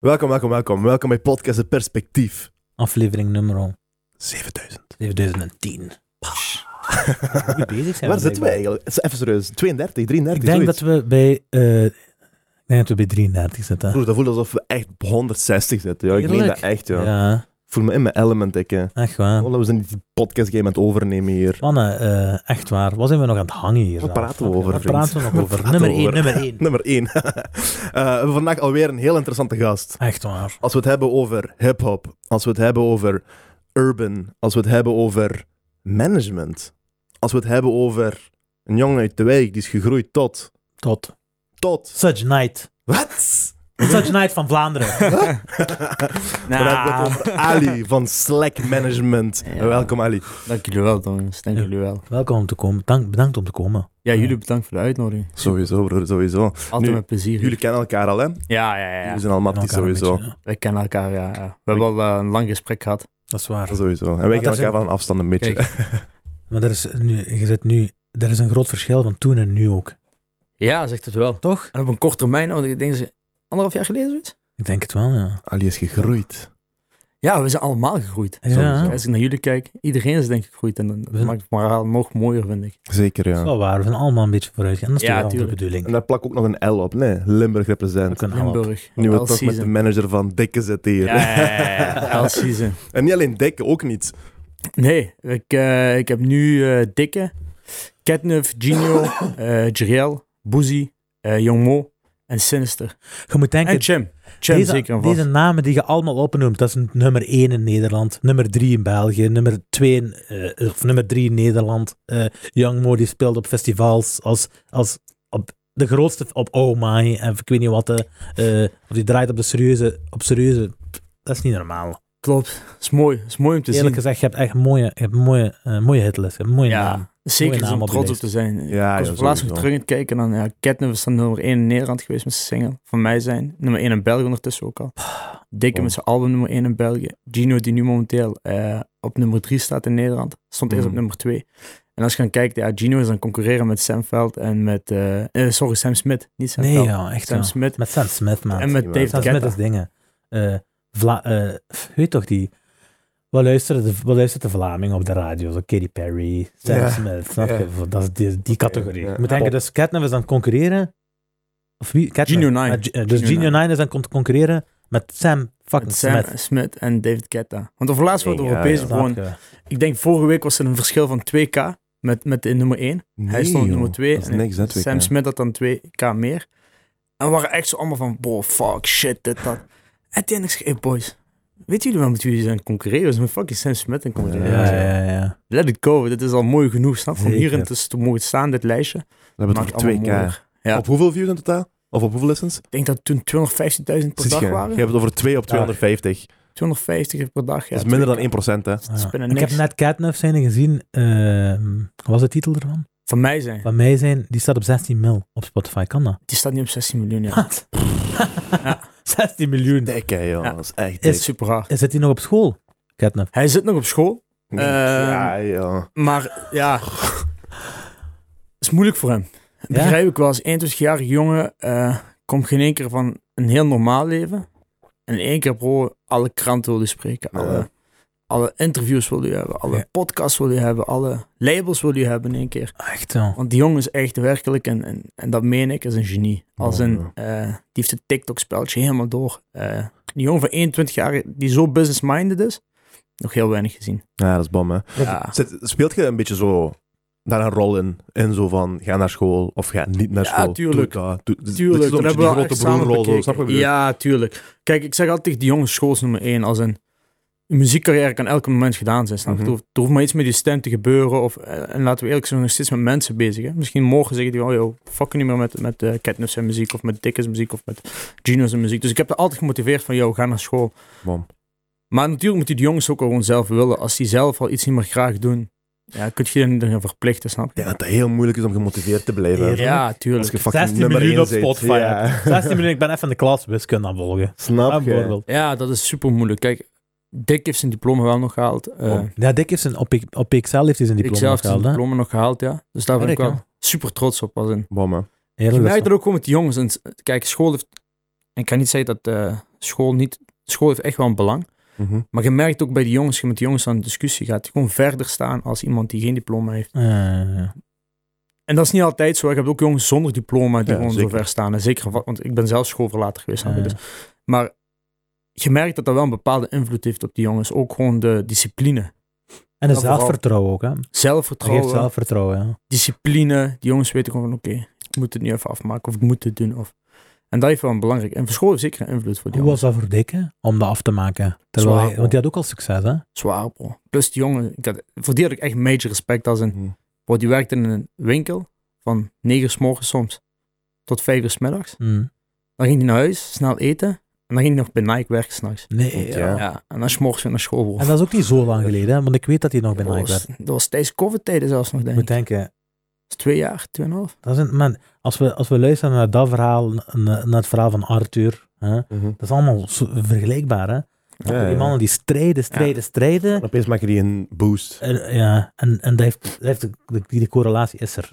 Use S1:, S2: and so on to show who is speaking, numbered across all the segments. S1: Welkom, welkom, welkom. Welkom bij Podcast Het Perspectief.
S2: Aflevering nummer
S1: 7000.
S2: 7010. Goed bezig zijn
S1: Waar zitten we
S2: blijkbaar.
S1: eigenlijk? Het is Even serieus. 32, 33,
S2: Ik denk dat
S1: zoiets.
S2: we bij... eh, ik denk dat we bij 33 zitten.
S1: Broer, dat voelt alsof we echt op 160 zitten. Ja, ik meen
S2: Heerlijk.
S1: dat echt, ja.
S2: ja.
S1: Ik voel me in mijn element, ik. hè.
S2: echt waar.
S1: Oh, we zijn die podcast game aan het overnemen hier.
S2: Mannen, eh, echt waar. Wat zijn we nog aan het hangen hier?
S1: Wat
S2: zelf?
S1: praten we over,
S2: Wat
S1: vriend?
S2: praten we nog
S1: Wat
S2: over?
S1: praten
S2: Nummer
S1: we
S2: 1,
S1: over?
S2: nummer 1.
S1: Nummer 1. Eh, we hebben vandaag alweer een heel interessante gast.
S2: Echt waar.
S1: Als we het hebben over hip-hop, als we het hebben over urban, als we het hebben over management, als we het hebben over een jongen uit de wijk die is gegroeid tot.
S2: Tot.
S1: Tot.
S2: Such Night.
S1: Wat?
S2: Such Night van
S1: Dan
S2: Vlaanderen.
S3: Nou,
S1: hebben we het over Ali van Slack Management.
S3: Ja.
S1: Welkom Ali.
S3: Dank jullie wel, jongens. Dank
S2: Ja.
S3: jullie wel.
S2: Welkom om te komen. Dank, bedankt om te komen.
S3: Ja, jullie bedankt voor de uitnodiging.
S1: Sowieso broer, sowieso.
S3: Altijd
S1: Nu-
S3: met plezier.
S1: Jullie kennen elkaar al hè?
S3: Ja, ja, ja.
S1: Jullie zijn al matties
S2: Elkaar een
S1: sowieso.
S2: beetje, ja.
S3: Wij kennen elkaar, ja. ja. We hebben al eh, een lang gesprek gehad.
S2: Dat is waar.
S1: Sowieso. En wij
S2: daar
S1: kennen elkaar
S2: zijn-
S1: van een afstand een beetje.
S3: Kijk.
S2: Maar er is nu, je zit nu, er is een groot verschil van toen en nu ook.
S3: Ja, zegt het wel.
S2: Toch?
S3: En op een korte termijn, want ik denk ze anderhalf jaar geleden zoiets?
S2: Ik denk het wel, ja.
S1: Ali is gegroeid.
S3: Ja, we zijn allemaal gegroeid.
S2: Ja.
S3: Als ik naar jullie kijk, iedereen is denk ik gegroeid. En dat
S2: We-
S3: maakt het verhaal nog mooier, vind ik.
S1: Zeker
S2: Dat
S1: ja.
S2: is wel waar. We zijn allemaal een beetje vooruit En dat is
S3: Ja,
S2: toch wel de
S3: tuurlijk.
S2: bedoeling.
S1: En daar plak ik ook nog een L op. Nee, Limburg
S2: We
S1: represent.
S2: kunnen allemaal.
S3: Limburg.
S1: Nu we
S3: L
S1: toch met de
S3: season.
S1: manager van Dikke zitten hier.
S3: Ja, ja, ja. L season.
S1: en niet alleen Dikke, ook niet.
S3: Nee, ik, eh, ik heb nu eh, Dikke, Ketnuf, Gino, eh Jeriel, Boezie, eh Young Mo en Sinister.
S2: Je moet denken,
S3: En Chim. Chim zeker
S2: deze,
S3: en vast.
S2: deze namen die je allemaal opnoemt, dat is een nummer 1 in Nederland, nummer 3 in België, nummer 2 in, eh, of nummer 3 in Nederland. Eh, Young Mo die speelt op festivals als, als op de grootste, op Oh My, en ik weet niet wat, eh, eh, of die draait op de serieuze, op serieuze, dat is niet normaal.
S3: Klopt. Is mooi. Is mooi om te
S2: Eerlijk
S3: zien.
S2: gezegd, je hebt echt mooie, je hebt mooie, eh, mooie hitlist, je hebt mooie namen.
S3: Ja, zeker
S2: Mooie
S3: is
S2: naam
S3: om
S2: op
S3: trots
S2: je
S3: op te zijn.
S1: Ja,
S3: ik
S1: ja,
S3: was op
S1: sowieso.
S3: laatst nog terug aan het kijken. En dan, ja, Ketnuf is dan nummer 1 in Nederland geweest met zijn single. Van mij zijn. Nummer 1 in België ondertussen ook al. Dikke
S1: Oh.
S3: met zijn album nummer 1 in België. Gino die nu momenteel eh, op nummer 3 staat in Nederland. Stond eerst
S1: Mhm.
S3: op nummer 2. En als je dan kijkt, ja, Gino is dan concurreren met Sam Veld en met... eh, eh, sorry, Sam Smith. Niet Sam
S2: Nee,
S3: Veld.
S2: ja, echt
S3: Sam
S2: ja.
S3: Smith.
S2: Met Sam Smith, man.
S3: En met
S1: Ja,
S3: Dave
S2: Dat is met
S3: Guetta.
S2: als dingen. Eh Vla eh, pff, weet toch die... Wat luistert, de, wat luistert de Vlaming op de radio? Zo Katy Perry, Sam
S1: Ja.
S2: Smith, snap je? Dat is die, die categorie.
S1: ja.
S2: Je moet denken, dus Catnip is aan het concurreren... Of wie? Catnip.
S3: Genio Nine.
S2: Met G- eh, dus
S3: Genio
S2: Genio
S3: Nine.
S2: 9 is aan het concurreren met Sam fucking
S3: Met Sam
S2: Smith.
S3: Smith. en David Guetta. Want over laatst wordt
S1: Ja,
S3: we
S1: ja.
S3: erop bezig.
S2: Snap
S3: Gewoon,
S2: je?
S3: ik denk vorige week was er een verschil van 2k met, met de nummer 1. Hij stond op
S1: joh.
S3: nummer 2.
S1: Dat is niks, hè, twee
S3: Sam
S1: keer.
S3: Smith had dan 2k meer. En we waren echt zo allemaal van, bro, fuck, shit, dit, dat. Uiteindelijk zeg ik, hey boys, weten jullie wel met jullie zijn concurreren? Dus met fucking Sam Smith en
S2: Ja,
S3: concurreren.
S2: ja, ja. ja.
S3: Let it go, dit is al mooi genoeg, snap je? Om
S2: Zeker.
S3: hierin te, te mogen staan, dit lijstje.
S1: We hebben
S3: Maakt
S1: het
S3: het allemaal
S1: over 2K.
S3: mooier. Ja.
S1: Op hoeveel views in totaal? Of op hoeveel listens?
S3: Ik denk dat toen 250.000 per
S1: Zie
S3: dag
S1: je,
S3: waren. Ah.
S1: Je hebt het over 2 op
S2: Ja.
S1: 250.
S3: 250 per dag, ja.
S1: dat is minder dan 1%, hè?
S3: Dat is
S2: Ja.
S3: bijna
S2: Ik heb
S3: niks.
S2: net Catnip zijn gezien. ehm, wat was de titel ervan?
S3: Van mij zijn.
S2: Van mij zijn, die staat op 16 mil op Spotify. Kan dat?
S3: Die staat nu op 16 miljoen, ja.
S2: Wat? 16 miljoen.
S1: Dik, hè, joh.
S3: Ja.
S1: Dat is echt
S3: Dat
S1: dik.
S3: is super hard.
S2: Zit hij nog op school? Catnip.
S3: Hij zit nog op school,
S1: Nee,
S3: eh,
S1: ja, joh.
S3: maar ja, is moeilijk voor hem. Begrijp ik wel, als 21-jarige jongen eh, komt geen één keer van een heel normaal leven. En in één keer, bro, alle kranten wil je spreken. Alle,
S1: Ja.
S3: alle interviews wil je hebben. Alle
S2: Ja.
S3: podcasts wil je hebben. Alle labels wil je hebben in één keer.
S2: Echt zo.
S3: Want die jongen is echt werkelijk, en, en, en dat meen ik, is een genie. Als
S1: Oh,
S3: een,
S1: ja.
S3: eh, die heeft het TikTok-speltje helemaal door. Eh, die jongen van 21 jaar, die zo business-minded is, nog heel weinig gezien.
S1: Ja, dat is bom, hè.
S3: Ja.
S1: Zit- speelt je een beetje zo daar een rol in? In zo van, ga naar school of ga niet naar
S3: Ja,
S1: school.
S3: tuurlijk.
S1: Doe dat. Doe, Dus dit is-
S3: Tuurlijk,
S1: dit is
S3: dat
S1: een beetje
S3: hebben we
S1: die
S3: wel
S1: grote
S3: echt samen
S1: broerrol, zo,
S3: bekeken.
S1: snap je? wat ik bedoel?
S3: Ja, tuurlijk. Kijk, ik zeg altijd tegen die jongens, school is nummer één. Als een, een muziekcarrière kan elk moment gedaan zijn. Snap je?
S1: Mhm.
S3: Er hoeft- Er hoeft maar iets met je stem te gebeuren. Of, eh, en laten we eerlijk zijn, we zijn nog steeds met mensen bezig. Hè? Misschien morgen zeggen die, oh joh, fuck niet meer met, met eh, Catnip zijn muziek. Of met Dickens muziek. Of met Gino's muziek. Dus ik heb er altijd gemotiveerd van, joh, ga naar school.
S1: Bom.
S3: Maar natuurlijk moeten die jongens ook gewoon zelf willen. Als die zelf al iets niet meer graag doen, ja, kun je hen erin verplichten,
S1: Ik
S3: snap je?
S1: denk dat het heel moeilijk is om gemotiveerd te blijven.
S2: Ja.
S3: Ja,
S1: Als
S3: tuurlijk.
S1: je fucking
S2: 16
S1: nummer
S2: miljoen
S1: één
S2: op
S1: zit.
S2: Spotify.
S1: Ja.
S2: 16 minuten, ik ben even in de klas wiskunde aan volgen.
S1: Snap je?
S2: Bijvoorbeeld.
S3: Ja, dat is super moeilijk. Kijk, Dick heeft zijn diploma wel nog gehaald. eh,
S2: Oh. Ja, Dick heeft zijn, op, P- op PXL heeft hij zijn
S3: ik
S2: diploma
S3: zelf heb zijn
S2: gehaald. hè?
S3: diploma nog gehaald, ja. Dus daar ben ik
S2: Werk,
S3: wel
S2: hè?
S3: super trots op. Als in.
S1: Bom, hè.
S3: Je
S2: Heerlijk, dat
S3: merkt
S2: is-
S3: dat ook gewoon met die jongens. En, kijk, eh, school heeft ik kan niet zeggen dat eh, school niet... School heeft echt wel een belang.
S1: Mhm.
S3: Maar je merkt ook bij die jongens, als je met die jongens aan de discussie gaat, die gewoon verder staan als iemand die geen diploma heeft.
S2: Eh,
S3: En dat is niet altijd zo. Ik heb ook jongens zonder diploma die
S1: Ja,
S3: gewoon zo
S1: zeker.
S3: ver staan. En zeker, wat- want ik ben zelf schoolverlater geweest. snap je?
S2: eh,
S3: Dus- Maar je merkt dat dat wel een bepaalde invloed heeft op die jongens. Ook gewoon de discipline.
S2: en het
S3: vooral-
S2: zelfvertrouwen ook, hè. Dat
S3: Zelfvertrouwen,
S2: geeft zelfvertrouwen, ja.
S3: discipline. Die jongens weten gewoon van oké, ik moet het nu even afmaken of ik moet het doen. Of... En dat heeft wel een belangrijk. En voor school heeft zeker een invloed voor die
S2: Hoe
S3: jongens.
S2: was dat voor Dick, hè? Om dat af te maken. Terwijl
S3: Zwaar,
S2: hij- want die had ook al succes, hè?
S3: Zwaar, bro. Plus die jongen, ik had, voor die had ik echt major respect als een
S1: Mhm.
S3: Bro, die werkte in een winkel van 9 uur s morgens soms tot 5 uur s middags.
S2: Mm.
S3: Dan ging hij naar huis, snel eten. En dan ging hij nog bij Nike werken s'nachts.
S2: Nee,
S1: Ja.
S2: ja.
S3: Ja, en dan 's morgens weer naar school. bro.
S2: En dat is ook niet zo lang geleden, hè? Want ik weet dat hij nog bij
S3: dat,
S2: Nike
S3: was,
S2: werd.
S3: dat was tijdens COVID-tijden zelfs nog,
S2: Ik
S3: denk ik.
S2: moet
S3: Dat
S2: denken,
S3: is twee jaar, tweeënhalf.
S2: dat is een, man, als, we, als we luisteren naar dat verhaal, na- naar het verhaal van Arthur, hè?
S1: Mhm.
S2: dat is allemaal zo vergelijkbaar. Hè?
S1: Ja,
S2: Die
S1: ja.
S2: mannen die strijden, strijden, strijden.
S1: En opeens maken die een boost.
S2: En, ja, en, en dat heeft, dat heeft, die, die correlatie is er.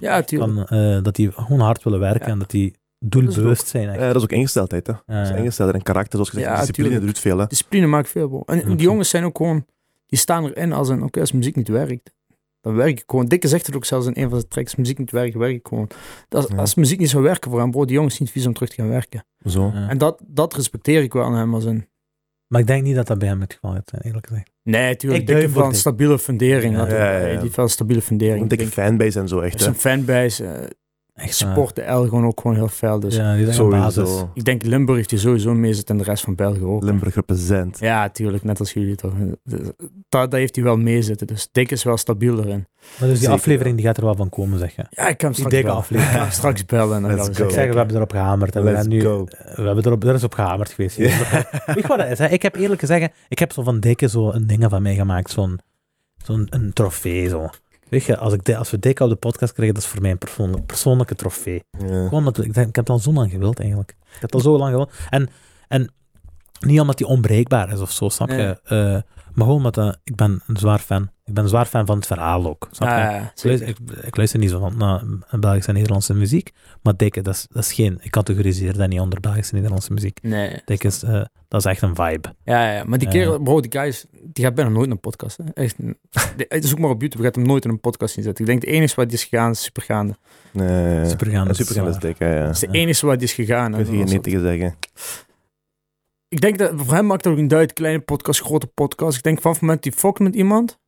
S3: Ja, tuurlijk.
S2: Van, eh, dat die gewoon hard willen werken
S3: Ja.
S2: en dat die doelbewust zijn.
S1: Eh,
S2: Echt.
S1: dat is ook ingesteldheid, hè.
S2: Ja,
S1: Dat
S2: ja.
S1: is ingesteldheid en karakter, zoals gezegd.
S3: Ja,
S1: discipline
S3: tuurlijk.
S1: doet veel, hè.
S3: Discipline maakt veel, bro. En
S2: Oké.
S3: die jongens zijn ook gewoon... Die staan erin als een... Oké, als muziek niet werkt, dan werk ik gewoon. Dikke zegt het ook zelfs in een van zijn tracks. Muziek niet werkt, werk ik gewoon. Dat,
S1: Ja.
S3: Als muziek niet zou werken voor hem, bro, die jongens zien het vies om terug te gaan werken.
S1: Zo.
S2: Ja.
S3: En dat, dat respecteer ik wel aan hem als een...
S2: Maar ik denk niet dat dat bij hem het geval is, eerlijk gezegd.
S3: Nee, tuurlijk.
S2: Ik
S3: Dikke
S2: duim
S3: van
S2: voor
S3: een
S2: Dick.
S3: stabiele fundering.
S2: Ja.
S3: had hij.
S1: Ja, ja, ja.
S3: Hij Die van een stabiele fundering.
S1: Een
S3: Ik
S1: dikke
S3: denk,
S1: fanbase en zo, echt, hè.
S3: zijn fanbase eh,
S2: Echt waar.
S3: support de L gewoon ook gewoon heel fel. Dus
S2: Ja, die zijn aan basis.
S1: Sowieso.
S3: ik denk Limburg heeft hier sowieso mee zitten en de rest van België ook.
S1: Limburg represent.
S3: Ja, tuurlijk, net als jullie toch. Dus Daar, daar heeft hij wel mee zitten. Dus Dick is wel stabiel erin.
S2: Maar dus die
S1: Zeker,
S2: aflevering die gaat er wel van komen, zeg je.
S3: Ja, ik kan hem
S2: Die
S3: straks
S2: dikke
S3: bellen. Ik kan hem
S2: aflevering.
S3: straks bellen. En dan
S1: Let's
S3: gaan we
S1: go.
S2: Ik zeg, we hebben erop gehamerd. En we,
S1: Let's
S2: gaan nu,
S1: go.
S2: we hebben erop, er is op gehamerd geweest. hier. Weet je wat dat is? Hè? Ik heb eerlijk gezegd, ik heb zo van dikke zo een dingen van mij gemaakt. Zo'n zo'n een trofee. Zo. Weet je, als, ik, di- als we dikke op de podcast krijgen, dat is voor mij een persoonlijke, persoonlijke trofee.
S1: Ja.
S2: Gewoon omdat ik, denk, ik heb het al zo lang gewild eigenlijk. Ik heb het al zo lang gewild. En, en niet omdat hij onbreekbaar is of zo, snap je?
S3: Nee.
S2: Eh, maar gewoon omdat eh, ik ben een zwaar fan. Ik ben een zwaar fan van het verhaal ook. Snap je?
S3: Ja, Ah, ja,
S2: Ik luister,
S3: zeker.
S2: ik, ik luister niet zo van naar Belgische en Nederlandse muziek, maar dikke, dat is, dat is geen, ik categoriseer dat niet onder Belgische en Nederlandse muziek.
S3: Nee.
S2: Dikke is, eh, dat is echt een vibe.
S3: Ja, ja, maar die
S2: Ja.
S3: kerel, bro, die guys, die gaat bijna nooit naar een podcast. Hè. Echt, de- het is ook maar op YouTube, je gaat hem nooit in een podcast inzetten. Ik denk de enige waar die is gegaan, is supergaande.
S1: Nee.
S2: Supergaande is eh,
S1: Supergaan is
S2: zwaar.
S1: dik, hè, ja.
S3: Dat is de
S2: Ja.
S3: enige waar die is gegaan.
S1: Kun je hier
S3: En-
S1: niet tegen zeggen.
S3: Ik denk dat voor hem maakt het ook niet uit. Kleine podcast, grote podcast. Ik denk vanaf het moment die fokt met iemand,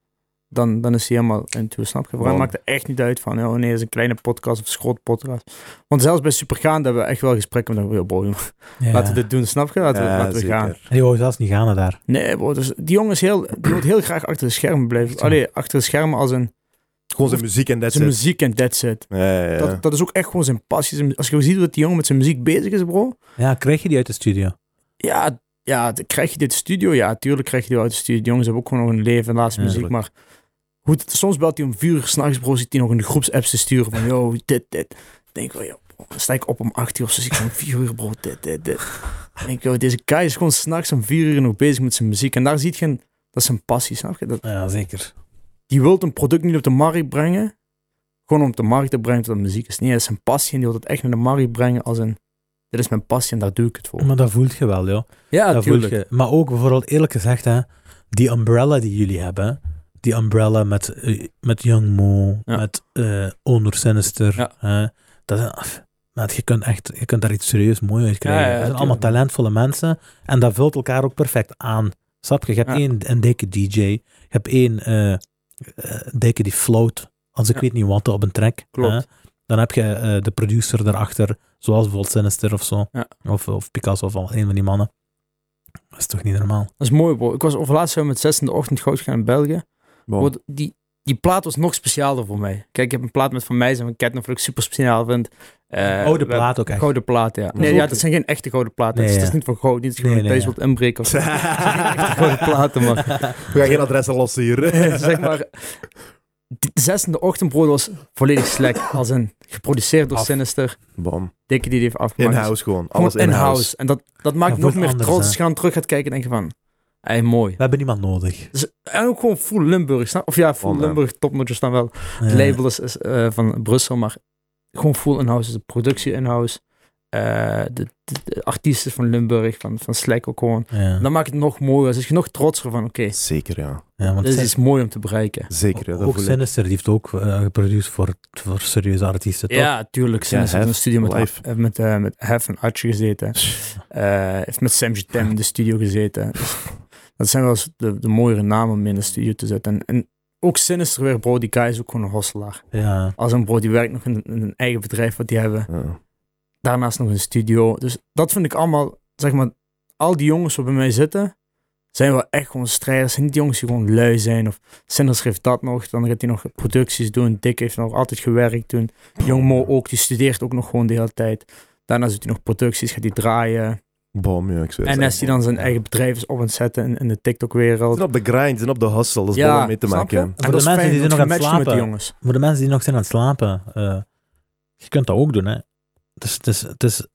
S3: dan, dan is hij helemaal into, snap je? Voor hem
S1: Wow.
S3: maakt het echt niet uit van, oh nee, is een kleine podcast of een grote podcast. Want zelfs bij Supergaan hebben we echt wel gesprekken met hem. Yo, bro, jongen,
S2: Ja.
S3: laten we dit doen, snap je? Laten we,
S1: Ja,
S3: laten we
S1: zeker.
S3: gaan.
S2: En die wou zelfs niet gaan naar daar.
S3: Nee, bro, dus die jongen is heel, die wil heel graag achter de schermen blijven.
S2: Echt waar.
S3: Allee, achter de schermen als een,
S1: Gewoon zijn muziek en that's
S3: zijn
S1: it.
S3: muziek en that's it.
S1: Ja, ja, ja.
S3: Dat, dat is ook echt gewoon zijn passie. Zijn- Als je ziet wat die jongen met zijn muziek bezig is, bro.
S2: Ja, krijg je die uit de studio?
S3: Ja, ja, d- krijg je dit studio? Ja, tuurlijk krijg je die uit de studio. Die jongens hebben ook gewoon nog een leven en laatste
S2: Ja,
S3: muziek. Maar hoe, het- soms belt hij om vier uur s'nachts, bro, zit hij nog in de groepsapps te sturen van, yo, dit, dit. Dan denk ik, wel, yo, bro, dan sta ik op om acht uur of zo, zit ik om vier uur, bro, dit, dit, dit. Dan denk ik, yo, deze guy is gewoon s'nachts om vier uur nog bezig met zijn muziek. En daar ziet je, een- dat is zijn passie, snap je? Dat,
S2: Ja, zeker.
S3: die wilt een product niet op de markt brengen, gewoon om op de markt te brengen dat muziek is. Nee, dat is zijn passie en die wil het echt naar de markt brengen als een, dit is mijn passie en daar doe ik het voor.
S2: Maar dat voelt je wel, joh.
S3: Ja,
S2: dat voel je. Maar ook bijvoorbeeld eerlijk gezegd, hè, die umbrella die jullie hebben, die umbrella met, eh, met Young Mo,
S3: Ja.
S2: met eh Owner Sinister,
S3: Ja.
S2: hè, dat zijn- af- maat, je kunt, echt, je kunt daar iets serieus mooi uit krijgen.
S3: Ja, ja,
S2: dat zijn
S3: tuurlijk.
S2: allemaal talentvolle mensen en dat vult elkaar ook perfect aan. Snap je? Je hebt
S3: Ja.
S2: één een dikke DJ, je hebt één eh, eh, dikke die float, als ik
S3: Ja.
S2: weet niet wat, op een track.
S3: Klopt.
S2: hè. Dan heb je eh, de producer daarachter, zoals bijvoorbeeld Sinister of zo.
S3: Ja.
S2: Of, of Picasso of al- een van die mannen. Dat is toch niet normaal?
S3: Dat is mooi, bro. Ik was over laatst zo met 6 in de ochtend goud gaan in België.
S1: Wow.
S3: Bro, die, die plaat was nog specialer voor mij. Kijk, ik heb een plaat met Van Meijs en van Ketner, wat ik super speciaal vind. Eh,
S2: Oude
S3: we-
S2: Oh, plaat ook echt.
S3: Gouden plaat, ja. Nee,
S1: ook-
S3: ja, dat zijn geen echte gouden platen. Dus
S2: Nee,
S3: Het is-
S2: ja.
S3: Het is niet voor goud, niet dat je
S2: Nee,
S3: gewoon
S2: nee,
S3: thuis
S2: ja.
S3: wilt inbreken. Of zo. Het zijn geen echte gouden platen, maar
S1: We gaan geen adressen lossen hier.
S3: zeg maar... Die zesde ochtendbrood was volledig slecht. Als een geproduceerd door
S2: Af.
S3: Sinister.
S1: Bam.
S3: Dikke die die heeft afgemaakt.
S1: In-house gewoon.
S3: Gewoon
S1: Alles in-house.
S3: in-house. En dat, dat maakt
S2: Ja,
S3: nog
S2: voor
S3: meer
S2: anders,
S3: trots
S2: hè.
S3: als je aan terug gaat kijken en denk je van... Hé, mooi.
S2: We hebben niemand nodig.
S3: Dus- en ook gewoon full Limburg. snap- Of ja, full
S1: Oh, man.
S3: Limburg topnotjes dan wel. Het
S2: Ja.
S3: label is, is, eh, van Brussel, maar gewoon full in-house. is de productie in-house. eh, de, de- de artiesten van Limburg, van, van Slack ook gewoon.
S2: Ja,
S3: Dan maakt het nog mooier. Dus is je nog trotser van, oké,
S1: Zeker, ja.
S2: ja want
S3: dit is
S2: Sin-
S3: iets mooi om te bereiken.
S1: Zeker, ja. Dat
S2: ook
S1: voel ik.
S2: Sinister die heeft ook eh, geproduceerd voor, voor serieuze artiesten, toch?
S3: Ja, tuurlijk. Ze
S1: Ja,
S3: is in een
S1: Hef,
S3: studio met,
S1: live.
S3: eh, met, eh, met Hef en Archie gezeten. Eh, heeft met Sam J. Tam in de studio gezeten. Dat zijn wel eens de, de mooiere namen om in de studio te zetten. En, en ook Sinister weer, bro, die guy is ook gewoon een hosselaar.
S2: Ja.
S3: Als een bro, die werkt nog in, in een eigen bedrijf wat die hebben.
S1: Ja.
S3: Daarnaast nog een studio. Dus dat vind ik allemaal, zeg maar, al die jongens wat bij mij zitten, zijn wel echt gewoon strijders. Zijn niet die jongens die gewoon lui zijn. Of Sinister heeft dat nog, dan gaat hij nog producties doen. Dick heeft nog altijd gewerkt toen. Jong Mo ook, die studeert ook nog gewoon de hele tijd. Daarnaast doet hij nog producties, gaat hij draaien.
S1: Bom, ja, ik zweer het.
S3: En als hij dan zijn eigen bedrijf is op aan het zetten in, in de
S1: Ze
S3: TikTok-wereld.
S1: zijn op de grind, ze zijn op de hustle. Dat is bom om mee te
S3: snap je?
S1: maken.
S2: de
S3: En dat is
S2: mensen
S3: fijn,
S2: die
S3: want
S2: nog
S3: je
S2: aan het
S3: matcht met die
S2: slapen.
S3: jongens.
S2: Voor de mensen die nog zijn aan het slapen, eh, je kunt dat ook doen. Hè. Het is, het is, het is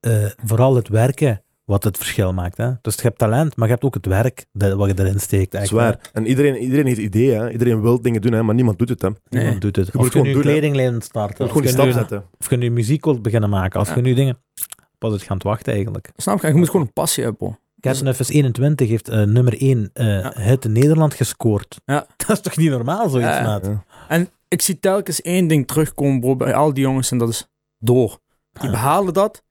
S2: eh, vooral het werken wat het verschil maakt. Hè. Dus je hebt talent, maar je hebt ook het werk dat, wat je erin steekt.
S1: Dat is
S2: eigenlijk,
S1: waar. En iedereen, iedereen heeft ideeën, hè. iedereen wil dingen doen, hè, maar niemand doet het. Hè. Je
S2: hè. Niemand
S3: Nee.
S2: doet het.
S1: moet
S2: Of je
S1: gewoon
S2: nu een
S1: doen, hè.
S2: kledinglijn start.
S1: moet
S2: Of
S1: gewoon die
S2: je
S1: stap
S2: nu-
S1: zetten.
S2: of je nu muziek wilt beginnen maken. Of
S3: Ja.
S2: je nu dingen... Pas het gaan het wachten eigenlijk.
S3: Snap je? Je moet gewoon een passie hebben, bro.
S1: Dus-
S2: Kersenfus 21 heeft eh, nummer 1 eh
S3: Ja.
S2: hit in Nederland gescoord.
S3: Ja.
S2: Dat is toch niet normaal, zoiets,
S3: Ja.
S2: maat?
S1: Ja.
S3: En ik zie telkens één ding terugkomen, bro, bij al die jongens. En dat is door. Die behalen dat.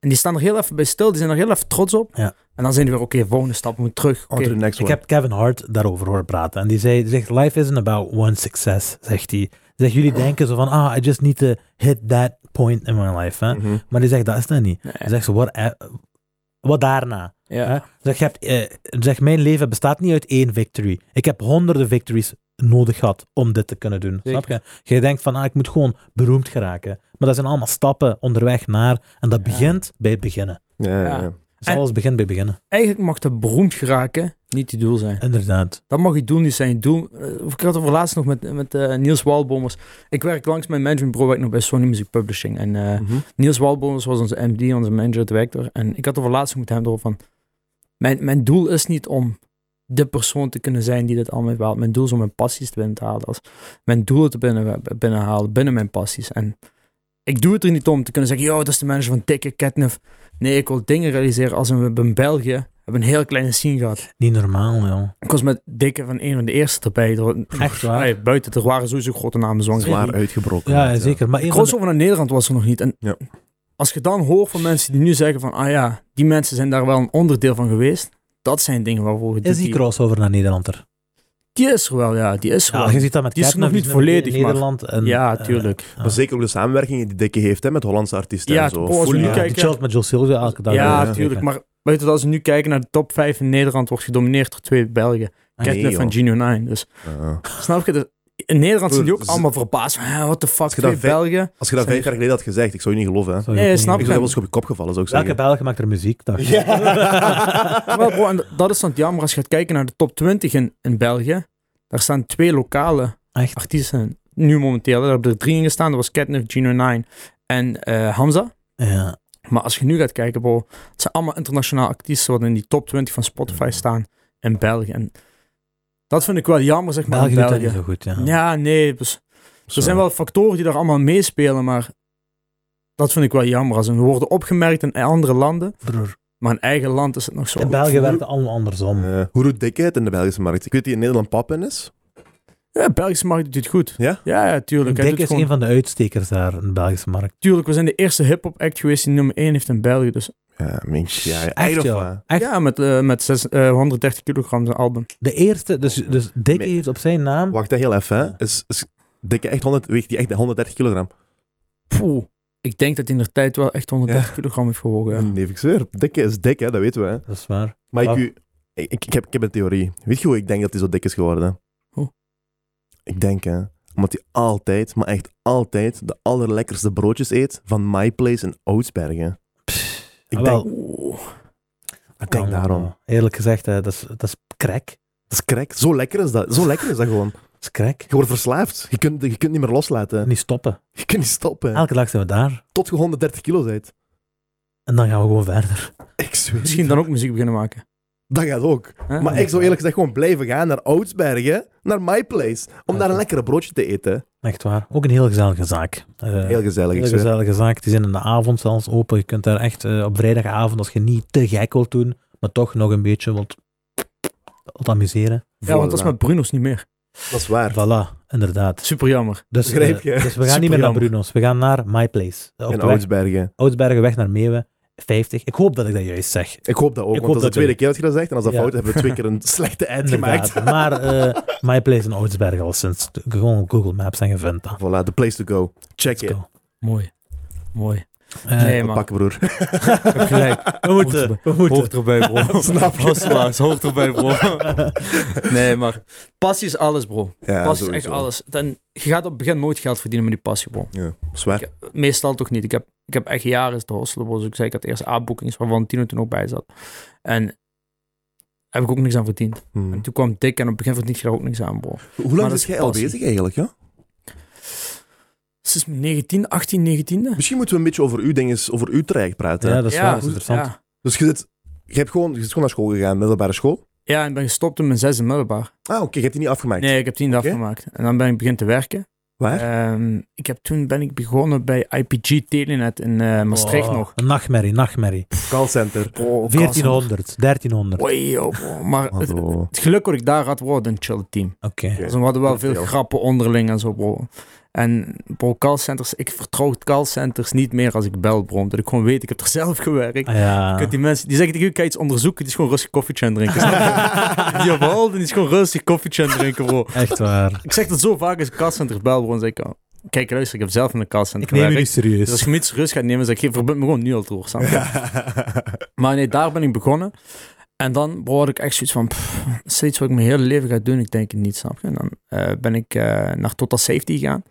S3: En die staan er heel even bij stil. Die zijn er heel even trots op.
S2: Ja.
S3: En dan zijn die weer, oké, volgende stap moet terug.
S1: On
S3: Oké.
S1: to the next
S2: Ik
S1: one.
S2: heb Kevin Hart daarover horen praten. En die, zei, die zegt, life isn't about one success, zegt hij. Zegt, jullie denken zo van, ah, I just need to hit that point in my life. Hè?
S1: Mhm.
S2: Maar die zegt, dat is dat niet.
S3: Nee.
S2: Hij zegt, zo, wat, eh, wat daarna? Hè?
S3: Ja.
S2: Zeg, je hebt, eh, zeg, mijn leven bestaat niet uit één victory. Ik heb honderden victories nodig gehad om dit te kunnen doen.
S3: Zeker.
S2: Snap je? Je denkt van, ah, ik moet gewoon beroemd geraken. Maar dat zijn allemaal stappen onderweg naar. En dat
S3: Ja.
S2: begint bij het beginnen.
S1: Ja, ja,
S3: Ja.
S1: ja.
S2: Dus
S3: En-
S2: alles begint bij beginnen.
S3: Eigenlijk mag dat beroemd geraken niet je doel zijn.
S2: Inderdaad.
S3: Dat mag je doel niet zijn. Je Doel, eh, ik had het over laatst nog met, met eh, Niels Walbomers. Ik werk langs mijn managementbureau, werk nog bij Sony Music Publishing. En eh,
S1: Mhm.
S3: Niels Walbomers was onze MD, onze manager, director. En ik had over laatst met hem over van... Mijn, mijn doel is niet om de persoon te kunnen zijn die dit allemaal heeft behaald. Mijn doel is om mijn passies te binnen te halen. Als mijn doelen te binnen, binnenhalen binnen mijn passies. En ik doe het er niet om te kunnen zeggen... Yo, dat is de manager van Tikke, Ketnef. Nee, ik wil dingen realiseren als we in België... hebben een heel kleine scene gehad.
S2: Niet normaal, joh.
S3: Ik was met Dikke van een van de eerste erbij. Er-
S2: Echt waar?
S3: Allee, buiten, er waren sowieso grote namen zwanger.
S1: Zwaar uitgebroken.
S2: Ja, zeker. Maar een van de-
S3: Crossover naar Nederland was er nog niet. En
S1: Ja.
S3: als je dan hoort van mensen die nu zeggen van, ah ja, die mensen zijn daar wel een onderdeel van geweest. Dat zijn dingen waarvoor je...
S2: is die crossover naar Nederland er?
S3: Die is er wel, ja. Die is er
S2: Ja,
S3: wel.
S2: je ziet dat met
S3: die is
S2: Ketner,
S3: nog niet
S2: nummer één in
S3: volledig, maar-
S2: Nederland. En,
S3: ja,
S2: eh,
S3: tuurlijk.
S1: Maar zeker ook de samenwerkingen die Dikke heeft hè, met Hollandse artiesten
S3: Ja,
S1: en zo.
S3: het- oh, als we
S1: Fully.
S3: nu
S2: ja,
S3: kijken-
S2: Die chillt met Joel Silvio elke dag.
S3: ja,
S1: ja.
S3: tuurlijk. Maar buiten dat als we nu kijken naar de top 5 in Nederland, wordt gedomineerd door twee Belgen.
S2: Ah,
S3: Ketler
S1: nee,
S3: van Gino 9. Dus
S1: Ja.
S3: snap je? dat in Nederland zijn die ook
S1: Broer,
S3: allemaal verbaasd. van, "Hè, What the fuck,
S1: je
S3: twee
S1: dat ve-
S3: Belgen?
S1: Als je dat
S3: Zijn
S1: vijf jaar geleden had gezegd, ik zou je niet geloven. Hè. Ik
S2: Sorry,
S3: Nee,
S2: ik
S3: snap
S2: weet
S1: zou
S2: niet.
S1: je wel eens op je kop gevallen, zou ik
S2: Welke
S1: zeggen.
S2: Belg maakt er muziek? Dag.
S3: Maar bro, en dat is dan jammer als je gaat kijken naar de top 20 in, in België. Daar staan twee lokale
S2: Echt?
S3: artiesten in. Nu momenteel. Daar hebben er drie in gestaan. Dat was Catnip, Gino 9 en eh, Hamza.
S2: Ja.
S3: Maar als je nu gaat kijken, bro, het zijn allemaal internationale artiesten wat in die top 20 van Spotify staan in België. En dat vind ik wel jammer, zeg maar,
S2: België
S3: in
S2: doet dat niet
S3: België.
S2: zo goed, ja.
S3: Ja, nee. Dus, er zijn wel factoren die daar allemaal meespelen, maar dat vind ik wel jammer. Als we worden opgemerkt in andere landen,
S2: Broer,
S3: maar in eigen land is het nog zo.
S2: in België werkt het allemaal andersom.
S1: Eh, hoe doet Dikke het in de Belgische markt? Ik weet die in Nederland pap in is.
S3: Ja, Belgische markt doet het goed.
S1: Ja?
S3: Ja, ja, tuurlijk. Hij
S2: Dick
S3: doet
S2: is
S3: gewoon-
S2: een van de uitstekers daar in de Belgische markt.
S3: Tuurlijk, we zijn de eerste hip-hop act geweest die nummer 1 heeft in België. Dus
S1: Ja, mens. Ja, ja,
S2: Echt,
S1: eigenlijk
S2: joh.
S1: wel.
S2: Echt.
S3: ja, met, eh, met zes, eh, 130 kilogram zijn album.
S2: De eerste, dus, dus Dick
S1: Nee.
S2: heeft op zijn naam...
S1: Wacht dat heel even. Hè. Is, is Dikke echt 100, weegt die echt 130 kilogram?
S3: Poeh. Ik denk dat hij in de tijd wel echt 130 kilogram heeft gewogen. ja.
S1: Nee, ik zweer. Dikke is dik, hè, dat weten we. Hè.
S2: Dat is waar.
S1: Maar ik,
S3: Ah.
S2: Wat?
S1: u- ik, ik, ik heb, ik heb een theorie. Weet je hoe ik denk dat hij zo dik is geworden?
S3: Hoe?
S1: Ik denk, hè, omdat hij altijd, maar echt altijd, de allerlekkerste broodjes eet van My Place in Oudsbergen. Ik
S2: Ah,
S1: denk,
S2: wel,
S3: Oeh.
S2: dat
S1: denk
S2: kan wel.
S3: Ah.
S1: daarom.
S2: Eerlijk gezegd, hè, dat is, dat is crack.
S1: dat is krek. Zo lekker is dat. Zo lekker is dat gewoon.
S2: Dat is crack.
S1: Je wordt verslaafd. Je kunt, je kunt niet meer loslaten.
S2: Niet stoppen.
S1: Je kunt niet stoppen.
S3: Ah.
S2: Elke dag zijn we daar.
S1: Tot je 130 kilo bent.
S2: En dan gaan we gewoon verder.
S1: Ik zweer.
S3: Misschien dan Ah. ook muziek beginnen maken.
S1: Dat gaat ook.
S3: Hè?
S1: Maar ik zou eerlijk gezegd gewoon blijven gaan naar Oudsbergen, naar My Place, om
S3: Ah,
S2: Ja,
S1: daar een
S2: ja.
S1: lekkere broodje te eten.
S2: Echt waar. Ook een heel gezellige zaak. Eh,
S1: Heel gezellig.
S2: Heel
S1: ik zweer.
S2: gezellige zaak. Die zijn in de avond zelfs open. Je kunt daar echt eh, op vrijdagavond, als je niet te gek wilt doen, maar toch nog een beetje wilt, wilt amuseren.
S3: Ja, want dat is
S1: Voilà.
S3: met Bruno's niet meer.
S1: Dat is waar.
S2: Voilà, inderdaad.
S3: Super jammer.
S2: Dus, eh,
S1: Begrijp je?
S2: dus we gaan niet meer naar
S3: Superjammer.
S2: Bruno's. We gaan naar My Place. Eh, Op
S1: In
S2: de weg,
S1: Oudsbergen.
S2: Oudsbergen, weg naar Meeuwen. 50. Ik hoop dat ik dat juist zeg.
S1: Ik hoop dat ook,
S2: Ik
S1: want dat is
S2: hoop
S1: de
S2: dat
S1: tweede
S2: ik-
S1: keer dat je dat zegt. En als dat
S2: Ja.
S1: fout is, hebben we twee keer een slechte ad
S2: Inderdaad.
S1: gemaakt.
S2: Maar eh, My Place in Oudsbergen al sinds gewoon op Google Maps en je vindt dat.
S1: Voilà, the place to go. Check
S2: Let's
S1: it.
S2: go.
S3: Mooi. Mooi.
S2: Eh,
S3: Nee,
S1: We
S3: man.
S1: pakken, broer.
S3: Heb gelijk.
S2: we moeten,
S3: hoort
S2: we moeten.
S3: Hoort erbij, bro.
S1: Snap je?
S3: Hosselaars, hoort erbij, bro. Nee, maar passie is alles, bro.
S1: Ja,
S3: passie is echt
S1: sowieso.
S3: alles. Dan, je gaat op het begin nooit geld verdienen met die passie, bro.
S1: Ja, zwaar.
S3: Ik- meestal toch niet. Ik heb, ik heb echt jaren te hosselen. Zoals ik zei, ik had eerst A-boekings waarvan Tino toen ook bij zat. En heb ik ook niks aan verdiend.
S1: Hmm.
S3: En toen kwam Dick en op het begin verdient je daar ook niks aan, bro.
S1: Hoe lang
S3: dat
S1: is
S3: is
S1: jij al
S3: passie.
S1: bezig eigenlijk? Ja?
S3: Sinds mijn 19, 18, 19e.
S1: Misschien moeten we een beetje over uw ding eens, over uw traject praten.
S2: Ja, dat is waar. Dat is interessant.
S3: Ja.
S1: Dus je, zit, je, hebt gewoon, je zit gewoon naar school gegaan, middelbare school.
S3: ja, en ben gestopt in mijn zesde middelbaar.
S1: Ah, oké, je hebt die niet afgemaakt.
S3: Nee, ik heb tien
S1: Oké.
S3: afgemaakt En dan ben ik begin te werken.
S1: Waar?
S3: Ehm, ik heb, toen ben ik begonnen bij IPG Telenet in eh, Maastricht
S2: Oh,
S3: nog.
S2: Een nachtmerrie, nachtmerrie.
S1: Callcenter.
S3: Bro,
S2: 1400, 1300.
S3: kansen. Oei, joh, bro. Maar
S2: Oh,
S3: het,
S1: Hallo.
S3: het geluk dat ik daar had, was een chill team.
S2: Oké.
S1: Oké.
S3: Dus we hadden wel
S1: Dat is
S3: veel
S1: veel.
S3: grappen onderling en zo, bro. En bro, callcenters, ik vertrouw callcenters niet meer als ik bel, bro. Omdat ik gewoon weet, ik heb er zelf gewerkt.
S2: Ah, Ja.
S3: Ik heb die mensen, die zeggen tegen u, kan je iets onderzoeken? Die is gewoon rustig koffietje aan het drinken. snap je? die Jawel, die is gewoon rustig koffietje aan het drinken, bro.
S2: Echt waar.
S3: Ik zeg dat zo vaak als ik callcenter bel, bro. En zeg ik, oh, kijk, luister, ik heb zelf in een callcenter
S2: Ik neem jullie
S3: gewerkt. Dus als
S2: serieus.
S3: je me iets rust gaat nemen, zeg ik, verbind me gewoon nu al door, snap je? Maar nee, daar ben ik begonnen. En dan bro, had ik echt zoiets van, pff, is dit iets wat ik mijn hele leven ga doen? Ik denk het niet, snap je? En dan eh, ben ik eh, naar Total Safety gegaan.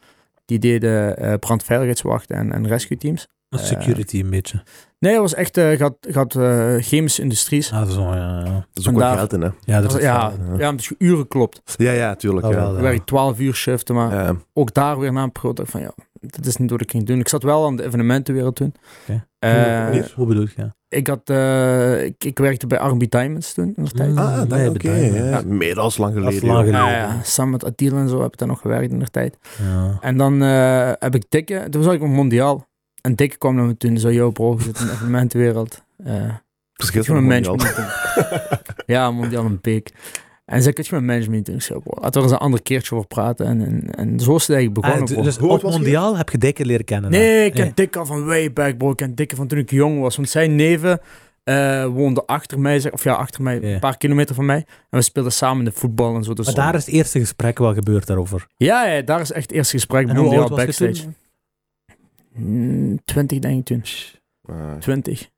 S3: Die deden eh brandveiligheidswachten en, en rescue teams.
S2: Een Security een beetje.
S3: Nee, dat was echt, eh gaat, gaat eh, chemische industries.
S2: Ah, zo, ja. ja.
S1: Dat is ook wat
S3: Vandaar-
S1: geld in, hè?
S2: Ja, dat
S3: Ja,
S2: is
S3: ja, ja, omdat je uren klopt.
S1: Ja, ja, tuurlijk.
S2: Oh,
S1: ja.
S2: wel,
S3: Ik
S2: ja.
S3: werk 12 uur shiften, maar
S1: Ja.
S3: ook daar weer na een periode dacht ik van, ja, dit is niet wat ik ging doen. Ik zat wel aan de evenementenwereld toen.
S2: Oké.
S3: Eh,
S1: Hoe-
S2: Hoe bedoel je?
S3: ik, had, eh, ik, ik werkte bij R&B Diamonds toen, in de tijd.
S2: Mm.
S1: Ah, dat
S2: Nee,
S1: oké.
S2: bedankt.
S1: ja.
S3: Ja.
S1: Meer dan lang
S2: Dat is
S1: geleden.
S2: lang
S1: joh.
S2: geleden.
S3: Ja, Ah, ja, samen met Attila en zo heb ik daar nog gewerkt in de tijd.
S2: Ja.
S3: En dan eh, heb ik Dikke, toen was ik op Mondiaal. En Dikke kwam naar me toen en zei, yo bro, je zit in de evenementenwereld. Eh
S1: Verschil
S3: kun je mijn
S1: van een
S3: management doen? ja, Mondiaal een beek. En zei, kun je mijn management doen? Ik zei, bro, laten we er eens een ander keertje over praten. En, en, en zo is het eigenlijk begonnen,
S2: Ah, d-
S3: bro.
S2: dus
S1: Hoe
S2: op
S1: oud was je?
S2: mondiaal heb je dikke leren kennen. hè?
S3: Nee, ik ken
S2: Nee.
S3: Dikke al van way back, bro. Ik ken Dikke van toen ik jong was. Want zijn neven eh, woonde achter mij, zeg- of ja, achter mij,
S2: Ja.
S3: een paar kilometer van mij. En we speelden samen de voetbal en zo. Dus
S2: Maar daar is het eerste gesprek wel gebeurd daarover.
S3: Ja, ja, daar is echt het eerste gesprek
S2: En hoe
S3: mondiaal
S2: oud was je
S3: backstage.
S2: toen?
S3: Mm, 20 denk ik toen.
S1: Ah,
S3: 20.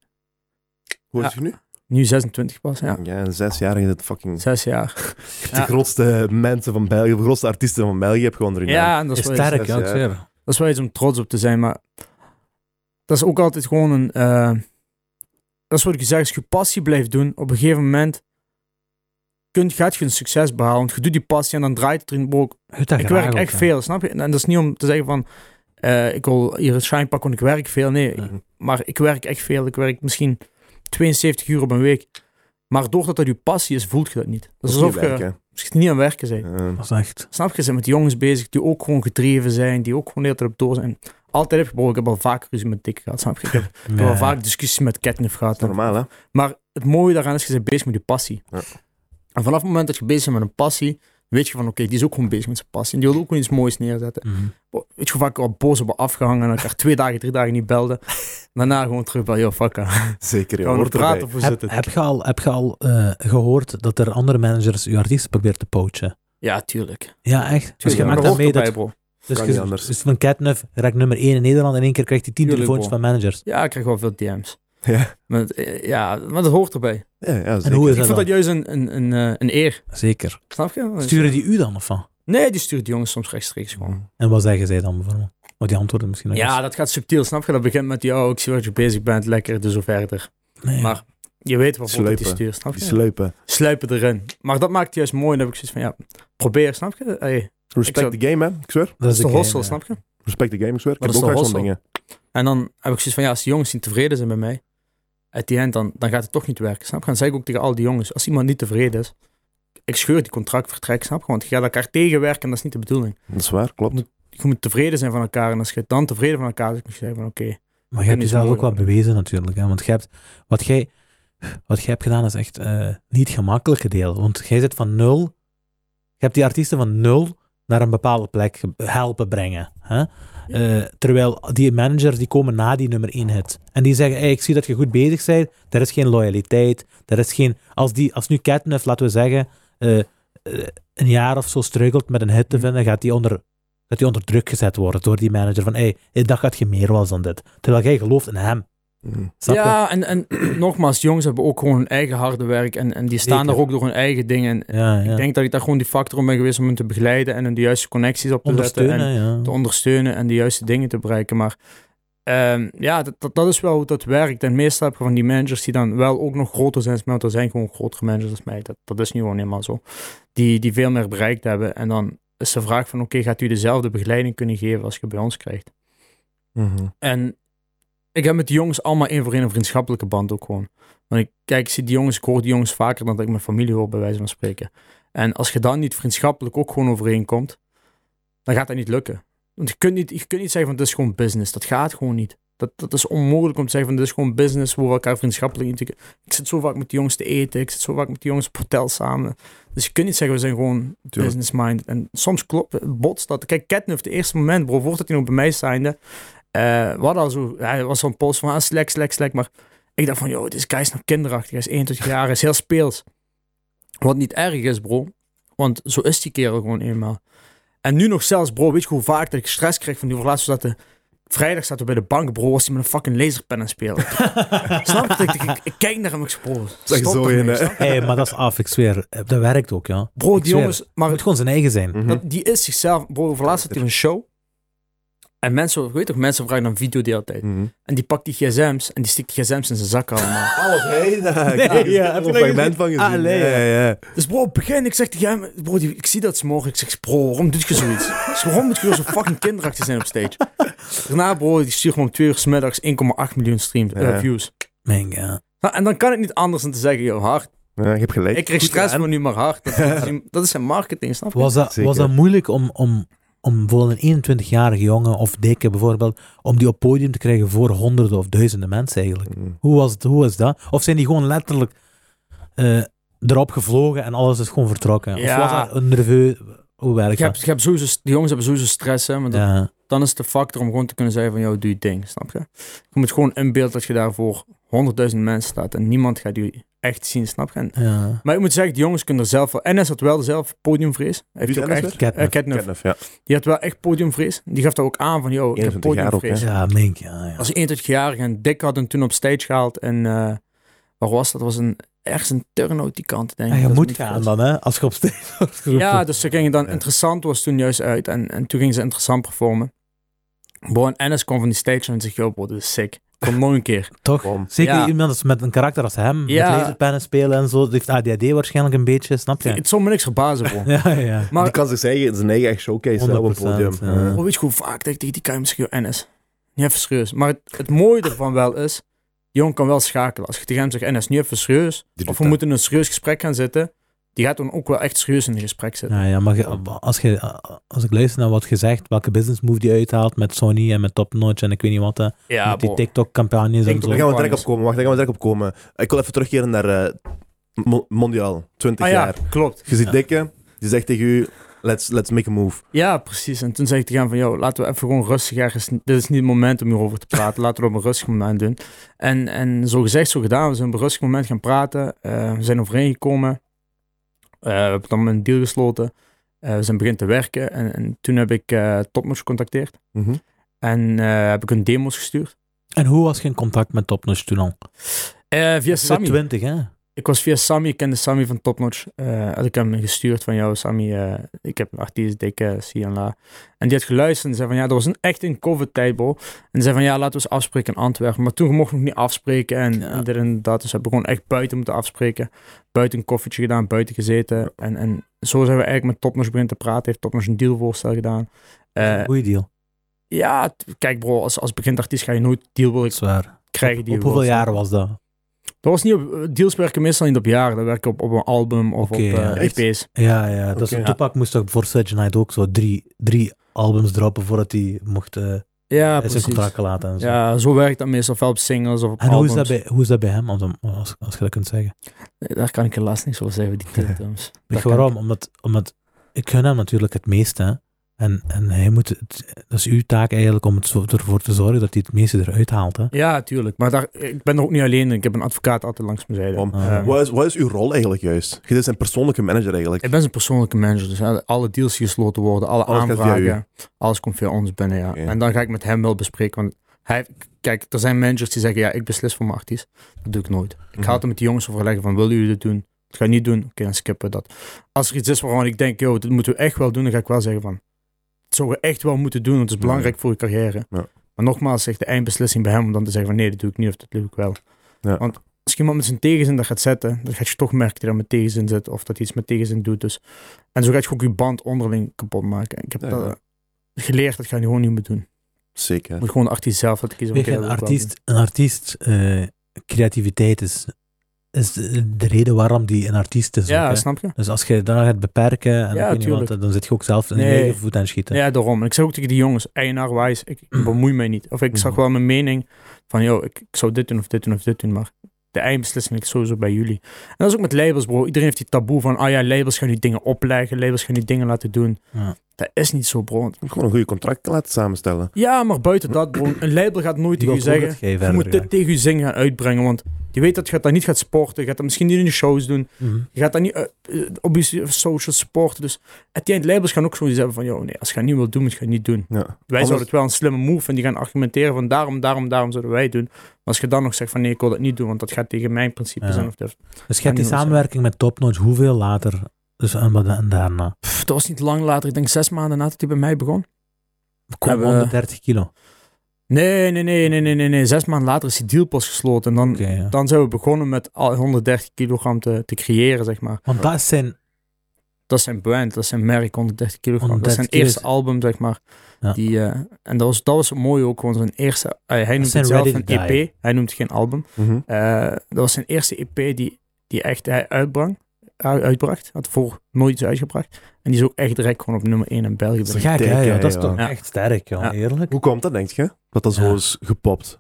S1: Hoe is je nu?
S3: Nu 26 pas, ja.
S1: Ja, een zesjarige is het fucking...
S3: Zes jaar.
S1: De grootste mensen van België, de grootste artiesten van België heb gewoon erin.
S3: Ja, en dat is, wel iets,
S2: sterk,
S1: is,
S2: ja, ik
S1: ja.
S2: zweer.
S3: dat is wel iets om trots op te zijn, maar dat is ook altijd gewoon een... eh, dat is wat ik zeg, als je passie blijft doen, op een gegeven moment kunt, gaat je een succes behalen. Want je doet die passie en dan draait het erin ook.
S2: Je hebt dat
S3: Ik
S2: graag
S3: werk
S2: ook,
S3: echt
S2: hè.
S3: veel, snap je? En dat is niet om te zeggen van, eh, ik wil hier een shine pakken, want ik werk veel. Nee, ik-
S1: Mhm.
S3: Maar ik werk echt veel. Ik werk misschien 72 uur op een week. Maar doordat dat je passie is, voelt je dat niet. Dat is eh, alsof
S1: niet
S3: je
S1: werken.
S3: misschien niet aan werken bent.
S1: Ja.
S2: Dat is echt...
S3: Snap je? Je bent met jongens bezig die ook gewoon gedreven zijn. Die ook gewoon de hele tijd op door zijn. Altijd heb je, bro, ik heb al vaak ruzie met dik gehad, snap je? Ik heb, ik heb al
S2: Ja.
S3: vaak discussies met Ketnif gehad.
S1: Dat is normaal, hè?
S3: Maar het mooie daaraan is, je bent bezig met je passie.
S1: Ja.
S3: En vanaf het moment dat je bezig bent met een passie, weet je van, oké, die is ook gewoon bezig met zijn passie. En die wil ook gewoon iets moois neerzetten.
S2: Mhm.
S3: Bro, Weet je hoe vaak ik al boos op ben afgehangen en elkaar twee dagen, drie dagen niet belde. Daarna gewoon terug bij, yo, fuck, hè.
S1: Zeker, joh.
S3: Gaan we
S1: Hoort
S3: nog
S1: erbij.
S3: praten of hoe zit
S2: Heb,
S3: het?
S2: heb je al, heb je al eh, gehoord dat er andere managers je artiesten proberen te poachen?
S3: Ja, tuurlijk.
S2: Ja, echt. Dus je
S1: Tuurlijk,
S2: maakt
S1: maar
S2: dan mee dat...
S3: bro.
S2: Dus,
S1: Kan
S2: je-
S1: niet anders.
S2: dus van Catnef raakt nummer 1 in Nederland en in één keer krijgt hij 10
S3: Tuurlijk,
S2: telefoontjes van managers.
S3: Ja, ik krijg wel veel DM's.
S1: Ja.
S3: Maar, het- eh, ja, maar dat hoort erbij.
S1: Ja, ja,
S2: En
S1: zeker.
S2: hoe is
S3: ik
S2: dat
S3: vind dat
S2: dan?
S3: juist een, een, een, eh, een eer.
S2: Zeker.
S3: Snap je? Dus-
S2: Sturen die u dan of van?
S3: Nee, die stuurt die jongens soms rechtstreeks gewoon.
S2: En wat zeggen zij dan bijvoorbeeld? Of die antwoorden misschien nog
S3: Ja,
S2: eens.
S3: dat gaat subtiel, snap je? Dat begint met, yo, ik zie wat je bezig bent, lekker, dus zo verder.
S2: Nee.
S3: Maar je weet waarvoor dat
S1: Sluipen.
S3: die stuurt, snap je?
S1: Die sleupen.
S3: Sluipen erin. Maar dat maakt het juist mooi, dan heb ik zoiets van, ja, probeer, snap je? Hey, dat
S1: Respect
S3: zou-
S1: the game, hè? Ik zweer.
S2: dat
S3: is de
S2: game,
S3: hostel,
S2: ja.
S3: snap je?
S1: Respect the game, ik zweer. Ik
S3: Wat
S1: heb
S3: is
S1: ook
S3: de
S1: graag zo'n
S3: hossel?
S1: dingen.
S3: En dan heb ik zoiets van, ja, als die jongens niet tevreden zijn met mij, at the end, dan, dan gaat het toch niet werken. Snap je? Dan zeg ik ook tegen al die jongens, als iemand niet tevreden is, ik scheur die contractvertrek, snap je? Want je gaat elkaar tegenwerken en dat is niet de bedoeling.
S1: Dat is waar, klopt.
S3: Je moet tevreden zijn van elkaar en als je dan tevreden van elkaar bent, moet je zeggen van oké,
S2: Maar je hebt
S3: is
S2: jezelf ook
S3: mooi,
S2: wat
S3: hoor.
S2: bewezen natuurlijk. Hè? Want jij hebt, wat, jij, wat jij hebt gedaan is echt eh, niet het gemakkelijke deel. Want jij zit van nul. Je hebt die artiesten van nul naar een bepaalde plek ge- helpen brengen. Hè? Eh, terwijl die managers die komen na die nummer 1 hit. En die zeggen, hey, ik zie dat je goed bezig bent. Er is geen loyaliteit. Er is geen... Als, die, als nu Catnef, laten we zeggen, eh, eh, een jaar of zo struggelt met een hit te vinden, gaat die onder, gaat die onder druk gezet worden door die manager. Van, hey, dat gaat je meer was dan dit. Terwijl jij gelooft in hem.
S1: Mm.
S2: Snap je?
S3: Ja, en, en nogmaals, jongens hebben ook gewoon hun eigen harde werk en, en die staan
S2: Zeker.
S3: daar ook door hun eigen dingen. En
S2: ja, ja.
S3: Ik denk dat ik daar gewoon die factor om ben geweest om hen te begeleiden en hun de juiste connecties op te zetten en
S2: Ondersteunen, ja.
S3: te ondersteunen en de juiste dingen te bereiken. Maar ehm, ja, dat, dat, dat is wel hoe dat werkt. En meestal heb je van die managers die dan wel ook nog groter zijn als mij, want er zijn gewoon grotere managers als mij. Dat, dat is nu gewoon helemaal zo. Die, die veel meer bereikt hebben. En dan is de vraag van, oké, gaat u dezelfde begeleiding kunnen geven als je bij ons krijgt?
S1: Mhm.
S3: En ik heb met die jongens allemaal één voor één een vriendschappelijke band ook gewoon. Want ik kijk, ik zie die jongens, ik hoor die jongens vaker dan dat ik mijn familie hoor, bij wijze van spreken. En als je dan niet vriendschappelijk ook gewoon overeenkomt, dan gaat dat niet lukken. Want je kunt niet, je kunt niet zeggen van dit is gewoon business. Dat gaat gewoon niet. Dat, dat is onmogelijk om te zeggen van dit is gewoon business, hoe we elkaar vriendschappelijk in te- Ik zit zo vaak met die jongens te eten, ik zit zo vaak met die jongens op hotel samen. Dus je kunt niet zeggen we zijn gewoon business minded. En soms klopt, botst dat. Kijk, Ketnuf, de eerste moment, bro, voordat hij nog bij mij zijnde, eh, we hadden al zo, hij was zo'n post van ah, slek, slek, slek. Maar ik dacht van, joh, dit guy is nog kinderachtig. Hij is 21 jaar, hij is heel speels. Wat niet erg is, bro. Want zo is die kerel gewoon eenmaal. En nu nog zelfs, bro, weet je hoe vaak dat ik stress krijg van die relatie? Dat de, vrijdag zaten we bij de bank, bro, was hij met een fucking laserpen aan het spelen. Snap je? Ik, ik, ik kijk naar hem, ik zeg, bro,
S1: Zeg
S3: stop
S1: zo
S3: ermee,
S1: in, hè.
S3: snap je?
S2: Hey, maar dat is af, ik zweer. Eh, Dat werkt ook, ja.
S3: Bro,
S2: Ik
S3: die
S2: zweer.
S3: jongens,
S2: Het
S3: maar
S2: moet gewoon zijn eigen zijn.
S3: dat, die is zichzelf, bro, voor laatst had hij een show. En mensen, weet toch, mensen vragen dan video de hele tijd. En die pakt die gsm's en die stikt die gsm's in zijn zak allemaal.
S1: Alles heen.
S2: Nee, ja, heb
S1: heb
S2: je
S1: je
S2: dat
S1: een fragment van gezien?
S2: Ah, nee,
S1: ja, ja. ja.
S3: Dus bro, begin. Ik zeg tegen hem, bro, die, ik zie dat ze morgen. Ik zeg, bro, waarom doet je zoiets? Ik zeg, waarom moet je zo fucking kinderachtig zijn op stage? Daarna, bro, die stuurt me om twee uur 's middags 1,8 miljoen streams, eh,
S1: Ja.
S3: views.
S2: Mijn god.
S3: Nou, en dan kan ik niet anders dan te zeggen, joh, hard.
S1: Ja, je hebt gelijk.
S3: Ik kreeg
S1: Goed eh,
S3: stress,
S1: gedaan.
S3: maar nu maar hard. Dat, dat is, dat is zijn marketing, snap je?
S2: Was dat,
S1: Zeker.
S2: was dat moeilijk om, om, om voor een 21-jarige jongen of dikke bijvoorbeeld, om die op podium te krijgen voor honderden of duizenden mensen eigenlijk?
S3: Hm.
S1: Mhm.
S2: Hoe was, het, hoe was dat? Of zijn die gewoon letterlijk eh, erop gevlogen en alles is gewoon vertrokken?
S3: Ja.
S2: Of was dat een nerveus... Hoe werkt
S3: Je hebt,
S2: dat?
S3: je hebt sowieso, die jongens hebben sowieso stress, hè, maar dat-
S2: Ja.
S3: dan is het de factor om gewoon te kunnen zeggen van, joh, doe je ding, snap je? Je moet gewoon inbeelden dat je daar voor 100.000 mensen staat en niemand gaat je echt zien, snap je? En
S2: ja.
S3: Maar ik moet zeggen, die jongens kunnen er zelf wel. NS had wel zelf podiumvrees. Heeft
S1: Wie
S3: hij
S1: is
S3: ook
S1: NS
S3: echt.
S2: weer? Ketner.
S3: eh, Ketner.
S1: Ketnaf, ja.
S3: Die had wel echt podiumvrees. Die gaf daar ook aan van, yo, ik heb
S1: 21 jaar ook,
S3: podiumvrees.
S2: Ja, mink, ja, ja.
S3: Als 21-jarige en Dick had hem toen op stage gehaald. En eh, waar was dat? Dat was een, ergens een turnout die kant, denk ik.
S2: En Ah, je
S3: Dat is
S2: moet
S3: niet
S2: gaan
S3: groot.
S2: dan, hè? Als je op stage wordt geroepen.
S3: Ja, dus ze gingen dan
S1: Ja.
S3: interessant was toen juist uit. En, en toen gingen ze interessant performen. Bro, en NS kwam van die stage en zegt, yo bro, dit is sick. Kom nog een keer.
S2: Toch?
S1: Kom.
S2: Zeker
S3: Ja.
S2: iemand als- met een karakter als hem,
S3: Ja.
S2: met laserpennen spelen en zo, die heeft ADHD waarschijnlijk een beetje, snap je?
S3: Het zal me niks verbazen, bro.
S2: Ja, ja.
S3: Maar
S1: Die kan zich zeggen, zijn eigen echt showcase hè, op het
S2: 100%,
S1: podium.
S2: ja.
S1: Ja.
S3: Oh, weet je hoe vaak dat ik tegen die kan misschien joh, NS? Niet even serieus. Maar het, het mooie ervan wel is, die jongen kan wel schakelen. Als je tegen hem zegt, NS, niet even serieus.
S1: Die doet
S3: Of we
S1: dat.
S3: moeten in een serieus gesprek gaan zitten. Die gaat dan ook wel echt serieus in een gesprek zitten.
S2: Ja, ja, maar ge- als, je, als ik luister naar wat je zegt, welke business move die uithaalt met Sony en met Top Notch en ik weet niet wat, hè,
S3: Ja,
S2: met die
S3: bro.
S2: TikTok-campagnes en
S3: TikTok-
S2: zo.
S1: Daar
S2: Ja,
S1: gaan we direct op komen. Wacht, daar gaan we direct op komen. Ik wil even terugkeren naar eh, Mo- Mondiaal, 20
S3: Ah ja,
S1: jaar.
S3: klopt.
S1: Je ziet Dikke, die zegt tegen u, let's, let's make a move.
S3: Ja, precies. En toen zei ik tegen hem van, joh, laten we even gewoon rustig ergens... Dit is niet het moment om hierover te praten. Laten we het op een rustig moment doen. En, en zo gezegd, zo gedaan. We zijn op een rustig moment gaan praten. Eh, we zijn overeengekomen. Eh, we hebben dan een deal gesloten. Eh, we zijn begonnen te werken. En, en toen heb ik eh Topnotch gecontacteerd.
S1: Mhm.
S3: En eh, heb ik een demo's gestuurd.
S2: En hoe was je in contact met Top Notch toen al?
S3: Eh, via
S2: Ze
S3: Sammy.
S2: 20, hè?
S3: Ik was via Sammy. Ik kende Sammy van Topnotch. Eh had ik hem gestuurd van, jou Sammy, eh, ik heb een artiest, dikke, zie en la. En die had geluisterd en zei van ja, dat was een, echt een COVID-tijd, bro. En zei van ja, laten we eens afspreken in Antwerpen. Maar toen mocht ik nog niet afspreken en,
S2: Ja.
S3: en dit en dat. Dus hebben we gewoon echt buiten moeten afspreken. Buiten een koffietje gedaan, buiten gezeten. En, en zo zijn we eigenlijk met Topnos beginnen te praten. Heeft Topnos een dealvoorstel gedaan. Eh,
S2: Goeie deal.
S3: ja, t- kijk bro, als, als begint artiest ga je nooit deal willen
S2: Zwaar.
S3: krijgen die
S2: Op
S3: je
S2: hoeveel
S3: wilt.
S2: jaar was dat?
S3: Dat was niet op, eh, deals werken meestal niet op jaren. Dat werken op, op een album of
S2: Oké,
S3: op eh,
S2: ja.
S1: Echt?
S3: EP's.
S2: Ja, ja. Dat
S1: Oké.
S2: is, Tupac moest toch voor Suge Knight ook zo drie, drie albums droppen voordat hij mocht eh,
S3: Ja,
S2: zijn
S3: precies.
S2: contract laten. En, zo.
S3: Ja, zo werkt dat meestal. Ofwel op singles of op
S2: en hoe,
S3: albums.
S2: is dat bij, hoe is dat bij hem, als, als, als je dat kunt zeggen?
S3: Nee, Daar kan ik helaas niks over zeggen, die teleterms.
S2: Weet je waarom? Omdat, omdat ik gun hem natuurlijk het meeste. hè. En, en hij moet het, dat is uw taak eigenlijk om het zo, ervoor te zorgen dat hij het meeste eruit haalt. Hè?
S3: Ja, tuurlijk. Maar daar, ik ben er ook niet alleen in. Ik heb een advocaat altijd langs mijn zijde.
S1: Om-
S3: Eh,
S2: Ah.
S1: Wat is, wat is uw rol eigenlijk juist? Je bent zijn persoonlijke manager eigenlijk.
S3: ik ben zijn persoonlijke manager. Dus hè, alle deals die gesloten worden, alle
S1: Alles gaat via
S3: aanvragen. Alles komt via ons binnen, ja.
S1: Oké.
S3: En dan ga ik met hem wel bespreken. Want hij, kijk, er zijn managers die zeggen, ja, ik beslis voor mijn artiest. Dat doe ik nooit. Ik ga
S1: Mhm.
S3: het er met die jongens overleggen van, willen jullie dit doen? Dat ga je niet doen? Oké, dan skippen we dat. Als er iets is waarvan ik denk, joh, dit moeten we echt wel doen, dan ga ik wel zeggen van, dat zouden we echt wel moeten doen, want het is
S1: Ja.
S3: belangrijk voor je carrière.
S1: Ja.
S3: Maar nogmaals, zegt de eindbeslissing bij hem om dan te zeggen van, nee, dat doe ik niet of dat doe ik wel.
S1: Ja.
S3: Want als iemand met zijn tegenzin dat gaat zetten, dan gaat je toch merken dat hij dat met tegenzin zit of dat hij iets met tegenzin doet. Dus. En zo gaat je ook je band onderling kapot maken. En Ik heb
S1: Ja,
S3: dat
S1: ja.
S3: geleerd, dat ga je gewoon niet meer doen.
S1: Mhm. Zeker.
S3: Je moet gewoon de artiest zelf laten kiezen.
S2: Weet
S3: oké,
S2: je, een
S3: dat wil ik wel
S2: artiest, een artiest eh, creativiteit is, is de de reden waarom die een artiest is.
S3: doen.
S2: ook,
S3: Ja,
S2: hè.
S3: snap je?
S2: Dus als je daar gaat beperken, en
S3: Ja,
S2: ik weet niet wat,
S3: tuurlijk.
S2: dan zit je ook zelf in
S3: Nee.
S2: je eigen voet aan het schieten.
S3: Ja, daarom. En ik zeg ook tegen die jongens, eigenaar-wijs, ik
S2: Mm.
S3: bemoei mij niet. Of ik zag wel mijn mening van, joh, ik, ik zou dit doen of dit doen of dit doen, maar de eindbeslissing ligt sowieso bij jullie. En dat is ook met labels, bro. Iedereen heeft die taboe van, ah ja, labels gaan nu dingen opleggen, labels gaan nu dingen laten doen.
S2: Ja.
S3: Dat is niet zo, bro.
S1: Gewoon een goede contract laten samenstellen.
S3: Ja, maar buiten dat, bro, een label gaat nooit
S2: Die
S3: tegen
S2: wil gewoon
S3: je zeggen,
S2: dat jij
S3: je
S2: verder
S3: moet dit
S2: gaat.
S3: tegen je zingen gaan uitbrengen, want je weet dat je dat niet gaat sporten, je gaat dat misschien niet in de shows doen,
S2: Mhm.
S3: je gaat dat niet eh, eh, op je social sporten. Dus at the end, labels gaan ook zoiets hebben van, joh, nee, als je dat niet wilt doen, moet je het niet doen.
S1: Ja.
S3: Wij
S1: Anders-
S3: zouden het wel een slimme move en die gaan argumenteren van daarom, daarom, daarom zouden wij het doen. Maar als je dan nog zegt van nee, ik wil dat niet doen, want dat gaat tegen mijn principes
S2: Ja.
S3: zijn. Of dat.
S2: Dus je hebt die
S3: Kan niet
S2: samenwerking met Topnotch hoeveel later? Dus en, wat- en daarna?
S3: Pff, dat was niet lang later, ik denk zes maanden nadat hij bij mij begon.
S2: Kom,
S3: Hebben we-
S2: 130 kilo.
S3: Nee, nee, nee, nee, nee, nee, nee. Zes maanden later is die deal pas gesloten. En dan,
S2: Oké, ja.
S3: dan zijn we begonnen met al 130 kilogram te, te creëren, zeg maar.
S2: Want dat is zijn...
S3: Dat is zijn brand, dat is zijn merk, 130 kilogram. dat
S2: 130
S3: is zijn
S2: kilo.
S3: eerste album, zeg maar.
S2: Ja.
S3: Die, eh, en dat was, dat was het mooie ook, gewoon zijn eerste... eh, hij noemt
S2: zijn
S3: het zelf
S2: Ready
S3: een
S2: to Die.
S3: EP, hij noemt het geen album.
S1: Mhm.
S3: Eh, dat was zijn eerste EP die, die echt hij uitbrang, u- uitbracht. Had voor nooit iets uitgebracht. En die is ook echt direct gewoon op nummer 1 in België.
S2: Dat
S3: binnen.
S2: is gek,
S1: dik,
S2: hè,
S1: hè,
S2: joh. Dat is
S1: ja.
S2: toch
S3: Ja.
S2: echt sterk, joh.
S3: Ja.
S2: Eerlijk.
S1: Hoe komt dat, denk je? Dat dat
S2: Ja.
S1: zo is gepopt.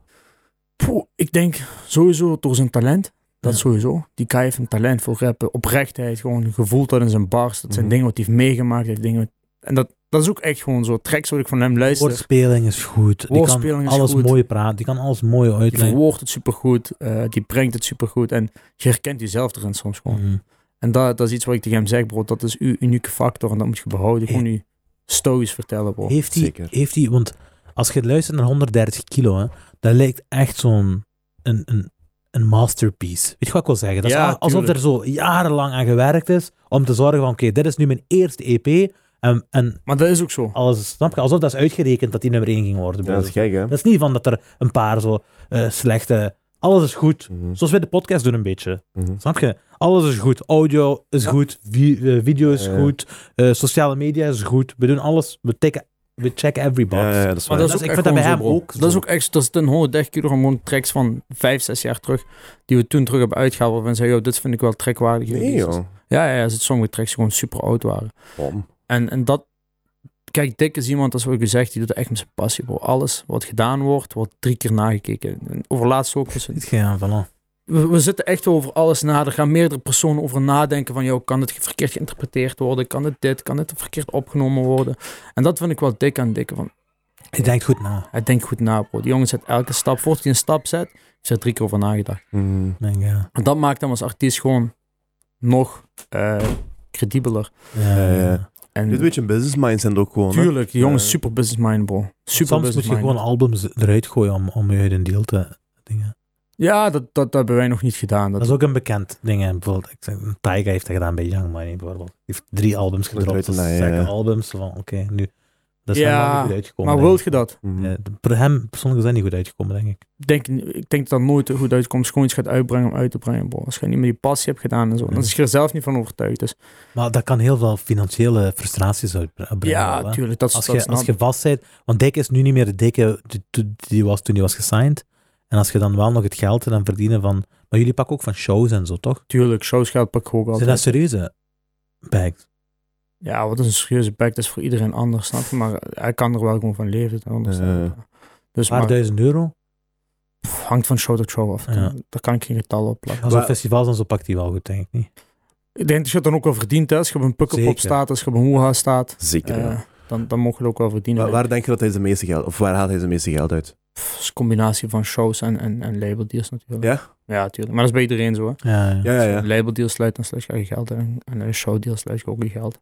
S3: Poeh, ik denk sowieso door zijn talent. Dat
S2: Ja.
S3: sowieso. Die guy heeft een talent voor rappen. Oprechtheid, gewoon gevoeld dat in zijn bars. Dat zijn
S1: Mhm.
S3: dingen wat hij heeft meegemaakt. Heeft dingen wat- en dat, dat is ook echt gewoon zo. Tracks wat ik van hem luister.
S2: Woordspeling is goed. Die
S3: Woordspeling
S2: kan
S3: is
S2: alles
S3: goed.
S2: mooi praten. Die kan alles mooi
S3: Die
S2: uitleggen.
S3: verwoordt het supergoed. eh, die brengt het supergoed. En je herkent jezelf erin soms gewoon.
S2: Mhm.
S3: En dat, dat is iets wat ik tegen hem zeg, bro. Dat is uw unieke factor en dat moet je behouden. Gewoon je stories vertellen, bro.
S2: Heeft hij,
S1: Zeker.
S2: heeft hij, want als je luistert naar 130 kilo, hè, dat lijkt echt zo'n een, een, een masterpiece. Weet je wat ik wil zeggen? Dat is
S3: Ja,
S2: al- alsof
S3: tuurlijk.
S2: er zo jarenlang aan gewerkt is om te zorgen van, oké, dit is nu mijn eerste EP en, en
S3: Maar dat is ook zo.
S2: alles, snap je? Alsof dat is uitgerekend dat die nummer 1 ging worden.
S1: Ja, dat is gek, hè?
S2: Dat is niet van dat er een paar zo eh, slechte... Alles is goed.
S1: Mhm.
S2: Zoals wij de podcast doen een beetje.
S1: Mhm.
S2: Snap je? Alles is goed. Audio is
S1: Ja.
S2: goed. vi- eh, video is
S1: Ja, ja.
S2: goed. eh, sociale media is goed. We doen alles. We, tikken- we checken every box.
S1: Ja, ja, dat is
S3: Maar
S1: waar.
S3: dat is ook
S2: ik
S3: echt
S2: vind dat bij hem
S3: gewoon zo, bro.
S2: ook
S3: Dat is
S2: zo.
S3: ook echt, dat is een 130 kilogram gewoon tracks van 5, 6 jaar terug, die we toen terug hebben uitgehaald. En zeggen, joh, dit vind ik wel trackwaardig. Dus-
S1: Nee, joh.
S3: Ja, ja, ja, er zitten sommige tracks die gewoon super oud waren.
S1: Bom.
S3: En, en dat, kijk, Dick is iemand, dat is wat ik u zeg, die doet dat echt met zijn passie, bro. Alles wat gedaan wordt, wordt drie keer nagekeken. En Overlaatst ook, dus
S2: Ja, voilà.
S3: we, we zitten echt over alles na. Er gaan meerdere personen over nadenken van, joh, kan het verkeerd geïnterpreteerd worden? Kan het dit? Kan het verkeerd opgenomen worden? En dat vind ik wel dik aan Dick, van
S2: Je denkt goed na.
S3: Hij denkt goed na, bro. Die jongen zet elke stap. Voordat hij een stap zet, is er drie keer over nagedacht.
S1: Mhm.
S2: Ik Denk, ja.
S3: En dat maakt hem als artiest gewoon nog eh, credibeler.
S2: Ja,
S1: Ja,
S2: ja,
S1: ja.
S2: ja.
S3: En
S1: Dit is een beetje een business mindset ook gewoon. hè?
S3: tuurlijk, die jongen is
S1: Ja.
S3: super business mind, bro. Super
S2: Soms moet
S3: business
S2: je gewoon albums eruit gooien om, om je uit een deal te dingen.
S3: Ja, dat, dat, dat hebben wij nog niet gedaan.
S2: Dat
S3: Dat,
S2: is ook een bekend ding. Hè. Bijvoorbeeld, ik zeg, Tyga heeft dat gedaan bij Young Money bijvoorbeeld. Die heeft drie albums
S1: Eruit
S2: gedropt. Dat
S1: te
S2: is
S1: naaien,
S2: zeggen
S1: nou, ja.
S2: albums van, oké, nu... Dat is
S3: Ja,
S2: helemaal niet goed uitgekomen.
S3: maar
S2: denk
S3: wilt
S2: ik.
S3: je dat?
S1: Mhm.
S2: Ja, voor hem persoonlijk is dat niet goed uitgekomen, denk ik.
S3: Ik Denk, ik denk dat dat nooit er goed uitkomt. Als je gewoon iets gaat uitbrengen om uit te brengen, bro. Als je niet meer die passie hebt gedaan en zo. Dan
S2: Ja.
S3: is je er zelf niet van overtuigd. Dus
S2: Maar dat kan heel veel financiële frustraties uitbrengen.
S3: ja,
S2: wel, hè.
S3: tuurlijk. Dat, is-
S2: Als
S3: dat
S2: je,
S3: snap
S2: als je
S3: ik.
S2: vast bent, want Dijk is nu niet meer de dikke die, die- die was toen hij was gesigned. En als je dan wel nog het geld dan verdienen van Maar jullie pakken ook van shows en zo, toch?
S3: Tuurlijk, shows gaat pak ik ook altijd.
S2: Zijn dat serieuze bags?
S3: Ja, wat is een serieuze pack? Dat is voor iedereen anders, snap je? Maar eh, hij kan er wel gewoon van leven. dat Anders,
S1: Eh.
S3: dus
S2: Een paar
S3: maar,
S2: duizend euro?
S3: pff, hangt van show tot show af.
S2: Ja.
S3: Daar kan ik geen getal op plakken.
S2: Als
S1: Maar-
S2: een festival dan zo pakt die wel goed, denk ik niet.
S3: Ik denk dat je het dan ook wel verdient. Hè? Als je op een pukkelpop
S2: Zeker.
S3: staat, als je op een hoeha staat,
S1: Zeker,
S3: eh,
S1: ja.
S3: dan, dan mocht je het ook wel verdienen.
S1: Waar, waar denk je dat hij zijn meeste geld... Of waar haalt hij zijn meeste geld uit?
S3: Pff, het is een combinatie van shows en, en, en labeldeals natuurlijk.
S1: Ja?
S3: Ja, natuurlijk. Maar dat is bij iedereen zo. Hè?
S2: Ja, ja.
S1: Ja, ja, ja.
S3: Als je een labeldeal sluit, dan sluit je eigen geld. En, en een showdeal sluit je ook je geld.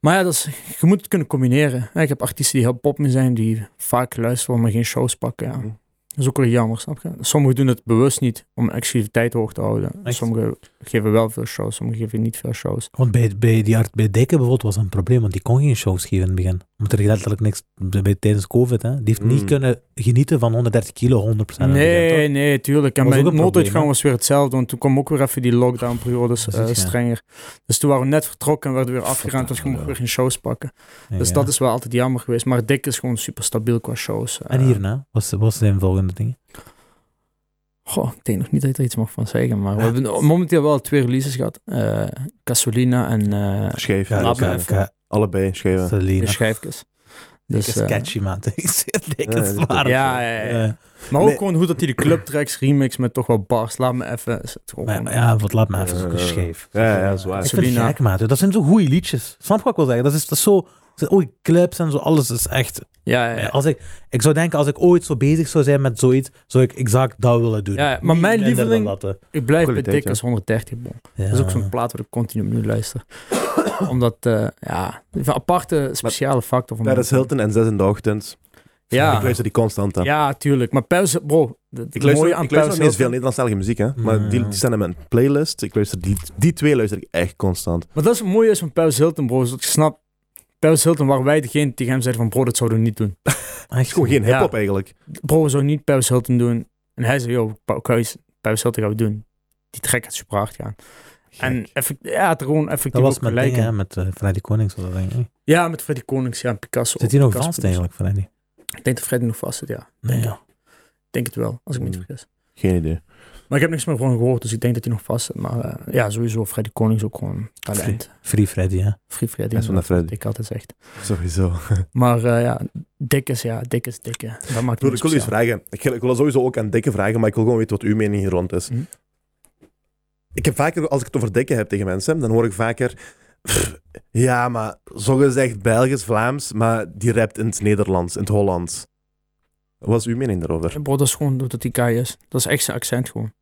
S3: Maar ja, dat is, je moet het kunnen combineren. hè. Ik heb artiesten die heel popmuziek zijn, die vaak luisteren, maar geen shows pakken. Ja.
S1: Mhm.
S3: Dat is ook wel jammer, snap je? Sommigen doen het bewust niet om exclusiviteit hoog te houden.
S2: Echt?
S3: Sommigen geven wel veel shows, sommigen geven niet veel shows.
S2: Want bij, bij, die art, bij Dekke bijvoorbeeld was dat een probleem, want die kon geen shows geven in het begin. Omdat er letterlijk niks bij, bij- tijdens COVID, hè. Die heeft niet
S1: Mm.
S2: kunnen genieten van 130 kilo, 100% aan het begin, toch?
S3: Nee, nee, tuurlijk. En
S2: Was
S3: bij
S2: ook een
S3: nooduitgang
S2: probleem, hè?
S3: was weer hetzelfde, want toen kwam ook weer even die lockdown-periodes
S2: Dat is
S3: eh,
S2: het, ja.
S3: strenger. Dus toen waren we net vertrokken en werden we weer afgeruimd, dus je
S1: Verdamme,
S3: mocht weer geen shows pakken.
S2: Ja,
S3: Dus
S2: ja.
S3: dat is wel altijd jammer geweest. Maar Dick is gewoon super stabiel qua shows. Eh,
S2: En hierna, wat was zijn volgende ding?
S3: Goh, ik denk nog niet dat ik er iets mag van zeggen, maar we hebben momenteel wel twee releases gehad. eh Casolina en eh
S1: Scheef.
S2: Ja,
S3: laat
S2: oké,
S3: me even.
S2: oké.
S1: Allebei scheven.
S3: de
S2: Selena.
S3: Schijfkes. Dus,
S2: Dikke
S3: eh,
S2: sketchy, man. Dikke
S1: Ja, dat is
S2: zware-
S3: ja, ja, ja.
S2: Eh,
S3: Maar ook
S1: Nee.
S3: gewoon hoe dat hij de clubtracks remix met toch wel bars. Laat me even... is het gewoon-
S2: maar, ja, wat laat me even zoeken,
S1: Eh,
S2: scheef.
S1: ja, ja, zwaar.
S2: Ik vind het
S3: Selena.
S2: gek, maat. Dat zijn zo goede liedjes. Snap je wat ik wil zeggen? Dat is, dat is zo... Oei, clips en zo, alles is echt...
S3: Ja, ja, ja.
S2: Ja, Als ik, ik zou denken, als ik ooit zo bezig zou zijn met zoiets, zou ik exact dat willen doen.
S3: Ja, maar mijn
S2: minder dan
S3: lieveling-
S2: dat, hè.
S3: Ik blijf bij
S1: Kwaliteit,
S3: Dick als 130, bon.
S2: Ja.
S3: Dat is ook zo'n plaat waar ik continu opnieuw luister. Omdat, eh, ja, een aparte speciale factor van
S1: Ja, dat is Hilton en Zes in de Ochtend.
S3: Ja.
S1: Ik luister die constant aan.
S3: Ja, tuurlijk. Maar Pels, bro, het
S1: Ik
S3: mooie
S1: luister,
S3: aan
S1: ik luister nog niet
S3: Pels
S1: eens veel Nederlandstalige muziek, hè. Maar
S2: Mm.
S1: die, die staan in mijn playlist. Ik luister die, die twee luister ik echt constant.
S3: Maar dat is het mooie is van Pels Hilton, bro. Is dat je snapt, Pels Hilton waren wij degene die hem zeiden van, bro, dat zouden we niet doen.
S2: Ah,
S1: Het is gewoon geen
S3: Ja.
S1: hip-hop eigenlijk.
S3: Bro, we zouden niet Pels Hilton doen. En hij zei, yo, Pau- Kuis, Pels Hilton gaan we doen. Die trek gaat super hard gaan. En effe- ja, het er gewoon effectief
S2: Dat was
S3: ook
S2: met
S3: gelijk
S2: dingen, hè,
S3: in.
S2: met eh, Freddy Konings. was Dat denk ik.
S3: Ja, met Freddy Konings, ja, en Picasso.
S2: Zit hij nog
S3: Picasso
S2: vast
S3: producer.
S2: eigenlijk, Freddy?
S3: Ik denk dat Freddy nog vast zit, ja.
S2: Nee,
S3: Denk
S2: ja.
S3: Ik denk het wel, als ik me niet
S1: Mm.
S3: vergis.
S1: Geen idee.
S3: Maar ik heb niks meer van gehoord, dus ik denk dat hij nog vast zit. Maar eh, ja, sowieso, Freddy Konings ook gewoon talent.
S2: Free Freddy, hè.
S3: Free Freddy.
S1: Dat is van de Freddy.
S3: Ik altijd zegt.
S1: Sowieso.
S3: Maar eh, ja, dik is ja, dik is dikke. Dat maakt
S1: Ik wil,
S3: het
S1: ik wil iets
S3: speciaal.
S1: vragen. Ik, wil- ik wil sowieso ook aan Dikke vragen, maar ik wil gewoon weten wat uw mening hier rond is.
S3: Hm.
S1: Ik heb vaker, als ik het over Dikke heb tegen mensen, dan hoor ik vaker... "Pff, Ja, maar sommigen zegt Belgisch-Vlaams, maar die rapt in het Nederlands, in het Hollands. Wat is uw mening daarover?
S3: Bro, dat is gewoon dat die guy is. Dat is echt zijn accent gewoon.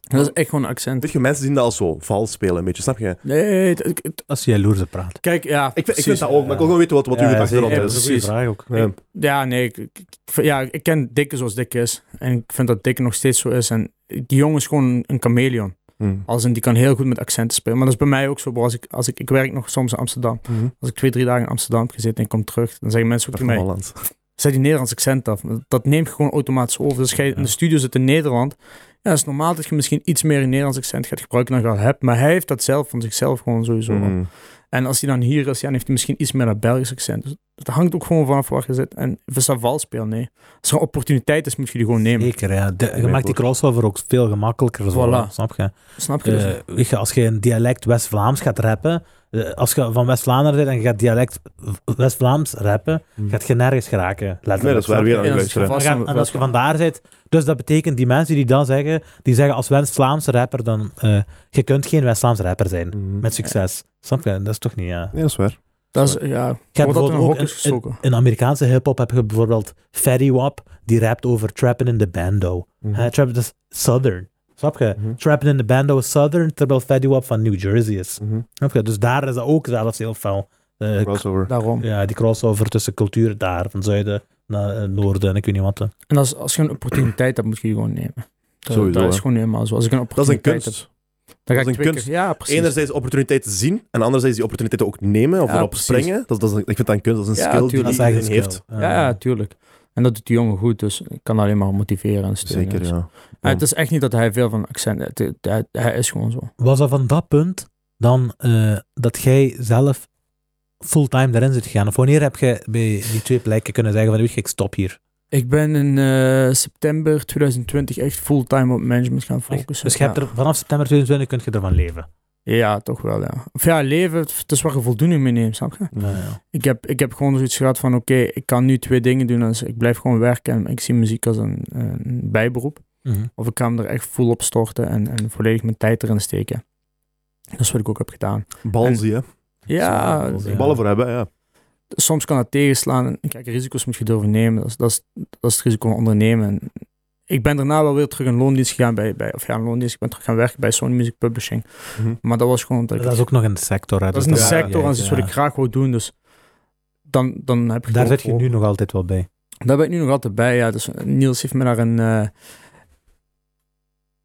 S3: Dat is echt gewoon een accent.
S1: Weet je, mensen zien dat als zo vals spelen, een beetje, snap je?
S3: Nee, het- het- het-
S2: Als je jaloerse praat.
S3: kijk, ja.
S1: Ik, vind- ik vind
S3: precies.
S1: dat ook, maar ik wil
S2: ja.
S1: gewoon weten wat, wat uw gedachte
S2: zeker.
S1: erop
S3: ja,
S2: dat is een
S1: is.
S2: goede
S3: precies.
S2: vraag ook.
S1: Ja.
S3: Ja, nee. Ik, ik- ik- ja, ik ken dikke zoals dikke is. En ik vind dat dikke nog steeds zo is. En die jongen is gewoon een chameleon.
S1: Hm.
S3: Als in, die kan heel goed met accenten spelen. Maar dat is bij mij ook zo, bro. Als ik, als ik, ik werk nog soms in Amsterdam.
S1: Mhm.
S3: Als ik twee, drie dagen in Amsterdam heb gezeten en ik kom terug, dan zeggen mensen ook
S1: Dat
S3: tegen
S1: van
S3: mij,
S1: Hollands.
S3: zet die Nederlands accent af. Dat neemt je gewoon automatisch over. Dus jij in de studio zit in Nederland, ja, is normaal dat je misschien iets meer een Nederlands accent gaat gebruiken dan je al hebt. Maar hij heeft dat zelf van zichzelf gewoon sowieso. al.
S1: Hm.
S3: En als hij dan hier is, ja, dan heeft hij misschien iets meer een Belgisch accent. Dus dat hangt ook gewoon vanaf waar je zit. En of is dat valspeel? Nee. Als er een opportuniteit is, moet je die gewoon nemen.
S2: Zeker, ja. De- je
S1: weet
S2: maakt die
S1: ook.
S2: crossover ook veel gemakkelijker. Zo,
S3: Voilà.
S2: snap je?
S3: Snap je? Dus-
S2: Eh, weet je, als je een dialect West-Vlaams gaat rappen, eh, als je van West-Vlaanderen bent en je gaat dialect V- West-Vlaams rappen,
S3: Hmm.
S2: gaat je nergens geraken. letterlijk.
S1: Nee, dat is waar.
S2: Snap
S1: Weer
S2: je?
S1: aan
S3: Ja,
S1: het
S3: dat is
S1: luisteren.
S3: geval.
S2: Maar
S3: Als
S2: gaan-
S3: een
S2: en als je
S3: West-Vlaam-
S2: vandaar zit, dus dat betekent die mensen die dat zeggen, die zeggen als West-Vlaamse rapper, dan eh, je kunt geen West-Vlaams rapper zijn
S1: Hm.
S2: met succes. Snap je? Dat is toch niet, ja.
S1: Nee, dat is waar.
S3: dat is, ja,
S2: Je
S3: wordt
S2: hebt
S3: dat in een
S2: bijvoorbeeld
S3: hok
S2: ook
S3: is
S2: in,
S3: gestoken.
S2: in- in Amerikaanse hip-hop heb je bijvoorbeeld Fetty Wap, die rapt over trappen in the bando.
S1: Mhm.
S2: Hè, trappen dat is Southern. Snap je?
S1: Mhm.
S2: Trappen in the bando is Southern, terwijl Fetty Wap van New Jersey is.
S1: Mhm.
S2: Snap je? Dus daar is dat ook zelfs heel fel. eh,
S1: Crossover.
S3: Daarom.
S2: ja, die crossover tussen culturen daar, van zuiden naar eh, noorden en ik weet niet wat. hè.
S3: En als, als je een opportuniteit hebt, moet je die gewoon nemen. Dat,
S1: Sowieso,
S3: dat is
S1: hè.
S3: gewoon helemaal zo. Als ik een
S1: Dat is een
S3: opportuniteit heb,
S1: kunst.
S3: Dan
S1: Dat
S3: ga ik
S1: is een
S3: twee
S1: kunst.
S3: keer- Ja, precies.
S1: Enerzijds opportuniteiten zien en anderzijds die opportuniteiten ook nemen of
S3: Ja,
S1: erop
S3: precies.
S1: springen. Dat, is- dat is, een- ik vind dat een kunst, dat is een
S3: Ja,
S1: skill die
S3: tuurlijk.
S2: Dat is
S1: iedereen
S2: eigenlijk een
S1: heeft.
S2: skill.
S3: ja,
S1: Eh.
S3: ja, tuurlijk. En dat doet die jongen goed, dus ik kan alleen maar motiveren en steunen.
S1: Zeker,
S3: Dus-
S1: ja.
S3: Maar het is echt niet dat hij veel van accent... het- het- hij, hij is gewoon zo.
S2: Eh, Was dat van dat punt dan eh, dat jij zelf fulltime daarin zit gegaan? Of wanneer heb je bij die twee plekken kunnen zeggen van, weet je, ik stop hier?
S3: Ik ben in eh, september 2020 echt fulltime op management gaan focussen.
S2: Dus je hebt
S3: Ja.
S2: er, vanaf september 2020 kun je ervan leven.
S3: Ja, toch wel, ja. Of ja, leven, het is waar je voldoening mee neemt, snap je?
S2: Ja, ja.
S3: Ik heb, ik heb gewoon zoiets gehad van, oké, ik kan nu twee dingen doen. Dus ik blijf gewoon werken en ik zie muziek als een, een bijberoep.
S2: Mhm.
S3: Of ik kan hem er echt vol op storten en, en volledig mijn tijd erin steken. Dat is wat ik ook heb gedaan.
S1: Balzie, hè?
S3: Ja, dus
S2: Zo, ja.
S1: Ballen voor hebben, ja.
S3: soms kan dat tegenslaan. En Kijk, risico's moet je durven nemen. Dat is, dat is, dat is het risico van ondernemen. En ik ben daarna wel weer terug in loondienst gegaan bij, bij of ja, in loondienst. Ik ben terug gaan werken bij Sony Music Publishing.
S1: Mhm.
S3: Maar dat was gewoon... Dat, ik-
S2: Dat is ook nog een sector. Hè, Dus
S3: dat is
S1: dat
S3: een
S1: is-
S3: sector en dat is iets
S2: ja.
S3: wat ik graag wou doen. Dus dan, dan heb je
S2: Daar
S3: gewoon-
S2: zit je nu nog altijd wel bij.
S3: Daar ben ik nu nog altijd bij. Ja. Dus Niels heeft me naar een eh,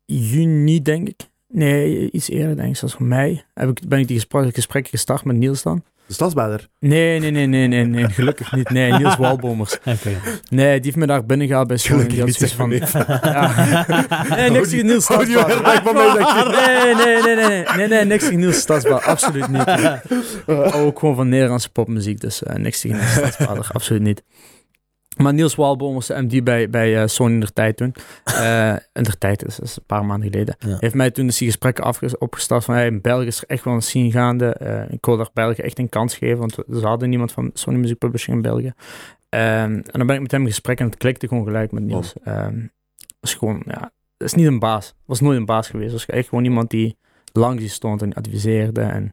S3: juni, denk ik. Nee, iets eerder, denk ik, zoals voor mij. Heb ik, ben ik die gesprek, gesprekken gestart met Niels dan?
S1: De stadsbader.
S3: Nee, nee, nee, nee, nee, nee, gelukkig niet. Nee, Niels Walbomers.
S2: Oké.
S3: Nee, die heeft me daar binnen gehaald bij school. en die
S1: Gelukkig
S3: had
S1: niet,
S3: zoiets
S1: zeg
S3: van.
S1: maar
S3: Nee, niks tegen Niels
S1: Hou die- hou die
S3: Stadsbaar.
S1: weg van mij, zegt hij.
S3: Nee, nee, nee, nee, nee, nee, nee, niks tegen Niels Stadsbaar. Absoluut niet. Ook gewoon van Nederlandse popmuziek, dus eh, niks tegen Niels Stadsbader. Absoluut niet. Maar Niels Walboom was de MD bij, bij eh, Sony in der tijd toen. Eh, in der tijd, is, is een paar maanden geleden.
S2: Ja.
S3: Heeft mij toen dus die gesprekken afges- opgestart van hey, in België is er echt wel een scene gaande. Eh, ik wil daar België echt een kans geven, want we- ze hadden niemand van Sony Music Publishing in België. Ehm, en dan ben ik met hem in gesprek en het klikte gewoon gelijk met Niels. Ehm, is gewoon, ja, is niet een baas. Was nooit een baas geweest. Was echt gewoon iemand die langs je stond en adviseerde. En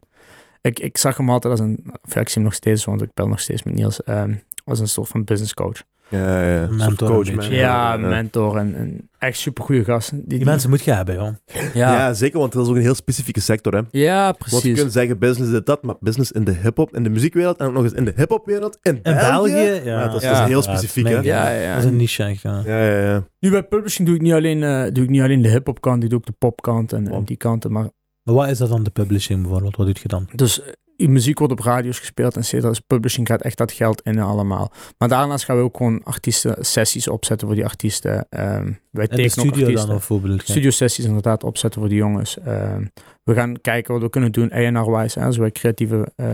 S3: ik, ik zag hem altijd als een, of ja, ik zie hem nog steeds, want ik bel nog steeds met Niels, ehm, als een soort van business coach.
S1: Ja, ja. Een soort
S2: Mentor
S1: coach,
S2: een beetje.
S1: man.
S3: Ja, mentor en, en echt supergoeie gast. Die,
S2: Die mensen moet je hebben, joh.
S1: Ja.
S3: ja.
S1: zeker, want dat is ook een heel specifieke sector, hè.
S3: ja,
S1: Want je
S3: precies.
S1: kunt zeggen, business is dit, dat, maar business in de hip-hop, in de muziekwereld en ook nog eens in de hip-hopwereld in,
S2: In België?
S1: Ja, dat is,
S3: Ja.
S1: dat is heel
S2: Ja,
S1: specifiek, hè.
S2: het
S1: Ja,
S3: Ja,
S2: Dat
S3: ja.
S2: is een niche, echt, ja.
S1: ja, ja.
S3: Nu bij publishing doe ik niet alleen, eh, doe ik niet alleen de hip-hop kant, ik doe ook de popkant en, en die kanten. Maar
S2: Maar wat is dat dan, de publishing bijvoorbeeld? Wat doet je dan?
S3: Dus eh, je muziek wordt op radio's gespeeld en cetera. Dus publishing gaat echt dat geld in allemaal. Maar daarnaast gaan we ook gewoon artiesten sessies opzetten voor die artiesten. Ehm, wij
S2: In de
S3: tekenen ook
S2: studio dan,
S3: artiesten.
S2: of hoe bedoel je?
S3: Studiosessies inderdaad opzetten voor de jongens. Ehm, we gaan kijken wat we kunnen doen, A&R-wise. hè, Als wij creatieve eh,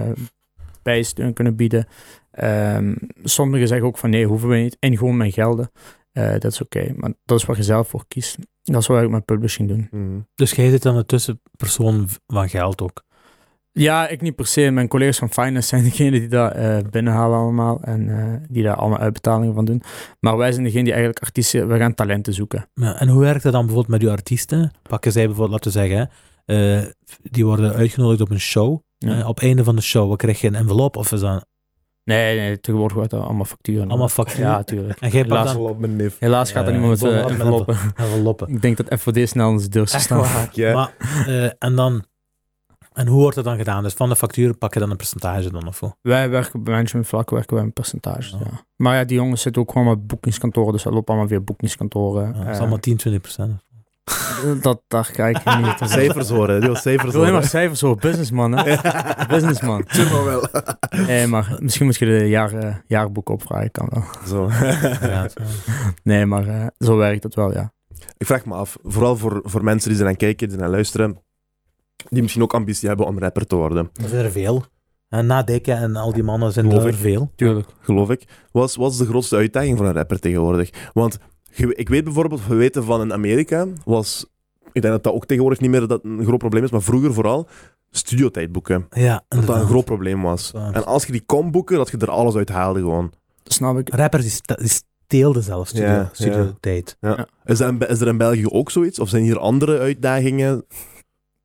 S3: bijsteun kunnen bieden. Ehm, sommigen zeggen ook van nee, hoeven we niet. En gewoon mijn gelden. Eh, Dat is oké. Maar dat is waar je zelf voor kiest. Dat is wat we ook met publishing doen.
S1: Mhm.
S2: Dus jij zit dan de tussenpersoon v- van geld ook.
S3: Ja, ik niet per se. Mijn collega's van finance zijn degene die dat eh, binnenhalen allemaal. En eh, die daar allemaal uitbetalingen van doen. Maar wij zijn degene die eigenlijk artiesten... We gaan talenten zoeken.
S2: Ja, en hoe werkt dat dan bijvoorbeeld met je artiesten? Pakken zij bijvoorbeeld, laten we zeggen, hè, eh, die worden uitgenodigd op een show.
S3: Ja.
S2: Eh, op het einde van de show, wat krijg je een envelop of is dat
S3: Nee, nee. Tegenwoordig wordt dat allemaal facturen.
S2: allemaal factuur?
S3: Ja, tuurlijk.
S2: En jij pakt
S3: Helaas.
S2: dan
S1: Wel op mijn neef.
S3: Helaas gaat er
S2: Ja,
S3: niemand met
S2: ja,
S3: eh,
S2: met
S3: enveloppen.
S2: enveloppen.
S3: Ik denk dat FVD snel aan onze deur zou
S2: Echt
S3: staan.
S2: waar.
S1: Ja.
S2: Maar, eh, en dan, en hoe wordt dat dan gedaan? Dus van de factuur pak je dan een percentage dan of hoe?
S3: Wij werken bij managementvlak, werken wij met percentages,
S2: Ja.
S3: ja. Maar ja, die jongens zitten ook gewoon met boekingskantoren. Dus dat loopt allemaal via boekingskantoren.
S2: Ja, dat is
S3: Eh,
S2: allemaal 10, 20 procent.
S3: dat, daar kijk ik niet.
S1: Cijfers horen, die was
S3: Ik
S1: cijfers
S3: wil alleen maar
S1: horen.
S3: cijfers horen. Businessman, hè. Businessman.
S1: Zeg maar wel.
S3: Nee, maar misschien moet je de jaar, eh, jaarboek opvragen, kan wel.
S1: Zo.
S3: Nee, maar eh, zo werkt dat wel, ja.
S1: Ik vraag me af, vooral voor, voor mensen die zijn aan het kijken, die zijn aan het luisteren, die misschien ook ambitie hebben om rapper te worden,
S2: Er zijn er veel. En na Dikke en al die mannen zijn
S1: Geloof
S2: er
S1: ik.
S2: veel.
S3: Tuurlijk.
S1: geloof ik. Wat is, wat is de grootste uitdaging voor een rapper tegenwoordig? Want ge- ik weet bijvoorbeeld, we weten van in Amerika, was, ik denk dat dat ook tegenwoordig niet meer dat een groot probleem is, maar vroeger vooral, studiotijdboeken.
S2: Ja,
S1: Dat dat een
S2: inderdaad.
S1: groot probleem was.
S2: Zwaar.
S1: En als je die kon boeken, dat je er alles uit haalde gewoon.
S3: Dat snap ik.
S2: Rappers die, sta- die steelden zelf studio,
S1: Ja, ja.
S2: studio tijd.
S1: Is er, in, Be- is er in België ook zoiets? Of zijn hier andere uitdagingen?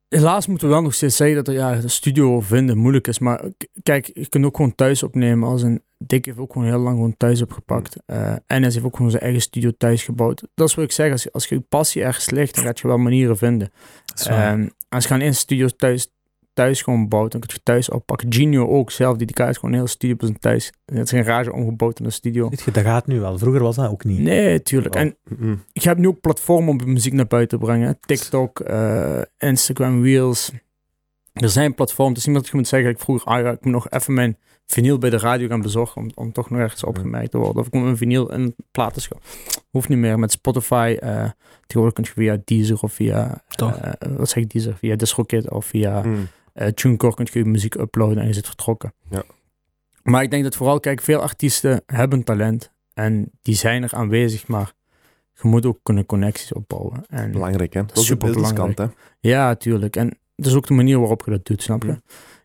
S3: Helaas moeten we wel nog steeds zeggen dat er, ja, de studio vinden moeilijk is. Maar k- kijk, je kunt ook gewoon thuis opnemen. Als een Dick heeft ook gewoon heel lang gewoon thuis opgepakt. Eh, en hij heeft ook gewoon zijn eigen studio thuis gebouwd. Dat is wat ik zeg. Als je, als je je passie ergens ligt, dan ga je wel manieren vinden.
S2: Zwaar.
S3: Ehm, als je gaan in studio thuis, thuis gewoon bouwt, dan kun je thuis oppakken. Genio ook zelf, die, die kaart gewoon een heel studio op zijn thuis. Het is een garage omgebouwd in een studio.
S2: Weet je, dat gaat nu wel. Vroeger was dat ook niet.
S3: Nee, tuurlijk.
S2: Oh.
S3: En
S1: Mhm.
S3: ik heb nu ook platformen om muziek naar buiten te brengen. hè. TikTok, eh, Instagram Reels. Er zijn platforms. Het is niet dat je moet zeggen, ik vroeger, ah ja, ik moet nog even mijn vinyl bij de radio gaan bezorgen om, om toch nog ergens opgemerkt te worden. Of ik moet mijn vinyl in platenschap. Hoeft niet meer met Spotify. eh tegenwoordig kun je via Deezer of via...
S2: Toch?
S3: eh, wat zeg ik Deezer? Via DistroKid of via
S1: Mhm.
S3: eh TuneCore kun je je muziek uploaden en je zit vertrokken.
S1: Ja.
S3: Maar ik denk dat vooral, kijk, veel artiesten hebben talent. En die zijn er aanwezig, maar je moet ook kunnen connecties opbouwen. En
S1: Belangrijk, hè? Dat is de
S3: Superbelangrijk.
S1: businesskant, hè?
S3: ja, tuurlijk. En dat is ook de manier waarop je dat doet, snap je?
S1: Ja.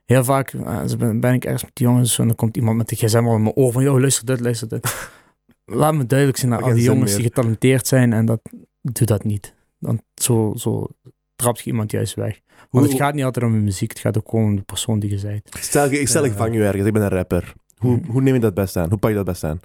S3: Heel vaak eh, dus ben, ben ik ergens met die jongens en dan komt iemand met de gsm al in mijn oor van, joh, luister dit, luister dit. Laat me duidelijk zijn naar
S1: Maar
S3: al die
S1: geen zin
S3: jongens die
S1: meer.
S3: getalenteerd zijn en dat, doe dat niet. Want zo, zo trapt je iemand juist weg. Want
S1: Hoe-
S3: het gaat niet altijd om je muziek, het gaat ook gewoon om de persoon die je bent.
S1: Stel, je- ik stel, ik
S2: Ja.
S1: vang je ergens, ik ben een rapper. Hoe,
S3: Hm.
S1: hoe neem je dat best aan? Hoe pak je dat best aan?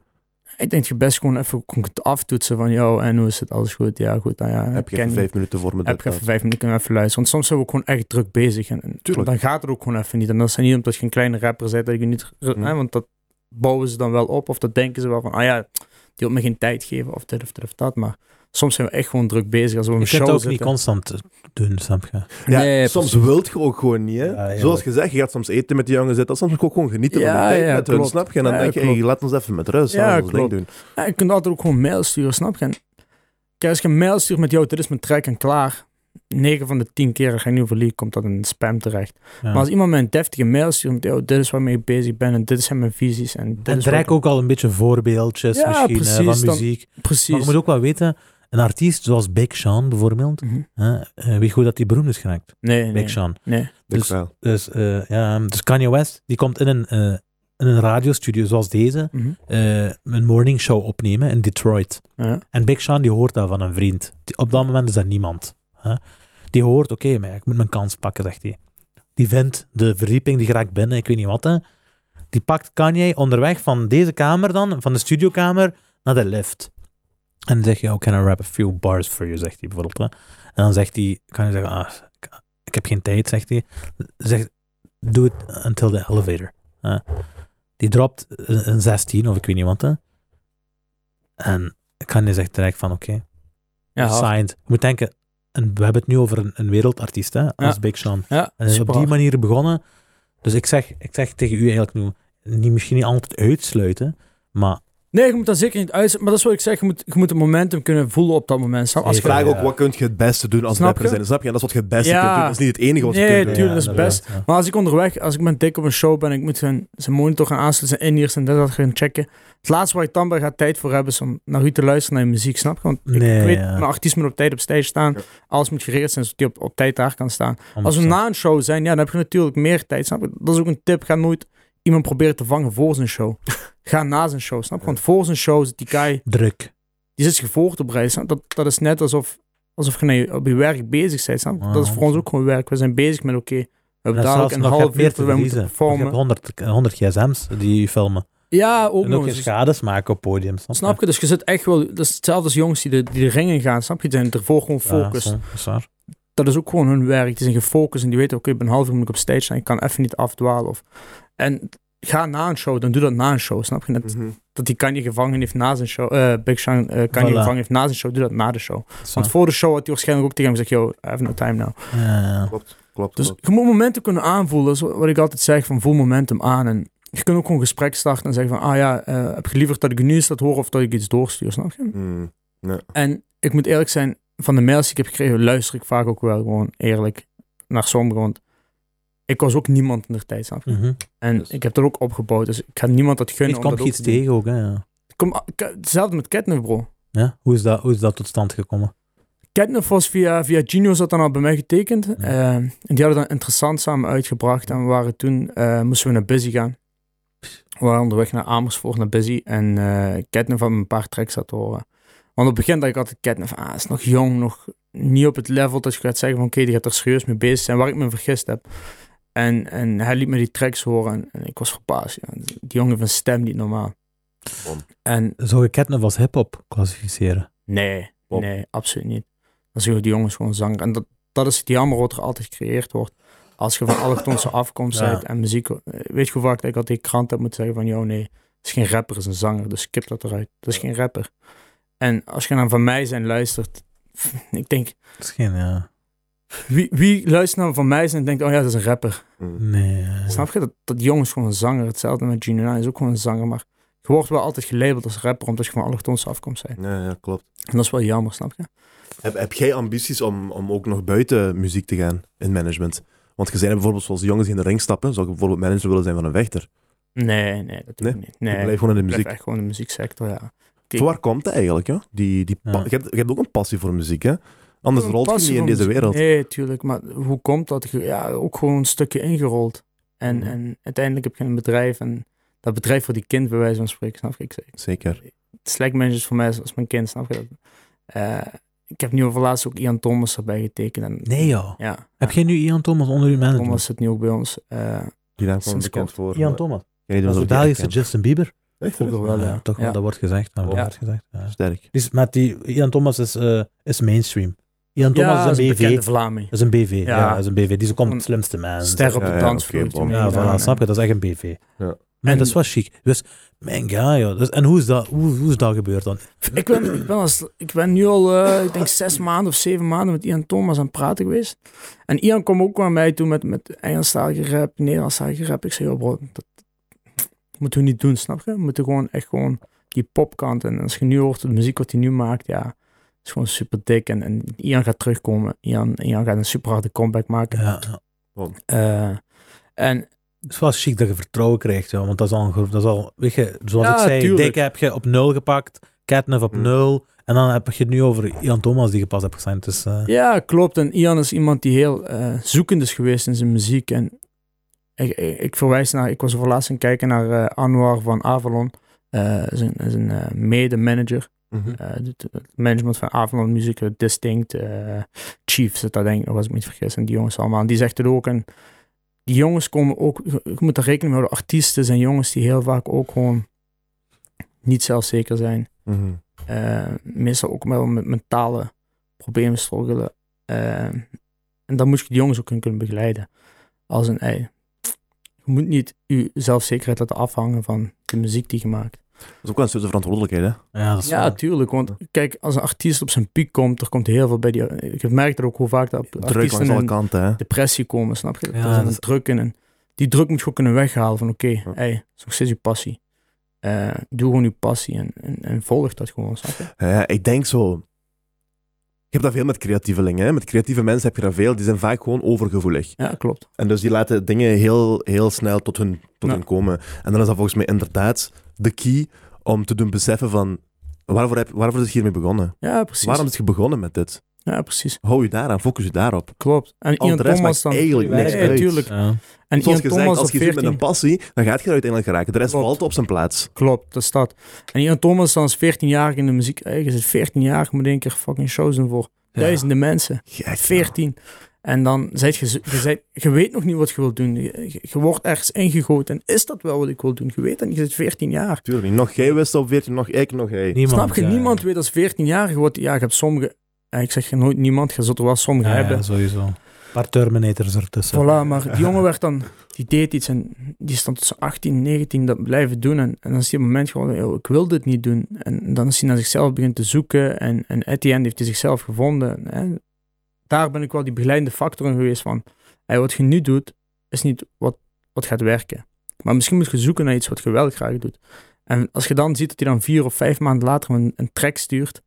S3: Ik denk je best gewoon even kunt aftoetsen van, joh, en hoe is het, alles goed? Ja, goed, nou ja.
S1: Heb je
S3: ken
S1: even vijf minuten voor me?
S3: heb
S1: dit,
S3: ik even vijf minuten kunnen even luisteren. Want soms zijn we ook gewoon echt druk bezig. En, en
S1: Tuurlijk.
S3: dan gaat het ook gewoon even niet. En dat is niet omdat je een kleine rapper bent dat je niet...
S1: Hmm.
S3: Hè, want dat bouwen ze dan wel op. Of dat denken ze wel van, ah ja, die wil me geen tijd geven. Of dit of dit of dat. Maar soms zijn we echt gewoon druk bezig. Als we op een
S2: Je kunt
S3: show
S2: het ook
S3: zitten.
S2: niet constant eh, doen, snap je?
S1: Ja,
S3: Nee,
S1: soms
S3: precies.
S1: wilt je ook gewoon niet. Hè?
S2: Ja, ja.
S1: Zoals gezegd, je gaat soms eten met die jongen zitten. Soms moet je ook gewoon genieten van
S3: Ja,
S1: de tijd
S3: ja,
S1: met hun,
S3: klopt.
S1: snap je? En dan
S3: Ja,
S1: denk je, hey,
S3: klopt.
S1: laat ons even met rust.
S3: Ja,
S1: laat ons ons ding
S3: klopt.
S1: doen.
S3: Ja, je kunt altijd ook gewoon mail sturen, snap je? En Kijk, als je een mail stuurt met jou, dit is mijn track en klaar. 9 van de 10 keren ga ik nu verliezen, komt dat in de spam terecht.
S2: Ja.
S3: Maar als iemand mij een deftige mail stuurt met, yo, dit is waarmee ik bezig ben en dit zijn mijn visies. En, dit
S2: en
S3: is wat
S2: trek
S3: ik-
S2: ook al een beetje voorbeeldjes
S3: Ja,
S2: misschien eh,
S3: precies,
S2: van
S3: dan-
S2: muziek. Maar je
S3: Precies.
S2: moet ook wel weten, een artiest zoals Big Sean bijvoorbeeld,
S3: Mhm.
S2: hè, eh, weet goed dat hij beroemd is geraakt.
S3: Nee, nee.
S2: Big Sean.
S3: nee.
S1: Denk
S2: Dus-
S1: wel.
S2: Dus, eh, ja, dus Kanye West, die komt in een, eh, in een radiostudio zoals deze
S3: Mhm.
S2: eh, een morning show opnemen in Detroit.
S3: Ja.
S2: En Big Sean die hoort dat van een vriend. Die- op dat moment is dat niemand. hè. Die hoort, oké, maar ik moet mijn kans pakken, zegt hij. Die vindt de verdieping, die geraakt binnen, ik weet niet wat. Hè. Die pakt Kanye onderweg van deze kamer dan, van de studiokamer, naar de lift. En dan zeg je, oh, can I rap a few bars for you, zegt hij bijvoorbeeld. Hè. En dan zegt hij, kan je zeggen, ah, ik- ik heb geen tijd, zegt hij. Zegt, do it until the elevator. hè. Die dropt een een 16 of ik weet niet wat. Hè. En Kanye zegt direct van, oké,
S3: Ja, hard.
S2: signed. Je moet denken, en we hebben het nu over een, een wereldartiest, hè, als
S3: Ja.
S2: Big Sean.
S3: ja
S2: En is op
S3: super
S2: die
S3: hard.
S2: manier begonnen. Dus ik zeg, ik zeg tegen u eigenlijk nu, niet, misschien niet altijd uitsluiten, maar
S3: Nee, je moet dat zeker niet uitzetten. Maar dat is wat ik zeg. Je moet, je moet het momentum kunnen voelen op dat moment. Snap- Als je
S2: Zeker.
S1: Vraag
S2: Ja.
S1: ook, wat kun je het beste doen als
S3: Snap
S1: rapper
S3: je?
S1: zijn? Snap je? En dat is wat je het beste
S3: Ja.
S1: kunt doen. Dat is niet het enige wat je
S3: Nee,
S1: kunt doen.
S3: tuurlijk, dat is
S2: inderdaad,
S3: best.
S2: ja.
S3: Maar als ik onderweg, als ik met dik op een show ben, ik moet zijn, zijn monitor gaan aansluiten, zijn in-ears en dat dat gaan checken. Het laatste waar ik dan bij ga tijd voor hebben, is om naar u te luisteren naar je muziek, snap je? Want ik, ik
S2: Nee,
S3: weet,
S2: ja.
S3: mijn artiest moet op tijd op stage staan.
S1: Ja.
S3: Alles moet geregeld zijn, zodat hij op, op tijd daar kan staan. Als we
S2: 100%.
S3: na een show zijn, ja, dan heb je natuurlijk meer tijd, snap je? Dat is ook een tip. Ga nooit iemand proberen te vangen voor zijn show. ga na zijn show, snap je? Want voor zijn show zit die guy
S2: Druk.
S3: die zit je voor te bereiden. snap je? Dat, dat is net alsof, alsof je naar je- op je werk bezig bent. snap je?
S2: Ja,
S3: dat is voor ons ook gewoon werk. We zijn bezig met, oké, we
S2: En
S3: hebben daar
S2: Ah,
S3: ook
S2: zelfs
S3: een
S2: nog, je hebt
S3: half
S2: meer
S3: uur
S2: te
S3: voor wij moeten
S2: verliezen. want Je hebt
S3: performen.
S2: 100, 100 gsm's die je filmen.
S3: Ja, ook
S2: en ook
S3: nog
S2: geen
S3: eens.
S2: schades maken op podium. Snap,
S3: Snap je? Dus je zit echt wel... Dat is hetzelfde als jongens die de, die de ringen gaan, snap je? Die zijn ervoor gewoon focus.
S2: Ja, zo, is waar.
S3: dat is ook gewoon hun werk. Die zijn gefocust en die weten, oké, ik ben een half uur moet ik op stage zijn. Ik kan even niet afdwalen. Of... En ga na een show, dan doe dat na een show, snap je? Net,
S1: Mhm.
S3: Dat die Kanye gevangen heeft na zijn show. eh Big Sean eh, Kanye
S2: Voilà.
S3: gevangen heeft na zijn show, doe dat na de show.
S2: Zo.
S3: Want voor de show had hij waarschijnlijk ook tegen hem gezegd, yo, I have no time now.
S2: Ja, ja, ja.
S1: Klopt, klopt,
S3: Dus
S1: klopt.
S3: je moet momentum kunnen aanvoelen. Dat is wat ik altijd zeg, van voel momentum aan. En je kunt ook gewoon een gesprek starten en zeggen van... Ah ja, eh, heb je liever dat ik nu eens dat hoor of dat ik iets doorstuur, snap je?
S1: Mm.
S3: En ik moet eerlijk zijn, van de mails die ik heb gekregen... luister ik vaak ook wel gewoon eerlijk naar sommigen. Want ik was ook niemand in de tijd, snap je?
S2: Mhm.
S3: En
S1: Dus-
S3: ik heb er ook opgebouwd, dus ik ga niemand dat gunnen.
S2: Ik
S3: om
S2: kwam
S3: dat ook
S2: iets
S3: te doen.
S2: tegen ook. Hè, ja.
S3: Ik kom- ik- Hetzelfde met Ketnef, bro.
S2: Ja? Hoe, is dat, hoe is dat tot stand gekomen?
S3: Catnip was via, via Gino zat dan al bij mij getekend.
S2: Ja.
S3: Eh, en die hadden dan interessant samen uitgebracht. En we waren toen, eh, moesten we naar Busy gaan. We waren onderweg naar Amersfoort, naar Busy. En eh Catnip had me een paar tracks laten horen. Want op het begin dacht ik altijd, Catnip, ah, is nog jong, nog niet op het level dat je gaat zeggen van oké, die gaat er serieus mee bezig zijn, waar ik me vergist heb. En, en hij liet me die tracks horen en, en ik was verbaasd. Ja. Die jongen van stem niet normaal.
S1: Bom.
S3: En
S2: Zou je Ketnef als hip-hop klassificeren?
S3: Nee,
S1: Op.
S3: nee, absoluut niet. Dan zien we die jongens gewoon zanger. En dat, dat is het jammer wat er altijd gecreëerd wordt. Als je van allochtonse afkomst
S2: Ja.
S3: bent en muziek... eh, Weet je hoe vaak dat ik altijd die krant heb moeten zeggen van... joh, nee, het is geen rapper, het is een zanger. Dus skip dat eruit. Het is geen rapper. En als je dan van mij zijn luistert... Ik denk,
S2: Dat is geen, ja.
S3: wie, wie luistert naar van mij zijn en denkt... oh ja, dat is een rapper.
S1: Mm.
S2: Nee. eh, ja.
S3: Snap je? Dat, dat jongens gewoon een zanger. Hetzelfde met Gino hij is ook gewoon een zanger. Maar je wordt wel altijd gelabeld als rapper... omdat je van allochtonse afkomst bent.
S1: Ja, ja, klopt.
S3: En dat is wel jammer, snap je?
S1: Heb, heb jij ambities om, om ook nog buiten muziek te gaan in management? Want je zei bijvoorbeeld, zoals de jongens die in de ring stappen, zou ik bijvoorbeeld manager willen zijn van een vechter.
S3: Nee, nee, dat doe
S1: Nee?
S3: ik niet.
S1: Je
S3: Nee,
S1: blijft gewoon in de
S3: Ik
S1: muziek.
S3: blijf echt gewoon in de muzieksector, ja. Kijk.
S1: Van waar komt dat eigenlijk? Joh? Die, die pa-
S2: Ja.
S1: je, hebt, je hebt ook een passie voor muziek, hè? Anders
S3: Een
S1: rolt je niet
S3: passie
S1: in
S3: voor
S1: deze
S3: muziek.
S1: wereld.
S3: Nee, tuurlijk. Maar hoe komt dat? Je- Ja, ook gewoon een stukje ingerold. En,
S1: Mhm.
S3: en uiteindelijk heb je een bedrijf en dat bedrijf voor die kind bij wijze van spreken, snap je? Ik zeg,
S1: Zeker.
S3: Slack is voor mij als als mijn kind, snap je dat? Eh, ik heb nu over laatst ook Ian Thomas erbij getekend. En,
S2: Nee joh.
S3: Ja,
S2: Heb jij nu Ian Thomas onder uw management?
S3: Thomas zit nu ook bij ons. Eh,
S1: Die naam kwam
S3: Sinds
S1: bekend
S3: kort.
S1: voor.
S2: Ian
S1: maar-
S2: Thomas.
S1: Ik weet niet
S2: Dat
S1: of
S2: is de
S1: ik die
S2: Belgische
S1: herken.
S2: Justin Bieber.
S1: Echt?
S3: Vroeger wel, ja.
S2: Ja, toch wel,
S3: Ja.
S2: dat wordt gezegd. Dat
S1: Ja.
S2: wordt gezegd. Ja.
S1: Sterk.
S2: Dus met die, Ian Thomas is, eh, is mainstream. Ian Thomas
S3: ja,
S2: is een BV.
S3: bekende
S2: Dat
S3: Vlaming.
S2: is een BV. Ja,
S3: Ja.
S2: dat is een BV. Die is ook om het
S3: Een
S2: slimste man.
S3: Ster op
S1: Ja,
S3: de
S1: ja,
S3: dansvloer.
S1: oké, bom.
S2: Ja, voilà,
S3: Ja,
S2: snap je? Dat is echt een BV.
S1: Ja.
S2: Man, dat is wel chic. Dus, mijn god, joh. Dus, en hoe is, dat, hoe, hoe is dat gebeurd dan?
S3: Ik ben, ik ben, als, ik ben nu al, eh, ik denk zes maanden of zeven maanden met Ian Thomas aan het praten geweest. En Ian kwam ook naar mij toe met, met Engelstalige rap, Nederlandstalige rap. Ik zei, joh bro, dat moeten we niet doen, snap je? We moeten gewoon echt gewoon die popkant. En als je nu hoort de muziek wat hij nu maakt, ja, is gewoon super dik. En, en Ian gaat terugkomen. Ian, Ian gaat een super harde comeback maken.
S2: Ja, ja.
S3: Eh, en
S2: Het is wel chic dat je vertrouwen krijgt, joh, want dat is al een groep. Dat is al, weet je, zoals
S3: Ja,
S2: ik zei,
S3: tuurlijk. Mm.
S2: Dick heb je op nul gepakt, Catnip op
S1: Hm.
S2: nul, en dan heb je het nu over Ian Thomas die je pas hebt gesigned. Dus, eh,
S3: Ja, klopt. En Ian is iemand die heel eh, zoekend is geweest in zijn muziek. En ik, ik, ik verwijs naar, ik was voor laatst aan het kijken naar eh, Anwar van Avalon, eh, zijn, zijn eh, mede-manager.
S1: Mhm.
S3: Eh, het- het management van Avalon Music, eh, Distinct, eh, Chief zit daar denk ik, nog, als ik me niet vergis. En die jongens allemaal. En die zegt het ook. En die jongens komen ook, je je moet daar rekening mee houden, artiesten zijn jongens die heel vaak ook gewoon niet zelfzeker zijn
S1: Mhm.
S3: eh meestal ook wel met mentale problemen struggelen. Eh, en dan moet je de jongens ook in kunnen begeleiden. Als een ei. Je moet niet je zelfzekerheid laten afhangen van de muziek die je maakt.
S1: Dat is ook wel een stukje verantwoordelijkheid, hè?
S2: ja, dat is
S3: Ja,
S2: wel-
S3: tuurlijk. Want kijk, als een artiest op zijn piek komt, er komt heel veel bij die... Ik heb merkt dat ook hoe vaak dat
S1: Druk
S3: artiesten
S1: langs alle
S3: in
S1: kanten, hè?
S3: depressie komen, snap je?
S2: Ja,
S3: er
S2: dat
S3: zit
S2: is-
S3: een druk in. En die druk moet je ook kunnen weghalen van oké,
S1: Ja.
S3: ei, dat is nog steeds je passie. Eh, doe gewoon je passie en, en, en volg dat gewoon, snap je?
S1: Ja, ik denk zo. Je hebt dat veel met creatievelingen. Hè? Met creatieve mensen heb je dat veel. Die zijn vaak gewoon overgevoelig.
S3: Ja, klopt.
S1: En dus die laten dingen heel, heel snel tot, hun, tot
S3: Ja.
S1: hun komen. En dan is dat volgens mij inderdaad de key om te doen beseffen van... Waarvoor, heb, waarvoor is je hiermee begonnen?
S3: Ja, precies.
S1: Waarom is je begonnen met dit?
S3: Ja, precies.
S1: Hou je daaraan, focus je daarop.
S3: Klopt. En
S1: Al
S3: Ian
S1: de rest
S3: Thomas
S1: maakt
S3: dan.
S1: eigenlijk
S2: Nee,
S1: niks
S3: nee,
S1: uit.
S3: tuurlijk.
S2: Ja.
S3: En Ian
S1: Zoals gezegd,
S3: Thomas op
S1: als je zit met
S3: 14.
S1: een passie, dan gaat je er uiteindelijk geraken. De rest
S3: Klopt.
S1: valt op zijn plaats.
S3: Klopt, dat staat. En Ian Thomas dan is 14 jaar in de muziek. Eh, Eigenlijk is het 14 jaar, moet één keer fucking shows doen voor
S2: Ja.
S3: duizenden mensen.
S1: Gek,
S3: 14. En dan zijt je, je, zijt, je weet nog niet wat je wilt doen. Je, je- je wordt ergens ingegoten. En is dat wel wat ik wil doen? Je weet dat niet. Je zit 14 jaar.
S1: Tuurlijk niet. Nog jij wist op 14, nog ik, nog jij.
S2: Niemand,
S3: Snap je?
S2: ja.
S3: Niemand weet als 14-jarige wat... Ja, je hebt sommige... ja, Ik zeg nooit niemand. Je zult er wel sommige
S2: Ja,
S3: hebben.
S2: ja, sowieso. Een paar Terminators ertussen.
S3: Voilà, maar die jongen werd dan, die deed iets en die stond tot zijn 18, 19 dat blijven doen. En, en dan is hij op een moment gewoon, "Yo, ik wil dit niet doen. En dan is hij naar zichzelf begint te zoeken en, en at the end heeft hij zichzelf gevonden. En daar ben ik wel die begeleidende factor in geweest van, hey, wat je nu doet, is niet wat, wat gaat werken. Maar misschien moet je zoeken naar iets wat je wel graag doet. En als je dan ziet dat hij dan vier of vijf maanden later een, een track stuurt,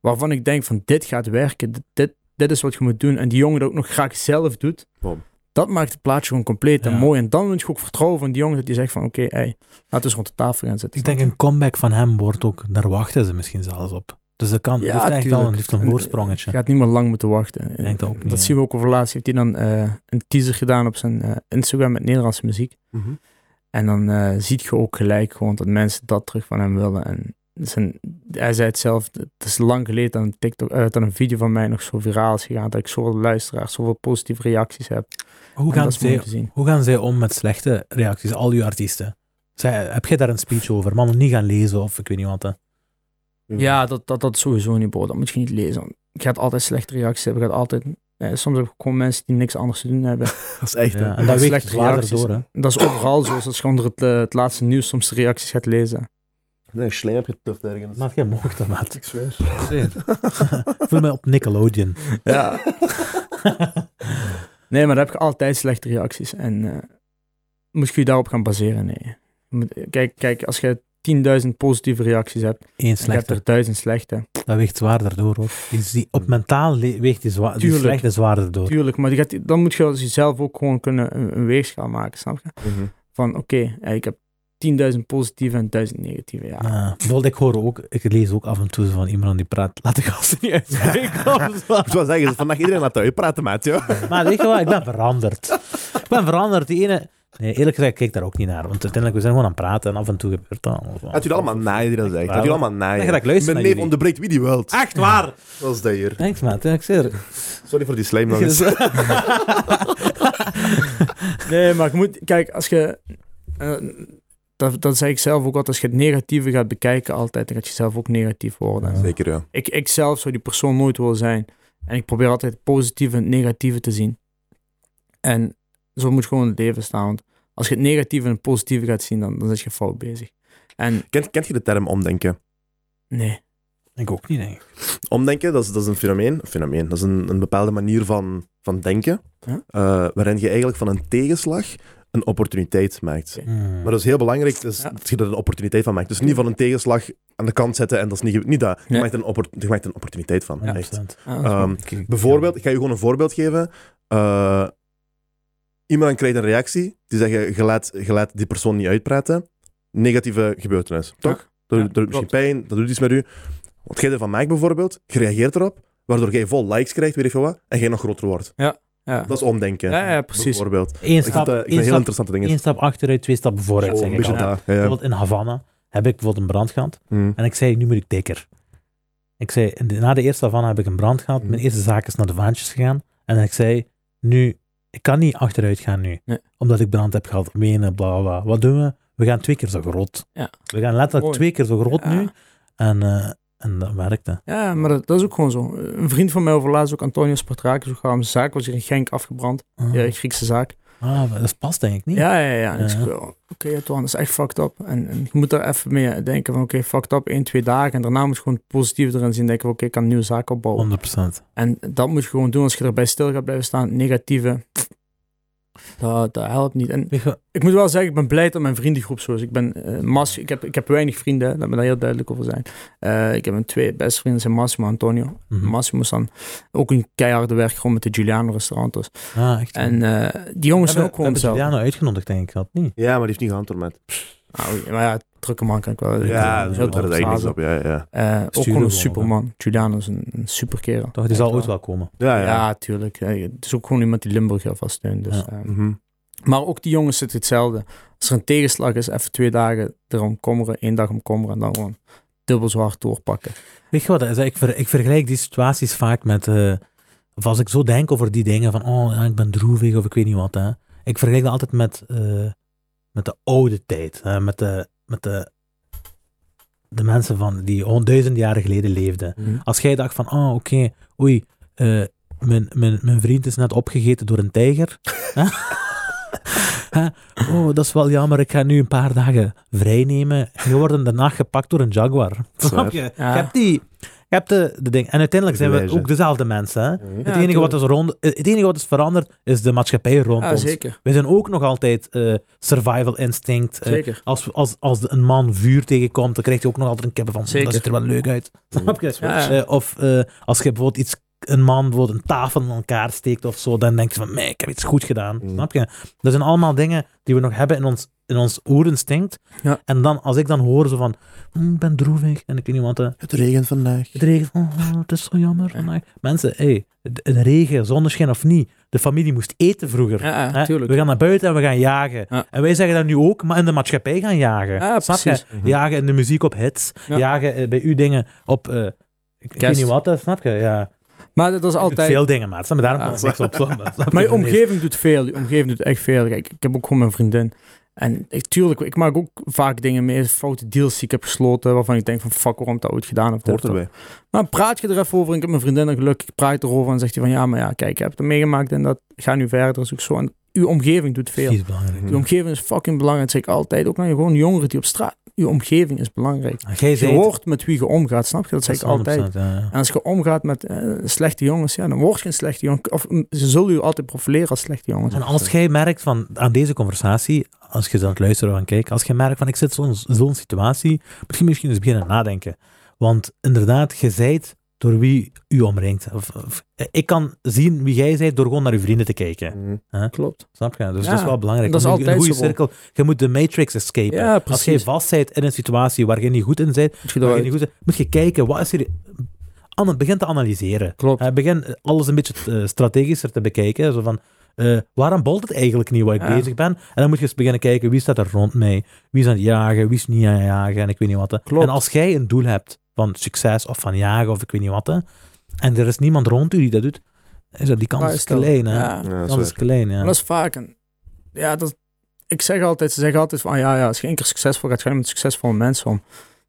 S3: waarvan ik denk van dit gaat werken, dit- dit, dit is wat je moet doen. En die jongen dat ook nog graag zelf doet,
S1: Bom.
S3: dat maakt het plaatje gewoon compleet en
S2: Ja.
S3: mooi. En dan moet je ook vertrouwen van die jongen dat die zegt van oké, ey, laten we eens rond de tafel gaan zitten.
S2: Ik denk een comeback van hem wordt ook, daar wachten ze misschien zelfs op. Dus dat kan,
S3: Ja,
S2: ja, heeft eigenlijk al
S3: tuurlijk.
S2: een, heeft een
S3: En, eh,
S2: voorsprongetje.
S3: Je gaat niet meer lang moeten wachten.
S2: Ik denk dat ook niet, ja.
S3: zien we ook over laatst. Heeft hij dan eh, een teaser gedaan op zijn eh, Instagram met Nederlandse muziek.
S1: Mhm.
S3: En dan eh ziet je ook gelijk gewoon dat mensen dat terug van hem willen. En zijn, hij zei het zelf, het is lang geleden dat een, TikTok, eh, dat een video van mij nog zo viraal is gegaan. Dat ik zoveel luisteraars, zoveel positieve reacties heb.
S2: Hoe
S3: En
S2: gaan,
S3: dat is mooi
S2: zij,
S3: om te zien.
S2: hoe gaan zij om met slechte reacties, al uw artiesten? Zij, heb jij daar een speech over? Mannen niet gaan lezen of ik weet niet wat. Hè.
S3: Ja, dat, dat, dat sowieso niet, bro. Dat moet je niet lezen. want Je gaat altijd slechte reacties hebben. Je gaat altijd... eh, soms heb ik gewoon mensen die niks anders te doen hebben.
S1: Dat is echt...
S2: Ja,
S1: hè.
S2: en dat weet je
S3: slechte
S2: later
S3: reacties.
S2: door. Hè.
S3: En Dat is overal zo. Als je onder het, eh, het laatste nieuws soms de reacties gaat lezen.
S1: Nee, een sling heb getuft ergens.
S2: Maar jij mocht dat, maat.
S1: Ik zweer.
S2: Voel mij op Nickelodeon.
S3: Ja. nee, maar dan heb je altijd slechte reacties. En eh, moet je je daarop gaan baseren? Nee. Je moet- Kijk, kijk als je 10.000 positieve reacties hebt,
S2: Eén
S3: en je hebt
S2: slechter,
S3: er 1000 slechte.
S2: dat weegt zwaarder door. Hoor. Die, die, op mentaal le- weegt die, zwa die
S3: Tuurlijk.
S2: slechte zwaarder door.
S3: Tuurlijk, maar die gaat, dan moet je als jezelf ook gewoon kunnen een, een weegschaal maken, snap je?
S1: Mhm.
S3: van oké, eh, ik heb 10.000 positieve en 1000 negatieve. Ja.
S2: Ah, bijvoorbeeld, ik hoor ook, ik lees ook af en toe zo van iemand die praat, laat de gasten niet uitspreken. of zo.
S1: Ik zou zeggen, vandaag iedereen laat uit praten, maat. joh.
S2: Maar weet je wat, ik ben veranderd. Ik ben veranderd. Die ene... Nee, eerlijk gezegd, ik kijk daar ook niet naar. Want uiteindelijk, we zijn gewoon aan het praten en af en toe gebeurt dat. allemaal.
S1: Gaat u dat allemaal naaien die dat zegt? Gaat u allemaal naaien?
S2: Dan ga ik luisteren
S1: Mijn
S2: naar
S1: neef
S2: jullie.
S1: onderbreekt wie die wilt.
S2: Echt waar!
S1: Dat is dat hier.
S2: Thanks, maat. Ja, Ik zeg er-
S1: Sorry voor die slijm nog eens.
S3: Nee, maar je moet, kijk, als je. eh, dat, dat zeg ik zelf ook altijd. Als je het negatieve gaat bekijken, altijd, dan gaat je zelf ook negatief worden.
S2: Ja.
S1: Zeker, ja.
S3: Ik, ik zelf zou die persoon nooit willen zijn. En ik probeer altijd het positieve en het negatieve te zien. En zo moet gewoon het leven staan. Want als je het negatieve en het positieve gaat zien, dan, dan zit je fout bezig. En
S1: Kent, kent je de term omdenken?
S3: nee.
S2: Ik ook niet, nee.
S1: Omdenken, dat is, dat is een fenomeen. Een fenomeen. Dat is een, een bepaalde manier van, van denken,
S3: Ja.
S1: eh, waarin je eigenlijk van een tegenslag een opportuniteit maakt.
S2: Hmm.
S1: Maar dat is heel belangrijk dus
S3: Ja.
S1: dat je er een opportuniteit van maakt. Dus niet van een tegenslag aan de kant zetten en dat is niet, niet dat. Je,
S3: Nee.
S1: maakt een oppor- je maakt een opportuniteit van.
S2: Ja,
S1: echt.
S2: absoluut.
S3: Ah,
S1: Ehm,
S2: Ik-
S1: Bijvoorbeeld, ik ga je gewoon een voorbeeld geven. Eh, iemand krijgt een reactie, die zeggen, je laat, je laat die persoon niet uitpraten. Negatieve gebeurtenis, toch? Dat,
S3: Ja,
S1: dat doet misschien
S3: klopt.
S1: pijn, dat doet iets met u. Wat jij ervan maakt bijvoorbeeld, je reageert erop, waardoor jij vol likes krijgt, weet ik veel wat, en jij nog groter wordt.
S3: ja.
S1: Dat is omdenken,
S3: ja, ja, precies.
S1: bijvoorbeeld.
S2: Eén
S1: Ik vind
S2: stap,
S1: dat ik vind
S2: één
S1: heel
S2: stap,
S1: interessante dingen.
S2: één stap achteruit, twee stappen vooruit,
S1: Zo,
S2: zeg
S1: een
S2: ik
S1: beetje
S2: altijd.
S1: daar, ja, ja.
S2: Bijvoorbeeld in Havana heb ik bijvoorbeeld een brand gehad.
S1: Mm.
S2: En ik zei, nu moet ik dikker. Ik zei, en de- na de eerste Havana heb ik een brand gehad. Mijn
S1: Mhm.
S2: eerste zaak is naar de vaantjes gegaan. En ik zei, nu, ik kan niet achteruit gaan nu.
S3: Nee.
S2: Omdat ik brand heb gehad, wenen, bla bla bla. Wat doen we? We gaan twee keer zo groot.
S3: Ja.
S2: We gaan letterlijk
S3: Mooi.
S2: twee keer zo groot
S3: Ja.
S2: nu. En, eh, en dat werkte.
S3: Ja, maar dat, dat is ook gewoon zo. Een vriend van mij overlaat ook Antonio Spartakis. Ook aan zijn zaak was hier in Genk afgebrand.
S2: Ah,
S3: Ja, Griekse zaak.
S2: ah, maar dat past denk ik niet.
S3: Ja, ja, ja. En ik
S2: Ja.
S3: zeg, oh, Oké, ja, Twan, dat is echt fucked up. En, en je moet daar even mee denken van, oké, fucked up, één, twee dagen. En daarna moet je gewoon positief erin zien. Denken, van, oké, ik kan een nieuwe zaak opbouwen.
S2: 100%.
S3: En dat moet je gewoon doen als je erbij stil gaat blijven staan. Negatieve, dat, dat helpt niet. En
S2: Weet je wat?
S3: ik moet wel zeggen, ik ben blij dat mijn vriendengroep zo is. Ik ben eh, mas, ik heb, ik heb weinig vrienden, hè, laat me daar heel duidelijk over zijn. Eh, ik heb een twee beste vrienden, zijn Massimo en Antonio.
S2: Mhm.
S3: Massimo is dan ook een keiharde werk gewoon met de Giuliano restaurant. dus.
S2: Ah, echt.
S3: En eh, die jongens zijn ook gewoon
S2: hebben
S3: hetzelfde.
S2: Juliano uitgenodigd, denk ik. Dat niet.
S1: Ja, maar die heeft niet geantwoord.
S3: Nou, maar ja, drukke man kan ik wel.
S1: Ja,
S2: dat
S1: dat
S2: is
S1: is
S2: wel
S1: eigenlijk niks op. Ja, ja.
S3: Eh,
S2: Sturen
S3: ook gewoon een
S2: gewoon,
S3: superman. Giuliano is een, een superkerel.
S2: Toch, die zal
S3: Echt
S2: ooit wel komen.
S1: Ja,
S3: Ja,
S1: ja.
S3: tuurlijk. Eh, Het is ook gewoon iemand die Limburg heel vast steunt. Dus,
S2: Ja.
S3: eh,
S1: Mhm.
S3: maar ook die jongens zitten hetzelfde. Als er een tegenslag is, even twee dagen erom kommeren, één dag om kommeren en dan gewoon dubbel zo hard doorpakken.
S2: Weet je wat, dat is? ik, ver- ik vergelijk die situaties vaak met... eh, of als ik zo denk over die dingen van, oh, ja, ik ben droevig of ik weet niet wat. Hè. Ik vergelijk dat altijd met, eh, met de oude tijd. Hè, met de, met de, de mensen van, die hon- duizenden jaren geleden leefden. Als jij dacht van, oh, oké, oei, eh, mijn, mijn, mijn vriend is net opgegeten door een tijger. Hè? Hè? oh, dat is wel jammer, ik ga nu een paar dagen vrij nemen. Je wordt daarna gepakt door een jaguar.
S1: is waar.
S2: Snap je?
S3: Ja.
S2: Je hebt, die, je hebt de, de ding. En uiteindelijk zijn we
S1: Privilege.
S2: ook dezelfde mensen. Hè?
S1: Mhm.
S2: het, enige wat is rond, het enige wat is veranderd, is de maatschappij rond
S3: Ja,
S2: ons.
S3: Ah, zeker.
S2: We zijn ook nog altijd eh, survival instinct. eh,
S3: Zeker.
S2: als, als, als een man vuur tegenkomt, dan krijgt hij ook nog altijd een kippen van.
S3: Zeker.
S2: Dat ziet er wel leuk uit. Snap je?
S3: Ja.
S2: Eh, of eh, als je bijvoorbeeld iets, een man bijvoorbeeld een tafel in elkaar steekt of zo, dan denk je van, "Meh, ik heb iets goed gedaan.
S3: Hmm.
S1: Mm.
S2: Snap je? Dat zijn allemaal dingen die we nog hebben in ons, in ons oerinstinct.
S3: Ja.
S2: En dan, als ik dan hoor zo van, "Hm, ik ben droevig en ik weet niet wat, eh,
S1: Het regent vandaag.
S2: het regent, oh, oh, het is zo jammer vandaag. Mensen, hey, het het regen, zonneschijn of niet, de familie moest eten vroeger.
S3: Ja,
S2: Hè?
S3: ja, tuurlijk.
S2: We gaan naar buiten en we gaan jagen.
S3: Ja.
S2: En wij zeggen dat nu ook, maar in de maatschappij gaan jagen.
S3: Ja,
S2: Snap
S3: precies. Mhm.
S2: je? Jagen in de muziek op hits.
S3: Ja.
S2: Jagen eh, bij u dingen op... eh, ik ik weet
S3: Kerst.
S2: niet wat, hè, snap je? Ja.
S3: Maar dat is altijd...
S2: Veel dingen, maat. Snap je? Daarom
S3: Ja.
S2: kan ik niks op zonder. Snap je?
S3: Maar je omgeving doet veel. Je omgeving doet echt veel. Kijk, ik heb ook gewoon mijn vriendin. En ik, tuurlijk, ik maak ook vaak dingen mee. Foute deals die ik heb gesloten. Waarvan ik denk van fuck, waarom heb ik dat ooit gedaan? Of dit
S1: Hoort
S3: of dat.
S1: erbij.
S3: Maar praat je er even over. En ik heb mijn vriendin dan gelukkig. Ik praat erover en zegt hij van ja, maar ja, kijk, ik heb het meegemaakt. En dat ga nu verder. Is ook zo. En uw omgeving doet veel.
S2: Precies, belangrijk.
S1: Mhm.
S3: Je omgeving is fucking belangrijk. Dat zeg ik altijd. Ook naar je gewoon jongeren die op straat. Je omgeving is belangrijk.
S2: Jij
S3: Je
S2: zei
S3: hoort met wie je omgaat. Snap je? Dat zeg ik altijd.
S2: Ja,
S3: En als je omgaat met eh, slechte jongens, ja, dan word je een slechte jongen. Of mm, ze zullen je altijd profileren als slechte jongens.
S2: En als jij merkt van, aan deze conversatie, als je aan het luisteren van kijk, als je merkt van, ik zit zo'n zo'n situatie, moet je misschien eens beginnen nadenken. Want inderdaad, je zijt door wie u omringt. Of, of- ik kan zien wie jij bent door gewoon naar uw vrienden te kijken.
S1: Mhm.
S3: Klopt.
S2: Snap je? Dus
S3: Ja,
S2: dat is wel belangrijk.
S3: dat is
S2: Een- een
S3: altijd
S2: goede
S3: zo, Bob.
S2: cirkel. Je moet de matrix escapen.
S3: Ja,
S2: Als jij
S3: precies.
S2: vast bent in een situatie waar je niet goed in bent,
S3: Goed
S2: waar je
S3: eruit.
S2: niet goed bent moet je kijken, wat is hier... Anne, begin te analyseren.
S3: Klopt.
S2: Eh, begin alles een beetje eh, strategischer te bekijken. Zo van, eh, waarom bolt het eigenlijk niet waar ik
S3: Ja.
S2: bezig ben? En dan moet je eens beginnen kijken, wie staat er rond mij? Wie is aan het jagen, wie is niet aan het jagen en ik weet niet wat. hè.
S3: Klopt.
S2: En als jij een doel hebt van succes of van jagen of ik weet niet wat, hè, en er is niemand rond u die dat doet, is dat die kans is
S3: Uitstel.
S2: klein. Hè?
S3: Ja.
S1: Ja,
S2: Die
S1: dat
S2: kans
S1: is
S2: is klein, ja.
S3: Maar dat is vaak een... Ja, dat... Ik zeg altijd, ze zeggen altijd van, "Ah, ja, ja, als je één keer succesvol gaat, ga je met succesvolle mensen om.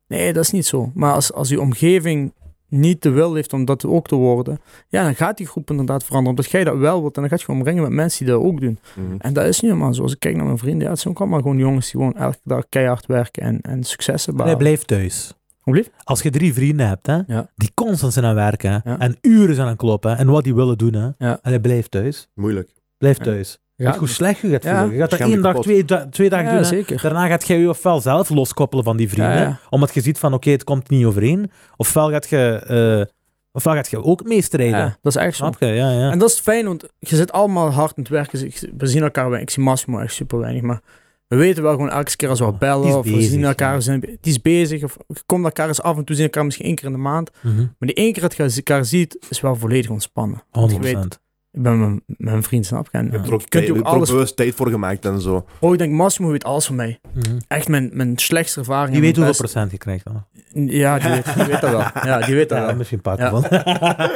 S3: Nee, dat is niet zo. Maar als, als je omgeving niet de wil heeft om dat ook te worden, ja, dan gaat die groep inderdaad veranderen. Omdat jij dat wel wilt en dan gaat je gewoon omringen met mensen die dat ook doen.
S1: waar. Mhm.
S3: En dat is niet helemaal zo. Als ik kijk naar mijn vrienden, ja, het zijn ook allemaal gewoon jongens die gewoon elke dag keihard werken en, en successen
S2: En hij
S3: behalen.
S2: blijft thuis.
S3: Hoe lief?
S2: Als je drie vrienden hebt, hè,
S3: Ja.
S2: die constant zijn aan het werken hè,
S3: Ja.
S2: en uren zijn aan het kloppen en wat die willen doen, hè, en hij blijft thuis.
S1: Moeilijk.
S2: Blijf
S3: Ja.
S2: thuis.
S3: Ja.
S2: Weet je hoe slecht je gaat
S3: Ja.
S2: voelen. Je gaat dat één
S1: Waarschijnlijk
S2: dag,
S1: kapot.
S2: twee, da- twee dagen
S3: Ja,
S2: doen. hè.
S3: zeker.
S2: Daarna gaat je je ofwel zelf loskoppelen van die vrienden,
S3: Ja, ja.
S2: omdat je ziet van oké, het komt niet overeen. Ofwel gaat je, eh, ofwel gaat je ook meestrijden.
S3: Ja, dat is echt zo.
S2: Snap je? Ja, ja.
S3: En dat is fijn, want je zit allemaal hard aan het werken. Je- We zien elkaar weinig. Ik zie Massimo echt super weinig, maar we weten wel gewoon elke keer als we
S2: Ja, Ah, die
S3: bellen
S2: is
S3: of we
S2: bezig,
S3: zien elkaar,
S2: ja.
S3: we zijn, die is bezig of je komt elkaar eens af en toe zien elkaar misschien één keer in de maand.
S2: Mhm.
S3: Maar die één keer dat je elkaar ziet, is wel volledig ontspannen. Want ik
S2: 100%.
S3: weet, ik ben mijn, mijn vriend, snap je? En
S2: Ja.
S1: Je hebt er ook,
S3: Kunt je ook
S1: tijd- er ook
S3: alles-
S1: bewust tijd voor gemaakt en zo.
S3: oh, ik denk, Massimo weet alles van mij.
S2: Mhm.
S3: Echt mijn, mijn slechtste ervaring.
S2: Je
S3: en
S2: weet
S3: mijn
S2: hoeveel procent je krijgt. Dan.
S3: beste- Ja, die weet, die weet dat wel. Ja, die weet dat
S2: Ja,
S3: wel.
S2: misschien een paar
S3: Ja.
S2: van.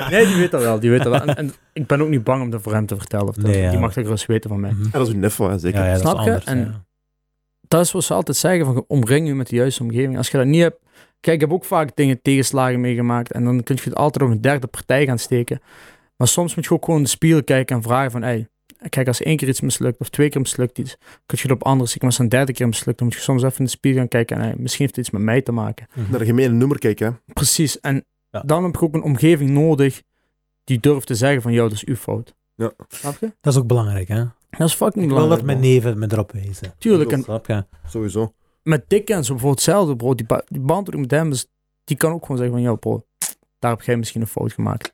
S3: Nee, die weet dat wel. Die weet dat wel. En, en ik ben ook niet bang om dat voor hem te vertellen. Of dat.
S2: Nee, ja.
S3: Die mag dat gerust weten van mij.
S2: Mhm.
S1: Ja, dat is een neffel, hè, zeker.
S2: Ja, ja, dat
S3: Snap
S2: is
S3: je?
S2: anders.
S3: En-
S2: ja.
S3: dat is wat ze altijd zeggen, van omring je met de juiste omgeving. Als je dat niet hebt... Kijk, ik heb ook vaak dingen tegenslagen meegemaakt en dan kun je het altijd op een derde partij gaan steken. Maar soms moet je ook gewoon in de spiegel kijken en vragen van, hey, kijk, als één keer iets mislukt of twee keer mislukt iets, kun je het op andere steken. Maar als het een derde keer mislukt, dan moet je soms even in de spiegel gaan kijken en hey, misschien heeft het iets met mij te maken.
S1: Naar een gemene nummer kijken, hè.
S3: Precies. En
S2: Ja.
S3: dan heb je ook een omgeving nodig die durft te zeggen van, yo, dat is uw fout.
S1: Ja.
S3: Snap je?
S2: Dat is ook belangrijk, hè?
S3: Dat is fucking
S2: Ik wil
S3: belangrijk.
S2: dat mijn
S3: man.
S2: neven me erop wijzen.
S3: Tuurlijk. En
S2: Snap je?
S1: Sowieso.
S3: met Dick en zo bijvoorbeeld hetzelfde, bro. Die, ba- die band die ik met hem is, die kan ook gewoon zeggen van, ja, bro, daar heb jij misschien een fout gemaakt.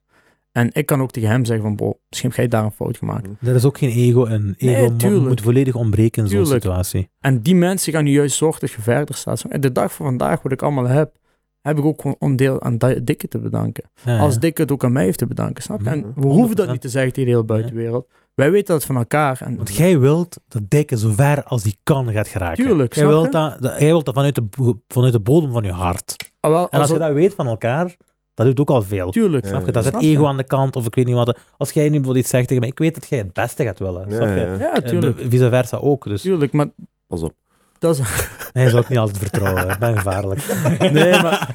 S3: En ik kan ook tegen hem zeggen van, bro, misschien heb jij daar een fout gemaakt.
S2: Er is ook geen ego in. Ego mo-
S3: tuurlijk.
S2: moet volledig ontbreken in zo'n
S3: Tuurlijk.
S2: situatie.
S3: En die mensen gaan nu juist zorgen dat je verder staat. En de dag van vandaag, wat ik allemaal heb, heb ik ook gewoon om deel aan Di- Dikke te bedanken.
S2: Ja, Mhm. ja.
S3: Als Dikke het ook aan mij heeft te bedanken, snap je? En we hoeven dat niet te zeggen tegen de hele buitenwereld. Wij weten dat van elkaar. En
S2: Want jij wilt dat dikke zo ver als die kan gaat geraken.
S3: Tuurlijk,
S2: Jij
S3: snap je?
S2: wilt dat, dat- jij wilt dat vanuit, de, bo- vanuit de bodem van je hart.
S3: Ah, wel,
S2: En
S3: als
S2: als je
S3: dat,
S2: dat weet van elkaar, dat doet ook al veel.
S3: tuurlijk.
S1: Ja.
S2: Snap je? Dat is het
S3: Snap je?
S2: ego aan de kant of ik weet niet wat. Als jij nu bijvoorbeeld iets zegt tegen mij, ik weet dat jij het beste gaat willen. Snap
S1: Ja,
S2: je?
S1: ja, ja.
S3: Ja, tuurlijk.
S2: Eh, Vice versa ook. Dus
S3: Tuurlijk, maar
S1: Pas op.
S3: dat is...
S2: hij zou ik niet altijd vertrouwen. Ik ben gevaarlijk.
S3: Nee, maar...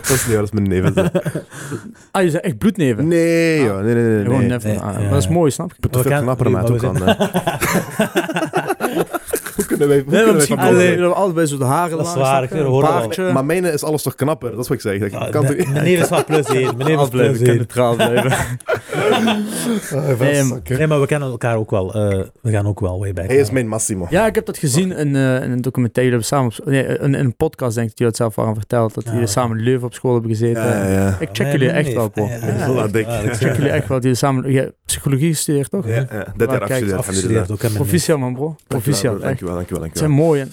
S1: Dat is niet waar, dat is mijn neef. is dat.
S3: Ah, je zegt echt bloedneven.
S1: Nee, joh. Nee, nee, nee. nee.
S3: Gewoon
S1: nee.
S3: never.
S2: nee,
S3: ah,
S2: ja,
S3: maar dat is
S2: ja.
S3: mooi, snap je?
S1: Put de fuck knapper, maat. Hoe kan dat? eh. Hoe kunnen wij, hoe
S3: Nee,
S1: kunnen wij
S3: maar misschien
S1: van
S2: Allee.
S1: komen?
S3: willen we allebei zo de haren
S2: Dat is
S3: lang,
S2: waar,
S3: snap je?
S2: ik
S3: Een
S2: hoor het al.
S3: baardje.
S1: Maar mijn is alles toch knapper? Dat is wat ik zeg. Dat
S2: Ja,
S1: kan toch
S2: me-
S1: niet?
S2: Mijn neef is wel plus één. Mijn neef is plus
S3: Al blijven, ik kan
S2: één.
S3: neutraal blijven.
S1: Ah,
S3: Nee, maar-
S1: vastzakken.
S2: Nee, maar we kennen elkaar ook wel. eh, we gaan ook wel way back. eh.
S1: Hij is mijn Massimo.
S3: Ja, ik heb dat gezien in, eh, in een documentaire. die we samen op, nee, in, in een podcast, denk ik, dat jullie het zelf waren verteld. Dat
S2: Ja,
S3: jullie
S2: ja.
S3: samen in Leuven op school hebben gezeten.
S1: Ja, ja, ja.
S3: Ik check jullie echt wel, bro.
S2: Ik
S1: ja, ja. Ja, dik.
S3: Ik check jullie echt wel. dat Jullie samen jij hebt psychologie gestudeerd, toch?
S1: Ja, ja. Dit jaar
S3: kijk,
S1: afgestudeerd.
S2: Afgestudeerd
S1: alhamdulillah.
S2: ook. hè, mijn neef.
S3: Proficiat, man, bro. Proficiat, echt.
S1: Dankjewel, dankjewel,
S3: Het zijn
S1: dankjewel.
S3: mooi. En...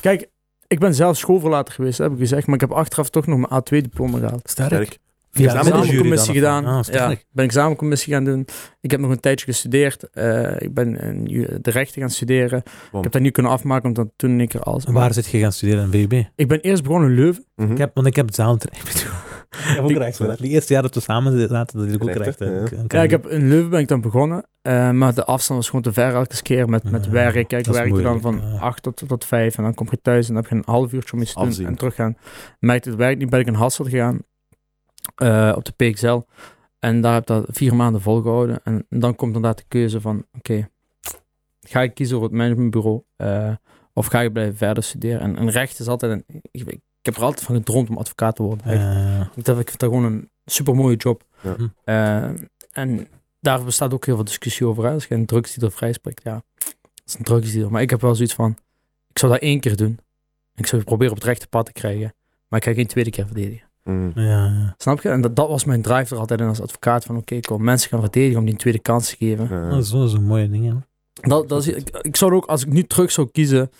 S3: Kijk, ik ben zelf schoolverlater geweest, dat heb ik gezegd. Maar ik heb achteraf toch nog mijn A2-diploma gehaald.
S2: Sterk.
S1: Sterk.
S2: Via de
S3: examencommissie
S2: jury dan,
S3: gedaan.
S2: of- Ah,
S3: ja,
S2: sterk.
S3: ben examencommissie gaan doen. Ik heb nog een tijdje gestudeerd. Eh, ik ben in ju- de rechten gaan studeren. Ik heb dat nu kunnen afmaken, omdat toen ik er alles...
S2: En Waar zit je gaan studeren in VUB?
S3: Ik ben eerst begonnen in Leuven.
S1: Mhm.
S2: Ik heb, want ik heb hetzelfde. Ik bedoel, ik heb ook
S3: Ik-
S2: recht. hè. Die eerste jaar dat we samen zaten, dat ik ook
S1: Recht,
S2: recht. hè.
S1: hè? Ja.
S2: Ik- ik-
S3: Ja, ik heb, in Leuven ben ik dan begonnen. eh, maar de afstand was gewoon te ver elke keer met, met
S2: Ja,
S3: werk. Kijk, ik
S2: dat is
S3: werkte dan
S2: moeilijk,
S3: van
S2: ja.
S3: 8 tot, tot 5. En dan kom je thuis en dan heb je een half uurtje om iets te doen
S1: Afzien.
S3: en teruggaan. Merkte het werk niet, ben ik in Hasselt gegaan. eh, op de PXL. En daar heb ik dat vier maanden volgehouden. En dan komt inderdaad de keuze van, oké, ga ik kiezen voor het managementbureau? eh, of ga ik blijven verder studeren? En, en recht is altijd, een, ik, ik heb er altijd van gedroomd om advocaat te worden. Echt.
S2: Eh,
S3: Ik vind dat- ik vind dat gewoon een super mooie job.
S1: Ja.
S2: Hm.
S3: Eh, en daar bestaat ook heel veel discussie over. Hè? Als je een drugsdealer vrijspreekt, ja, dat is een drugsdealer. Maar ik heb wel zoiets van, ik zou dat één keer doen. Ik zou het proberen op het rechte pad te krijgen. Maar ik ga geen tweede keer verdedigen.
S1: Mm.
S2: Ja, ja.
S3: Snap je? En dat, dat was mijn drive er altijd in als advocaat. Van oké, kom, mensen gaan verdedigen om die een tweede kans te geven.
S1: Ja.
S2: Dat is wel zo'n mooie ding, ja.
S3: Dat, dat is, ik, ik zou er ook, als ik nu terug zou kiezen,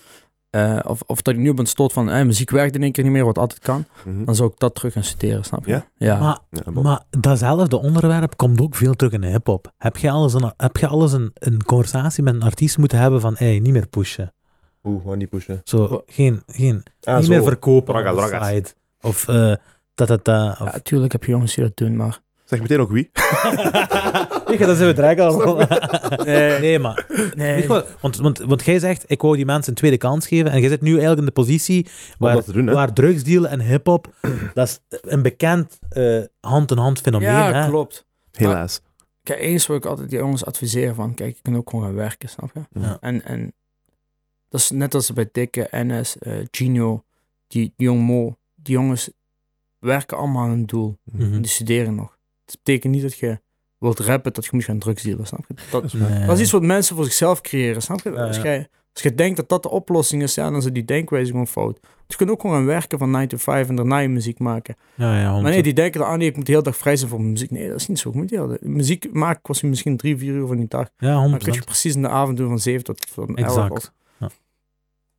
S3: eh, of, of dat ik nu op een stoot van eh, muziek werkt in één keer niet meer, wat altijd kan,
S1: Mhm.
S3: dan zou ik dat terug gaan studeren, snap je?
S1: Ja?
S3: Ja.
S2: Maar,
S1: Ja, Bob.
S2: maar datzelfde onderwerp komt ook veel terug in de hip-hop. Heb je alles, een, heb je alles een, een conversatie met een artiest moeten hebben van, hey, niet meer pushen.
S1: Oeh, gewoon niet pushen.
S3: Oh.
S2: Zo, geen, geen,
S1: Ah,
S2: niet
S1: zo.
S2: meer verkopen.
S1: Dragas,
S2: op de
S1: dragas.
S2: site. Of, eh dat, dat, dat. Of...
S3: Ja, tuurlijk heb je jongens die dat doen, maar...
S1: Zeg meteen ook wie.
S2: Weet je, dat zijn we direct al.
S3: Nee.
S2: Nee, maar
S3: Nee.
S2: Weet je wel, want, want, want jij zegt, ik wou die mensen een tweede kans geven. En jij zit nu eigenlijk in de positie
S1: Om
S2: waar,
S1: dat te doen, hè?
S2: waar drugsdealen en hip-hop, dat is een bekend eh, hand-in-hand fenomeen.
S3: Ja,
S2: hè?
S3: klopt.
S1: Helaas.
S3: Kijk, eens wil ik altijd die jongens adviseren van, kijk, je kunt ook gewoon gaan werken, snap je?
S2: Ja.
S3: En, en dat is net als bij Dikke, NS, eh Gino, die, die jong Mo, die jongens werken allemaal aan een doel.
S2: Mhm.
S3: En die studeren nog. Het betekent niet dat je wilt rappen, dat je moet gaan drugs dealen, snap je? Dat,
S2: Nee.
S3: dat is iets wat mensen voor zichzelf creëren, snap je?
S2: Ja,
S3: Als
S2: ja.
S3: jij als jij denkt dat dat de oplossing is, ja, dan is die denkwijze gewoon fout. Want je kunt ook gewoon gaan werken van 9 to 5 en daarna je muziek maken.
S2: Ja, ja,
S3: Maar nee,
S2: honderd-
S3: die denken dan, ah nee, ik moet de hele dag vrij zijn voor mijn muziek. Nee, dat is niet zo. Ik moet de hele dag- muziek maken kost je misschien drie, vier uur van die dag.
S2: ja,
S3: Dan kun je
S2: 100%.
S3: precies in de avond doen van 7 tot van 11. of-
S2: Exact. Ja.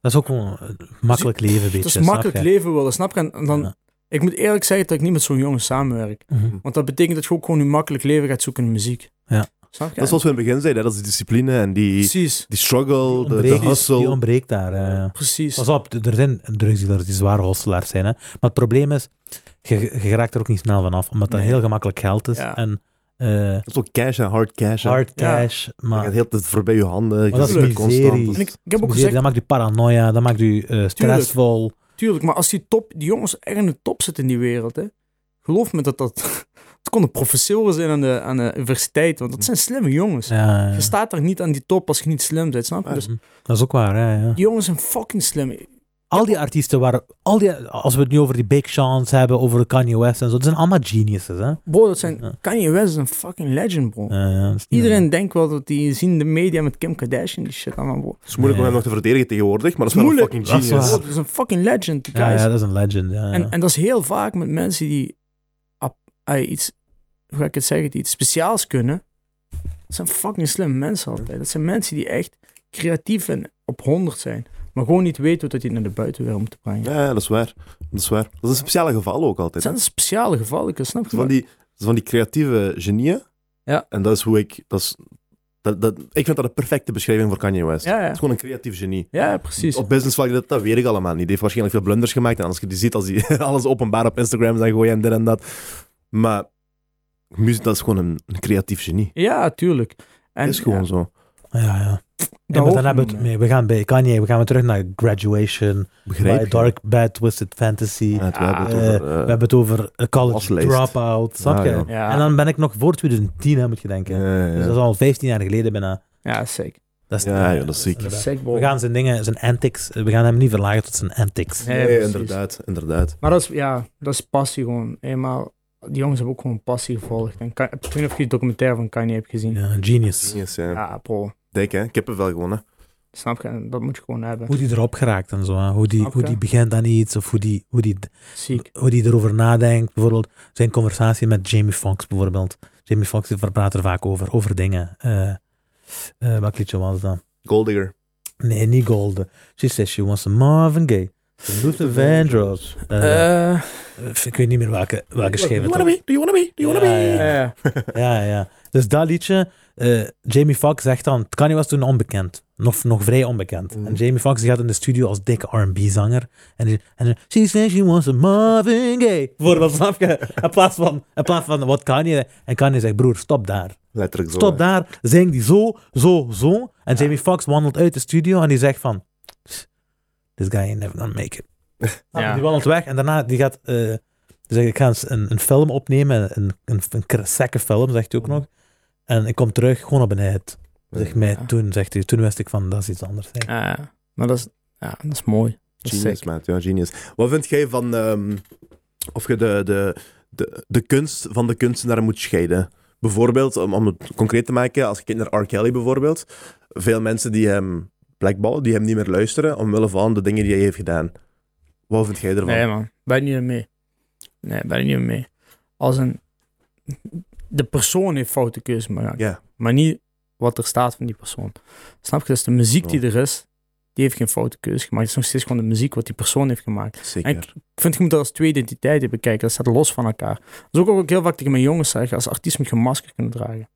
S2: Dat is ook gewoon een makkelijk leven, beetje.
S3: Het is
S2: snap
S3: makkelijk
S2: Dus je?
S3: leven willen, snap je? En dan,
S2: Ja.
S3: Ik moet eerlijk zeggen dat ik niet met zo'n jongen samenwerk.
S2: Mhm.
S3: Want dat betekent dat je ook gewoon een makkelijk leven gaat zoeken in muziek.
S2: Ja.
S3: Snap je?
S1: Dat is zoals we in het begin zeiden, hè, dat is die discipline en die,
S3: Precies,
S1: die struggle, de, de
S2: Ontbreekt- Die
S1: hustle.
S2: ontbreekt daar. eh.
S3: precies.
S2: Pas op, er zijn drugsdealers die zware hosselaars zijn. Hè. Maar het probleem is, je, je raakt er ook niet snel vanaf, omdat dat
S3: Nee.
S2: heel gemakkelijk geld is.
S3: Ja.
S2: En eh,
S1: Dat is ook cash en hard cash. hè.
S2: hard
S3: Ja.
S2: cash,
S1: Je
S2: maar
S1: gaat heel de tijd voorbij je handen. Je
S2: Maar dat
S1: zit
S3: is
S1: er constant.
S2: miserie.
S1: Dat
S3: En ik,
S1: is-
S3: ik heb ook
S2: Miserie,
S3: gezegd,
S2: dat maakt u paranoia, dat maakt u eh, stressvol.
S3: tuurlijk, maar als die, top, die jongens echt in de top zitten in die wereld, hè, geloof me dat dat... Het konden professoren zijn aan de, aan de universiteit, want dat zijn slimme jongens.
S2: Ja, ja.
S3: Je staat daar niet aan die top als je niet slim bent, snap je? Dus
S2: Mhm. dat is ook waar. Ja, ja.
S3: die jongens zijn fucking slim.
S2: Al die artiesten, waar, al die, als we het nu over die Big Sean's hebben, over de Kanye West en zo, dat zijn allemaal geniuses. Hè?
S3: Bro, dat zijn...
S2: Ja.
S3: Kanye West is een fucking legend, bro.
S2: Ja, ja, dat is niet-
S3: Iedereen denkt wel dat die zien de media met Kim Kardashian die shit allemaal. Bro.
S1: Het is moeilijk om hem
S2: Nee.
S1: nog te verdedigen tegenwoordig, maar dat is wel een
S3: Moeilijk.
S1: fucking
S2: Dat is
S1: genius.
S2: waar.
S3: Bro, dat is een fucking legend, die
S2: Ja,
S3: guys.
S2: ja, dat is een legend. Ja, ja.
S3: en, en dat is heel vaak met mensen die ap- ah, iets, hoe ga ik het zeggen, die iets speciaals kunnen. Dat zijn fucking slimme mensen altijd. Dat zijn mensen die echt creatief en op honderd zijn, maar gewoon niet weten hoe dat die naar de buitenwereld moet brengen.
S1: Ja, dat is waar. Dat is waar. Dat is een speciale geval ook
S3: Het
S1: altijd. hè.
S3: zijn speciale gevallen, ik snap
S1: Het
S3: je?
S1: is Van die, het is van die creatieve genieën.
S3: Ja.
S1: En dat is hoe ik... Dat is, dat, dat, ik vind dat een perfecte beschrijving voor Kanye West.
S3: Ja,
S1: Het
S3: ja.
S1: is gewoon een creatief genie.
S3: ja, precies.
S1: Op businessvlak, dat, dat weet ik allemaal niet. Die heeft waarschijnlijk veel blunders gemaakt. En als je die ziet, als hij alles openbaar op Instagram zijn gooien en dit en dat. Maar muziek, dat is gewoon een, een creatief genie.
S3: Ja, tuurlijk. En,
S1: Dat is gewoon zo.
S2: ja, ja.
S3: ja,
S2: Ja, maar
S3: dat
S2: dan hebben we het mee. We gaan bij Kanye, we gaan weer terug naar Graduation,
S1: Begrijp
S2: bij
S1: je?
S2: Dark Bad Twisted Fantasy.
S1: Ja, het- we hebben het
S2: Eh,
S1: over...
S2: we
S1: eh,
S2: hebben het over eh, College
S1: Waslijst.
S2: Dropout, snap
S1: Ja,
S2: je?
S1: ja.
S3: Ja.
S2: En dan ben ik nog voor 2010, hè, moet je denken.
S1: ja, ja.
S2: Dus dat is al 15 jaar geleden bijna.
S3: Ja, sick.
S2: Dat is,
S1: Ja, joh, dat is ziek.
S2: inderdaad.
S3: Sick, bro.
S2: We gaan zijn dingen, zijn antics, we gaan hem niet verlagen tot zijn antics.
S3: Nee,
S1: Nee,
S3: precies.
S1: inderdaad, inderdaad.
S3: Maar dat is, ja, dat is passie gewoon. Eenmaal, die jongens hebben ook gewoon passie gevolgd. En kan, ik weet niet of je die documentaire van Kanye hebt gezien. Ja,
S2: Ja, genius.
S1: Genius, ja.
S3: bro.
S1: Dik, hè? Kippenvel gewoon, hè?
S3: Snap je? En Dat moet je gewoon hebben.
S2: Hoe die erop geraakt en zo. hè. Hoe die,
S3: Snap
S2: hoe
S3: je?
S2: die begint aan iets of hoe die, hoe, die,
S3: Ziek.
S2: hoe die erover nadenkt. Bijvoorbeeld zijn conversatie met Jamie Foxx bijvoorbeeld. Jamie Foxx die praat er vaak over, over dingen. Eh eh, welk liedje was dat?
S1: Goldigger.
S2: Nee, niet Golden. She says she wants a Marvin Gaye. Luther Vandross. Eh,
S3: Eh,
S2: ik weet niet meer welke, welke schijf het was.
S1: be? Do you wanna be? Do you
S2: Ja, ja.
S3: eh,
S2: Ja, ja. Dus dat liedje, eh, Jamie Foxx zegt dan, Kanye was toen onbekend. Nog, nog vrij onbekend.
S1: Mhm.
S2: En Jamie Foxx die gaat in de studio als dikke R&B-zanger. En, die- en die- she says she wants a Marvin Gaye. Bijvoorbeeld, snap je? In plaats van, in plaats van wat Kanye... En Kanye zegt, broer, stop daar.
S1: Letterlijk zo.
S2: Stop
S1: hè.
S2: daar. Zing die zo, zo, zo. En Jamie Foxx wandelt uit de studio en die zegt van... This guy ain't never gonna make it. Nou,
S3: Ja.
S2: Die wandelt weg en daarna die gaat... eh, die zegt, ik ga eens een, een film opnemen, een, een, een kr- gekke film, zegt hij ook nog. En ik kom terug, gewoon op een hit. Zeg mij
S3: Ja.
S2: toen, zegt hij. Toen wist ik van, dat is iets anders. hè.
S3: eh, maar dat is, ja, dat is mooi. Dat is
S1: Genius,
S3: sick.
S1: maat. Ja, genius. Wat vind jij van... ehm, of je de, de, de, de kunst van de kunstenaar moet scheiden? Bijvoorbeeld, om, om het concreet te maken, als je kijkt naar R. Kelly bijvoorbeeld. Veel mensen die hem blackballen, die hem niet meer luisteren, omwille van de dingen die hij heeft gedaan. Wat vind jij ervan?
S3: Nee, man. Ben je ermee? Nee, ben ik niet mee. Als een... De persoon heeft foute keuzes gemaakt.
S1: Ja.
S3: Maar niet wat er staat van die persoon. Snap je? Dus de muziek die er is, die heeft geen foute keuze gemaakt. Het is nog steeds gewoon de muziek wat die persoon heeft gemaakt.
S1: Zeker.
S3: Ik vind, je moet dat als twee identiteiten bekijken. Dat staat los van elkaar. Dat is ook wat ik heel vaak tegen mijn jongens zeg. Als artiest moet je een masker kunnen dragen.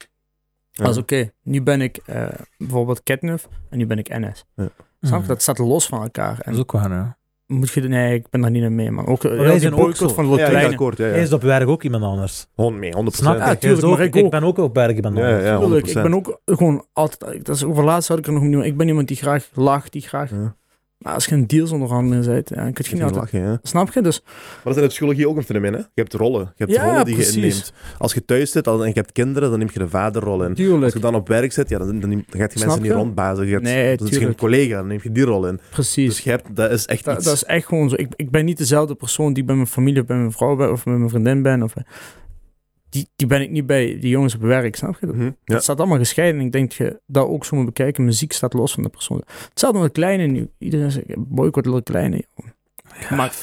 S1: Ja.
S3: Dat is oké. Nu ben ik eh, bijvoorbeeld Catnuf en nu ben ik NS.
S1: Mm.
S3: Snap je? Dat staat los van elkaar.
S1: Dus
S2: Mm. Dat
S3: En
S2: is ook waar, ja.
S3: moet je... Nee, ik ben daar niet aan mee, man. Ook eh,
S2: wij
S3: heel die
S2: zijn ook
S3: boycott
S2: zo.
S3: van
S1: Ja, ik ben
S3: Lotlijnen.
S1: akkoord. Ja,
S2: Hij
S1: ja.
S2: is op werk ook iemand anders.
S1: Honderd mee, 100%.
S2: Snap je?
S3: Ja,
S2: Jij is
S3: tuurlijk,
S2: ook-
S3: maar ik
S2: ik
S3: ook.
S2: ben ook op werk iemand
S1: Ja,
S2: anders.
S1: ja, 100%.
S3: Tuurlijk, ik ben ook gewoon altijd... Dat is over laatst had ik er nog niet Ik ben iemand die graag lacht, die graag...
S1: Ja.
S3: Maar als je een dealsonderhandeling bent, ja, dan kun je niet
S1: Misschien
S3: altijd...
S1: lachen, ja.
S3: Snap je? Dus
S1: Maar dat is in het school hier ook een fenomeen, hè? Je hebt rollen. Je hebt
S3: Ja,
S1: rollen die
S3: precies.
S1: je inneemt. Als je thuis zit dan- en je hebt kinderen, dan neem je de vaderrol in. Als
S3: tuurlijk,
S1: je dan op werk zit, ja, dan, dan, dan gaat je
S3: Snap
S1: mensen niet
S3: je?
S1: rondbazen. Je gaat,
S3: Nee,
S1: dan is je een
S3: tuurlijk.
S1: collega, dan neem je die rol in.
S3: precies.
S1: Dus je hebt, dat is echt
S3: Dat,
S1: iets.
S3: dat is echt gewoon zo. Ik, ik ben niet dezelfde persoon die bij mijn familie, bij mijn vrouw ben, of bij mijn vriendin ben. Of, die, die ben ik niet bij die jongens op werk, snap je? Dat,
S1: Mhm, ja.
S3: dat staat allemaal gescheiden. Ik denk dat je dat ook zo moet bekijken. Muziek staat los van de persoon. Hetzelfde met Kleine nu. Iedereen zegt, boycott Lil Kleine. joh. Maar,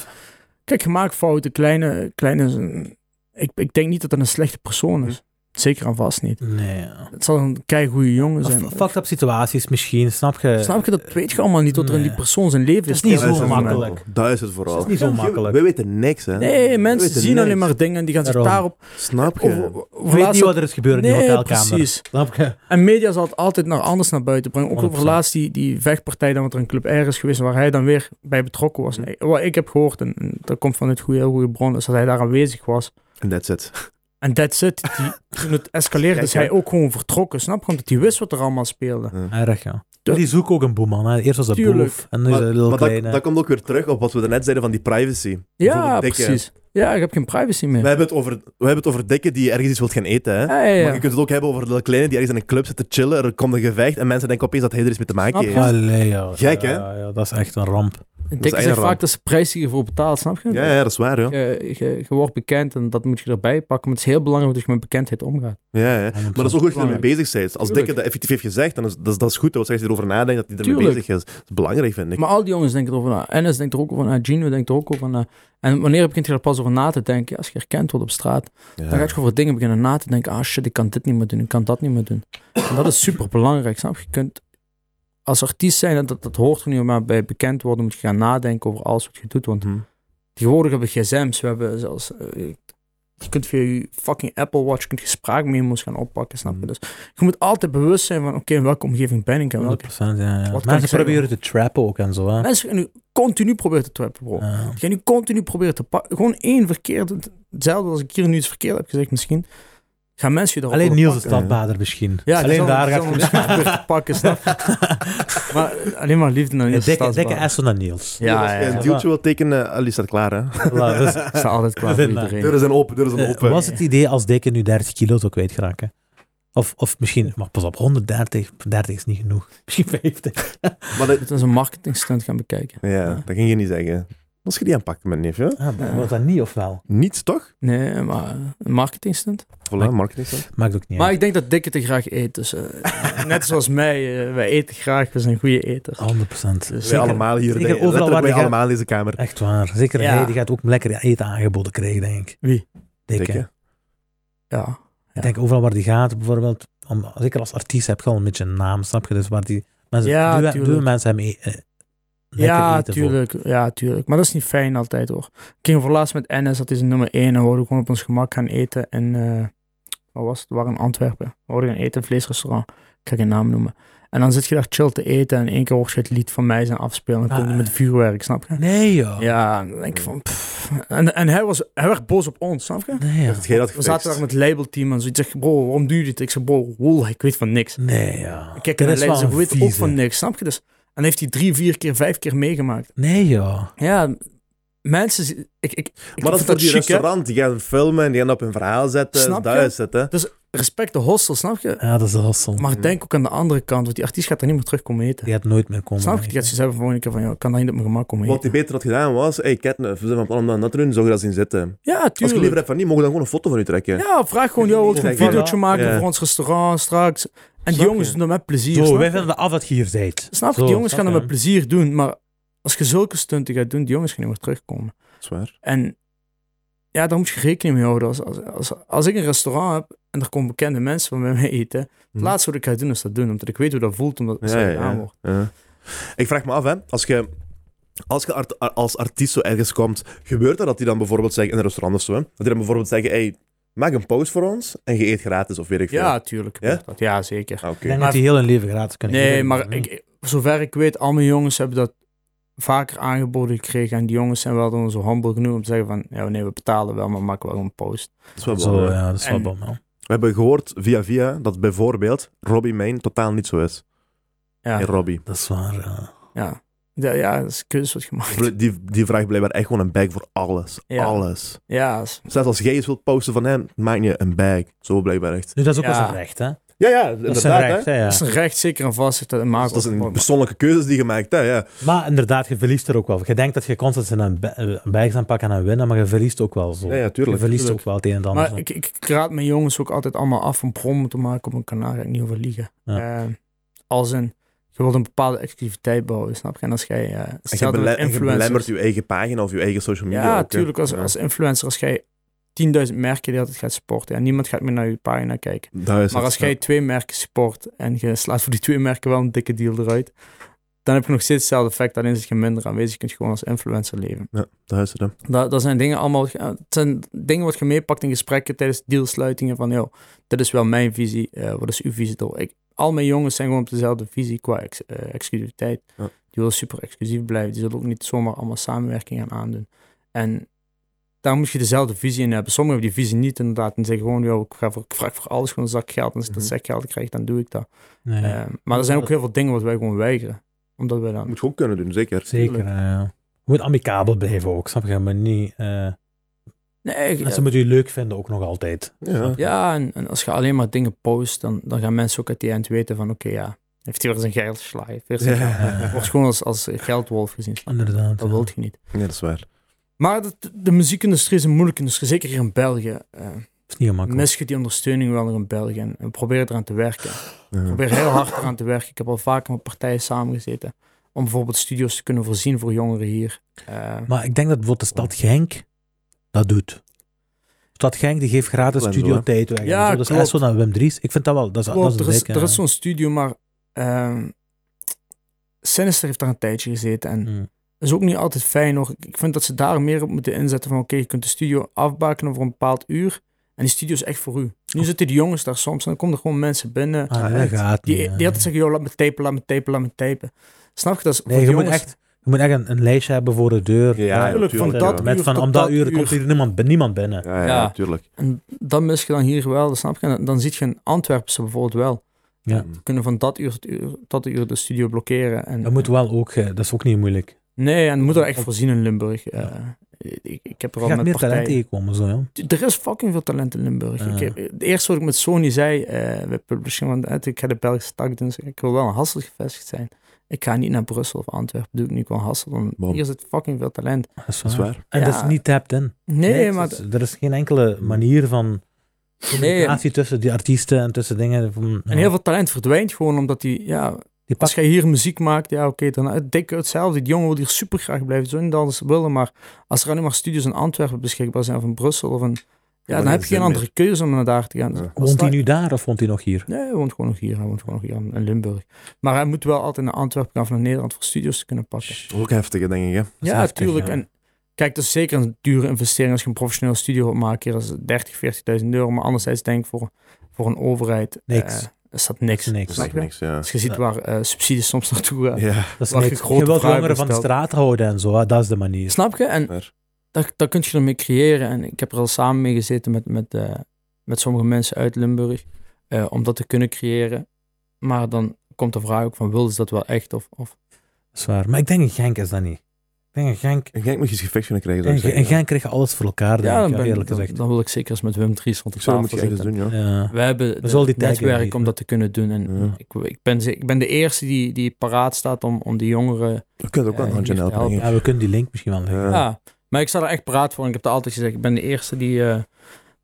S3: kijk, je maakt fouten. Kleine, kleine is een- ik, ik denk niet dat dat een slechte persoon is.
S1: Hm.
S3: Zeker en vast niet.
S2: Nee, ja.
S3: Het zal een keigoede jongen zijn.
S2: F- Fucked up situaties misschien, snap
S1: Eh,
S2: je?
S3: Snap je? Dat weet je allemaal niet wat er in die
S2: Nee.
S3: persoon zijn leven
S2: Dat is
S3: is.
S2: niet
S1: Dat is
S2: zo
S1: het vooral.
S2: makkelijk.
S1: Dat is het vooral.
S2: Het is niet zo
S1: Ja,
S2: makkelijk.
S1: We weten niks, hè?
S3: Nee,
S1: We
S3: mensen
S1: weten
S3: zien
S1: niks.
S3: alleen maar dingen en die gaan zich
S2: Daarom.
S3: daarop...
S1: Snap je?
S3: Of, of- of
S2: Ik weet
S3: laatst
S2: niet
S3: ook-
S2: wat er is gebeurd in die
S3: Nee,
S2: hotelkamer.
S3: precies.
S2: Snap je?
S3: En media zal het altijd naar anders naar buiten brengen. Ook over
S2: 100%.
S3: laatst die, die vechtpartij dan wat er in Club R is geweest, waar hij dan weer bij betrokken was.
S1: Hm.
S3: Wat ik heb gehoord, en, en dat komt van het goede, heel goede bron, is dat hij daar aanwezig was.
S1: En that's it.
S3: En that's it. Die, toen het escaleerde, is
S1: Kijk,
S3: hij
S1: hè.
S3: ook gewoon vertrokken. Snap je? Omdat hij wist wat er allemaal speelde.
S2: Ja, recht, ja.
S3: Ja.
S2: Die zoeken ook een boeman. Hè. Eerst was dat
S3: Tuurlijk.
S2: boef en nu is
S1: Maar,
S2: dat
S1: maar
S2: heel
S1: dat,
S2: kleine.
S1: dat komt ook weer terug op wat we daarnet zeiden van die privacy.
S3: Ja,
S1: Bijvoorbeeld dikke.
S3: precies. Ja, ik heb geen privacy meer.
S1: We hebben, het over, we hebben het over dikke die ergens iets wilt gaan eten, hè?
S3: Ja, ja, ja.
S1: Maar je kunt het ook hebben over de kleine die ergens in een club zit te chillen, er komt een gevecht en mensen denken opeens dat hij er iets mee te maken
S3: Snap je?
S1: heeft.
S2: Allee, ja.
S1: Gek, hè?
S2: Ja, ja, dat is echt een ramp.
S3: En
S1: is
S3: Dikke zegt
S1: eigenlijk
S3: vaak dat ze prijs die je voor betaalt, snap je?
S1: Ja, ja, dat is waar, joh.
S3: Je, je, je wordt bekend en dat moet je erbij pakken. Maar het is heel belangrijk dat je met bekendheid omgaat.
S1: Ja, ja. Maar dat is ook goed dat je ermee bezig bent. Als
S3: Tuurlijk.
S1: Dikke dat effectief heeft gezegd, dan is dat, is, dat is goed. Dat hij erover nadenkt dat hij ermee
S3: Tuurlijk.
S1: bezig is. Dat is belangrijk, vind ik.
S3: Maar al die jongens denken erover na. Ennis denkt er ook over na. Gino denkt er ook over na. En wanneer begint je er pas over na te denken? Ja, als je herkend wordt op straat,
S1: Ja.
S3: dan ga je over dingen beginnen na te denken. Ah shit, ik kan dit niet meer doen, ik kan dat niet meer doen. En dat is super belangrijk, snap je? Je kunt als artiest zijn, dat, dat hoort er niet meer, maar bij bekend worden moet je gaan nadenken over alles wat je doet. Want
S1: Mhm.
S3: tegenwoordig hebben we gsm's, we hebben zelfs... eh, je kunt via je fucking Apple Watch kun je spraakmemo's gaan oppakken, snap je?
S1: Mhm.
S3: Dus je moet altijd bewust zijn van, oké, in welke omgeving ben ik en welke...
S2: 100%, ja, ja.
S3: Wat kan ik
S2: Mensen
S3: zeggen?
S2: proberen te trappen ook en zo. Hè.
S3: Mensen gaan nu continu proberen te trappen, bro.
S2: Ja.
S3: Als jij nu continu probeert te pakken. Gewoon één verkeerd. Hetzelfde als ik hier nu iets verkeerd heb gezegd, misschien. Gaan mensen je daarop
S2: Alleen
S3: willen
S2: Niels is
S3: pakken.
S2: standbaarder misschien.
S3: oh, Ja,
S2: Alleen daar
S3: gaat
S2: gaat
S3: het proberen te pakken, snap je? Maar eh, alleen maar liefde naar
S2: Een
S3: Niels.
S2: dikke,
S3: Stadsbaan.
S2: dikke S van Niels.
S1: Als
S3: Ja,
S1: je
S3: ja, ja.
S1: een dealtje wil tekenen, Ali staat klaar, hè?
S2: Voilà, dus,
S3: Ik sta altijd klaar voor
S2: Vind dat.
S3: iedereen.
S1: Deuren zijn open, deuren zijn
S2: eh,
S1: open.
S2: was het idee als dikke nu 30 kilo zou kwijtraken? Of, of misschien, maar pas op, 130. 30 is niet genoeg. Misschien 50.
S1: Maar dat,
S3: Dat is een marketingstunt gaan bekijken.
S1: ja, dat ging je niet zeggen. Was je die aanpakken, mijn neef, ja?
S2: Ah, maar was dat niet of wel?
S1: Niets, toch?
S3: Nee, maar eh, een marketingstunt.
S1: Voilà, marketing. dan.
S2: Maakt ook niet
S3: Maar
S2: uit.
S3: ik denk dat dikke te graag eet. Dus eh, net zoals mij, eh, wij eten graag. We zijn goede
S2: Oh,
S3: eters.
S2: 100%.
S3: Dus,
S1: Wij
S2: Zeker.
S1: allemaal hier.
S2: Zeker
S1: denk-
S2: overal
S1: letterlijk
S2: waar
S1: wij
S2: je gaat.
S1: allemaal in deze kamer.
S2: Echt waar. Zeker
S3: Ja.
S2: hij, die gaat ook lekker eten aangeboden krijgen, denk ik.
S3: Wie?
S2: Dikke.
S1: Dikke.
S3: Ja.
S2: Ik denk overal waar die gaat, bijvoorbeeld, om, zeker als artiest heb je al een beetje een naam, snap je? Dus waar die mensen,
S3: Ja,
S2: duwe-
S3: tuurlijk.
S2: duwe mensen hem e- eh, lekker
S3: Ja,
S2: eten voor.
S3: tuurlijk. Ja, tuurlijk. Maar dat is niet fijn altijd hoor. Ik ging voor laatst met NS, dat is nummer 1. En we hadden gewoon op ons gemak gaan eten. En eh wat was het? We waren in Antwerpen. We hadden gaan eten in een vleesrestaurant. Ik ga geen naam noemen. En dan zit je daar chill te eten. En in één keer hoor je het lied van mij zijn afspelen. En dan kom je
S2: Ah. Oh.
S3: met vuurwerk, snap je?
S2: Nee, joh.
S3: Ja, dan denk ik van. pff. En, en hij, was, hij werd boos op ons, snap je?
S2: Nee, joh.
S1: Heeft jij dat
S3: We
S1: gefixt?
S3: zaten daar met het labelteam en zoiets. Ik zeg, bro, waarom doe je dit? Ik zeg, bro, woel, ik weet van niks.
S2: Nee, joh.
S3: Kijk, en
S2: Dat
S3: hij
S2: is wel
S3: zei, ik
S2: een
S3: weet ook
S2: vieze.
S3: van niks, snap je? Dus, en heeft hij drie, vier keer, vijf keer meegemaakt.
S2: Nee, joh.
S3: Ja, mensen. z- Ik, ik, ik
S1: Maar dat is
S3: vind
S1: voor die
S3: chic, hè.
S1: restaurant. Die gaan filmen, die gaan op hun verhaal zetten.
S3: Snap
S1: Dat
S3: je?
S1: is het, hè?
S3: Respect de hostel, snap je?
S2: Ja, dat is de hassel.
S3: Maar denk ook aan de andere kant, want die artiest gaat er niet meer terug komen eten.
S2: Die gaat nooit meer komen.
S3: snap je? Die gaat
S2: denk ik.
S3: zichzelf gewoon een keer van, ja, ik kan daar niet op mijn gemak komen
S1: Wat
S3: eten.
S1: hij beter had gedaan was, hey Ketnef, we zijn van plan om dat en dat te doen, zou je dat zien zitten.
S3: Ja,
S1: Als je
S3: tuurlijk.
S1: liever hebt van niet, mogen we dan gewoon een foto van u trekken.
S3: Ja, vraag gewoon, joh, wilt je een
S1: Zeg, ja.
S3: videootje maken
S1: Ja.
S3: voor ons restaurant straks? En die
S1: Snap
S3: jongens
S1: je?
S3: doen dat met plezier.
S2: Zo,
S3: snap
S2: wij
S3: je?
S2: vinden af dat je hier bent.
S3: Snap je?
S2: Zo,
S3: Die jongens
S2: snap
S3: gaan dat
S2: je?
S3: met plezier doen, maar als je zulke stunten gaat doen, die jongens gaan niet meer terugkomen.
S1: Zwaar.
S3: En ja, daar moet je rekening mee houden. Als, als, als, als ik een restaurant heb en er komen bekende mensen van bij mij eten, het
S1: Mhm.
S3: laatste wat ik ga doen is dat doen, omdat ik weet hoe dat voelt, omdat het
S1: Ja,
S3: zo
S1: ja,
S3: gedaan
S1: ja.
S3: wordt.
S1: Ja. Ik vraag me af, hè, als je, als, je art- a- als artiest zo ergens komt, gebeurt dat dat die dan bijvoorbeeld zeggen in een restaurant of zo, hè, dat die dan bijvoorbeeld zeggen, hey, maak een pauze voor ons en je eet gratis of weet ik veel.
S3: Ja, tuurlijk.
S1: Ja?
S3: Ja, dat. ja zeker.
S1: Ah, oké.
S2: Ik denk
S3: Maar-
S2: dat die heel hun leven gratis kunnen
S3: Nee,
S2: geven.
S3: maar ik, ik- zover ik weet, al mijn jongens hebben dat vaker aangeboden gekregen. En die jongens zijn wel dan zo humble genoeg om te zeggen van, ja nee, we betalen wel, maar maak wel een post.
S1: Dat is wel
S2: Zo,
S1: belangrijk.
S2: ja, dat is wel
S3: eh,
S2: bom,
S3: En-
S2: ja.
S1: We hebben gehoord via via dat bijvoorbeeld Robbie Main totaal niet zo is.
S3: Ja,
S1: En Robbie.
S2: Dat is waar, eh. ja.
S3: ja. Ja, ja, dat is keus wat gemaakt.
S1: Die, die vraagt blijkbaar echt gewoon een bag voor alles.
S3: Ja.
S1: Alles.
S3: Ja, is-
S1: Zelfs als jij iets wilt posten van hem, maak je een bag. Zo blijkbaar echt.
S2: Nu, dat is ook
S3: Ja.
S2: wel zijn recht, hè.
S1: Ja, ja,
S2: Dat
S1: inderdaad.
S2: is zijn
S1: hè.
S2: recht, hè, ja.
S3: dat is een recht zeker en vast. Dat, maakt
S1: Dus Dat is een persoonlijke keuzes die je maakt, hè? Ja.
S2: Maar inderdaad, je verliest er ook wel. Je denkt dat je constant in een berg aan pakken en aan winnen, maar je verliest ook wel zo.
S1: Ja, ja, tuurlijk,
S2: Je verliest
S1: tuurlijk.
S2: ook wel het een en het ander.
S3: Maar ik, ik, ik raad mijn jongens ook altijd allemaal af om promo te maken op een kanaal. Daar ga ik niet over liegen.
S2: Ja.
S3: Eh, als een, je wilt een bepaalde activiteit bouwen, snap je? En als jij, eh
S1: En je,
S3: hetzelfde
S1: bele
S3: met
S1: en je belemmert je eigen pagina of je eigen social media.
S3: Ja,
S1: ook, hè.
S3: tuurlijk. Als,
S1: Ja.
S3: als influencer, als jij 10.000 merken die altijd gaat supporten en niemand gaat meer naar je pagina kijken.
S1: Dat is
S3: Maar
S1: het,
S3: als jij
S1: ja.
S3: twee merken support en je slaat voor die twee merken wel een dikke deal eruit, dan heb je nog steeds hetzelfde effect, alleen is je minder aanwezig. Je kunt gewoon als influencer leven.
S1: Ja, dat is het, hè.
S3: Dat, dat zijn dingen allemaal, eh, het zijn dingen wat je meepakt in gesprekken tijdens dealsluitingen van, joh, dit is wel mijn visie, eh, wat is uw visie door? Ik, al mijn jongens zijn gewoon op dezelfde visie qua ex- eh, exclusiviteit.
S1: Ja.
S3: Die willen super exclusief blijven. Die zullen ook niet zomaar allemaal samenwerking gaan aandoen. En daar moet je dezelfde visie in hebben. Sommigen hebben die visie niet inderdaad en zeggen gewoon, joh, ik, ga voor, ik vraag voor alles gewoon een zak geld. En als ik dat
S1: Mhm.
S3: zak geld krijg, dan doe ik dat.
S2: Nee,
S3: Eh, maar er zijn ook heel veel dingen wat wij gewoon weigeren. Omdat wij dan...
S1: Moet je ook kunnen doen, zeker.
S2: zeker, ja. Je moet amicabel blijven ook, snap je? Maar niet... eh,
S3: Nee,
S2: Mensen moeten je leuk vinden ook nog altijd.
S1: Ja.
S3: Ja, en, en als je alleen maar dingen post, dan, dan gaan mensen ook uit die eind weten van, oké, ja, heeft hij weer zijn geld geslagen. heeft weer zijn
S1: Ja.
S3: geld- Wordt gewoon als, als geldwolf gezien.
S2: Inderdaad.
S3: Dat
S2: ja.
S3: wil je niet.
S1: Ja, dat is waar.
S3: Maar de, de muziekindustrie is een moeilijke industrie, zeker hier in België. Eh
S2: Dat is niet gemakkelijk.
S3: mis je die ondersteuning wel nog in België en, en probeer eraan te werken.
S1: Ja.
S3: probeer heel hard eraan te werken. Ik heb al vaker met partijen samengezeten om bijvoorbeeld studios te kunnen voorzien voor jongeren hier. Eh,
S2: Maar ik denk dat bijvoorbeeld de stad Genk dat doet. De stad Genk die geeft gratis
S1: Klein zo, hè?
S2: studiotijd weg. en
S3: Ja,
S2: zo. dat is
S3: klopt.
S2: echt zo naar Wim Dries. Ik vind dat wel, dat is,
S3: Klopt,
S2: dat is,
S3: er, is,
S2: leuk,
S3: er
S2: ja.
S3: is zo'n studio, maar ehm, Sinister heeft daar een tijdje gezeten. En
S2: Hmm.
S3: dat is ook niet altijd fijn hoor. Ik- Ik vind dat ze daar meer op moeten inzetten van oké, je kunt de studio afbakenen voor een bepaald uur. En die studio is echt voor u. Nu zitten die jongens daar soms en dan komen er gewoon mensen binnen.
S2: Ah,
S1: echt.
S2: dat gaat
S3: Die,
S2: niet.
S3: die
S2: ja.
S3: altijd zeggen, joh, laat me typen, laat me typen, laat me typen. Snap je? Dat is voor
S2: Nee, je
S3: die
S2: moet,
S3: jongens-
S2: echt, je moet echt een, een lijstje hebben voor de deur.
S1: Ja, ja,
S3: Tuurlijk, van
S1: tuurlijk,
S3: dat
S1: ja.
S2: Met
S3: uur
S2: van
S3: tot
S2: om dat
S3: dat
S2: uur komt
S3: uur.
S2: hier niemand, niemand binnen.
S1: Ja, ja,
S3: Ja.
S1: tuurlijk.
S3: En dat mis je dan hier wel, dat snap je? En dan- dan zie je in Antwerpen ze bijvoorbeeld wel.
S2: Ja.
S1: Mm.
S3: Kunnen van dat uur tot, uur tot uur de studio blokkeren. En,
S2: Dat moet wel ook, eh, dat is ook niet moeilijk.
S3: Nee, en moet er echt voorzien in Limburg. Eh, ik, ik heb
S2: Je
S3: er al
S2: gaat
S3: met
S2: meer
S3: partijen-
S2: talent tegenkomen. Zo, ja.
S3: Er is fucking veel talent in Limburg.
S2: Ja.
S3: Ik heb, het eerste wat ik met Sony zei, eh bij publishing, want eh, ik ga de Belgische tak doen, dus ik wil wel in Hassel gevestigd zijn. Ik ga niet naar Brussel of Antwerpen, doe ik niet gewoon Hassel, want
S1: Bom.
S3: hier zit fucking veel talent.
S2: Dat is
S1: Dat is
S2: waar.
S1: waar.
S2: En dat is
S3: Ja.
S2: niet tapped in.
S3: Nee,
S2: het
S3: maar
S2: is- er is geen enkele manier van
S3: nee,
S2: communicatie tussen die artiesten en tussen dingen. Van,
S3: en heel veel talent verdwijnt gewoon omdat die, ja,
S2: die
S3: als
S2: pas
S3: jij hier muziek maakt, ja oké, dan het dikke hetzelfde. Die jongen wil hier super graag blijven, zo niet anders willen, maar als er alleen maar studios in Antwerpen beschikbaar zijn of in Brussel of in, ja, dan
S1: geen
S3: heb je
S1: zin
S3: geen
S1: meer.
S3: andere keuze om naar daar te gaan.
S1: Ja.
S3: Als
S2: Woont hij
S3: dat-
S2: nu daar of woont hij nog hier?
S3: Nee, hij woont gewoon nog hier. Hij woont gewoon nog hier in in Limburg. Maar hij moet wel altijd naar Antwerpen gaan of naar Nederland voor studios te kunnen pakken.
S1: Ook heftig, denk ik, hè.
S2: Dat is
S3: ja,
S2: heftig,
S3: tuurlijk.
S2: ja.
S3: En kijk, dat is zeker een dure investering als je een professioneel studio wilt maken. Hier is het 30, 40.000 euro. Maar anderzijds denk ik voor, voor een overheid
S2: Niks.
S3: eh, is dat niks.
S2: Dat is
S1: Dat is
S2: niks.
S3: Snap
S1: echt
S3: je?
S1: niks, ja.
S3: Als je ziet
S2: Ja.
S3: waar eh, subsidies soms naartoe gaan.
S1: Ja,
S2: Dat is
S3: Waar je
S2: niks. Je
S3: grote
S2: wilt
S3: vragen
S2: jongeren van de
S3: stelt.
S2: straat houden en zo, hè. dat is de manier.
S3: Snap je? En
S1: waar.
S3: daar, daar kun je ermee creëren. En ik heb er al samen mee gezeten met, met, eh, met sommige mensen uit Limburg. eh, om dat te kunnen creëren. Maar dan komt de vraag ook van, wilden ze dat wel echt? Of, of...
S2: Dat is waar. Maar ik denk in Genk is dat niet. Ik denk in Genk...
S1: En Genk moet je eens gevecht kunnen krijgen, zou
S2: In,
S1: ik zeggen.
S2: in Genk krijg je alles voor elkaar, denk
S3: Ja, dan,
S2: ik,
S3: ben-
S2: eerlijk
S3: dan,
S2: gezegd.
S3: dan wil ik zeker eens met Wim Dries rond de
S1: Ik zou
S3: tafel
S1: moeten echt eens
S3: zitten.
S1: doen, ja.
S2: Ja.
S3: We hebben
S2: zullen die
S3: het
S2: taggen
S3: netwerk
S2: hier-
S3: om dat te kunnen doen. En
S1: Ja.
S3: ik, ik, ben, ze- ik ben de eerste die, die paraat staat om, om de jongeren...
S1: We kunnen ook wel een
S3: Ja,
S1: handje
S3: die
S1: helpen, denk ik.
S2: Ja, we kunnen die link misschien wel leggen.
S1: Ja.
S3: Ja, maar ik sta er echt paraat voor. En ik heb het altijd gezegd. Ik ben de eerste die, eh,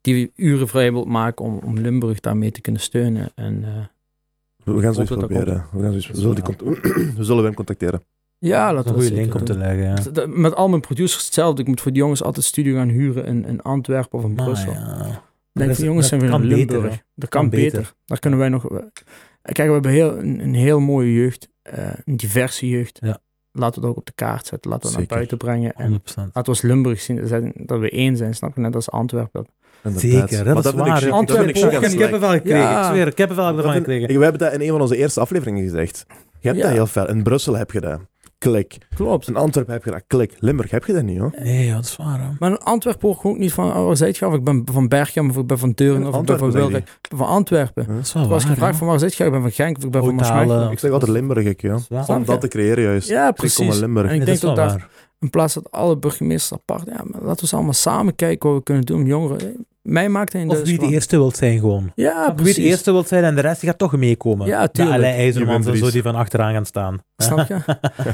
S3: die uren vrij wilt maken om, om Limburg daarmee te kunnen steunen. En eh,
S1: We gaan zoiets
S3: Hoop dat dat
S1: proberen. We, gaan zoiets, we, zullen die cont- we zullen hem contacteren.
S3: Ja,
S2: Dat
S3: laten
S2: is een
S3: we
S2: goede
S3: dat zeker
S2: link om
S3: doen.
S2: te leggen, ja.
S3: Dat- dat- Met al mijn producers hetzelfde. Ik moet voor die jongens altijd studio gaan huren in, in Antwerpen of in
S2: Ah,
S3: Brussel.
S2: ja.
S3: Ik Denk
S2: Dat
S3: van
S2: is-
S3: jongens
S2: dat
S3: zijn we in
S2: kan beter,
S3: Limburg.
S2: hè?
S3: dat kan,
S2: Kan
S3: beter.
S2: beter.
S3: Daar kunnen wij nog. we- Kijk, we hebben heel, een, een heel mooie jeugd. eh, een diverse jeugd.
S2: Ja.
S3: Laten we dat ook op de kaart zetten. Laten we
S1: Zeker.
S3: het naar buiten brengen. En
S2: 100%.
S3: laten we als Limburg zien zetten dat we één zijn. Snap je? Net als Antwerpen.
S1: Inderdaad.
S2: Zeker,
S1: Maar
S2: dat, is
S1: vind ik chic.
S2: waar. ja.
S1: Dat vind ik
S3: Antwerpen
S1: chic
S3: ook
S1: aan
S2: Ik heb
S1: Slack.
S2: er wel gekregen,
S3: Ja.
S2: ik zweer. Ik heb er wel ervan
S1: Dat
S2: gekregen.
S1: vind- We hebben dat in een van onze eerste afleveringen gezegd. Je hebt
S3: Ja.
S1: dat heel fel. In Brussel heb je dat. Klik.
S3: Klopt.
S1: In Antwerpen heb je dat. Klik. Limburg heb je dat niet, hoor.
S2: Nee, joh, dat is waar. hè.
S3: Maar in Antwerpen hoor ik ook niet van, oh, waar zijt je? Of ik ben van Bergen, of ik ben van Teuren, of ik ben
S1: Antwerpen,
S3: van
S1: zei die.
S3: Wilrijk. Ik ben van Antwerpen.
S2: Dat is wel
S3: Toen was
S2: waar.
S3: gevraagd
S2: hè.
S3: van waar zijt je? Ik ben van Genk, of ik ben van
S2: Oudtalen.
S3: Maastricht.
S1: Ik zeg altijd Limburg, ik, joh.
S2: Dat is waar.
S3: Snap
S1: Om
S3: je?
S1: dat te creëren, juist.
S3: Ja,
S1: Ik kom
S3: precies.
S1: in Limburg.
S3: En ik
S2: Ja,
S3: denk
S2: dat
S3: ook
S2: is wel
S3: daar,
S2: waar.
S3: in plaats dat alle burgemeesters apart, ja, maar laten we ze allemaal samen kijken wat we kunnen doen om jongeren. Mij maakt het in
S2: Of wie de
S3: gewoon-
S2: eerste wilt zijn gewoon.
S3: Ja,
S2: Wie het
S3: precies.
S2: eerste wilt zijn en de rest die gaat toch meekomen.
S3: Ja,
S2: De
S3: tuurlijk.
S2: Alain IJzermans en
S1: Juwen
S2: zo
S1: Vries.
S2: die van achteraan gaan staan.
S3: Snap je?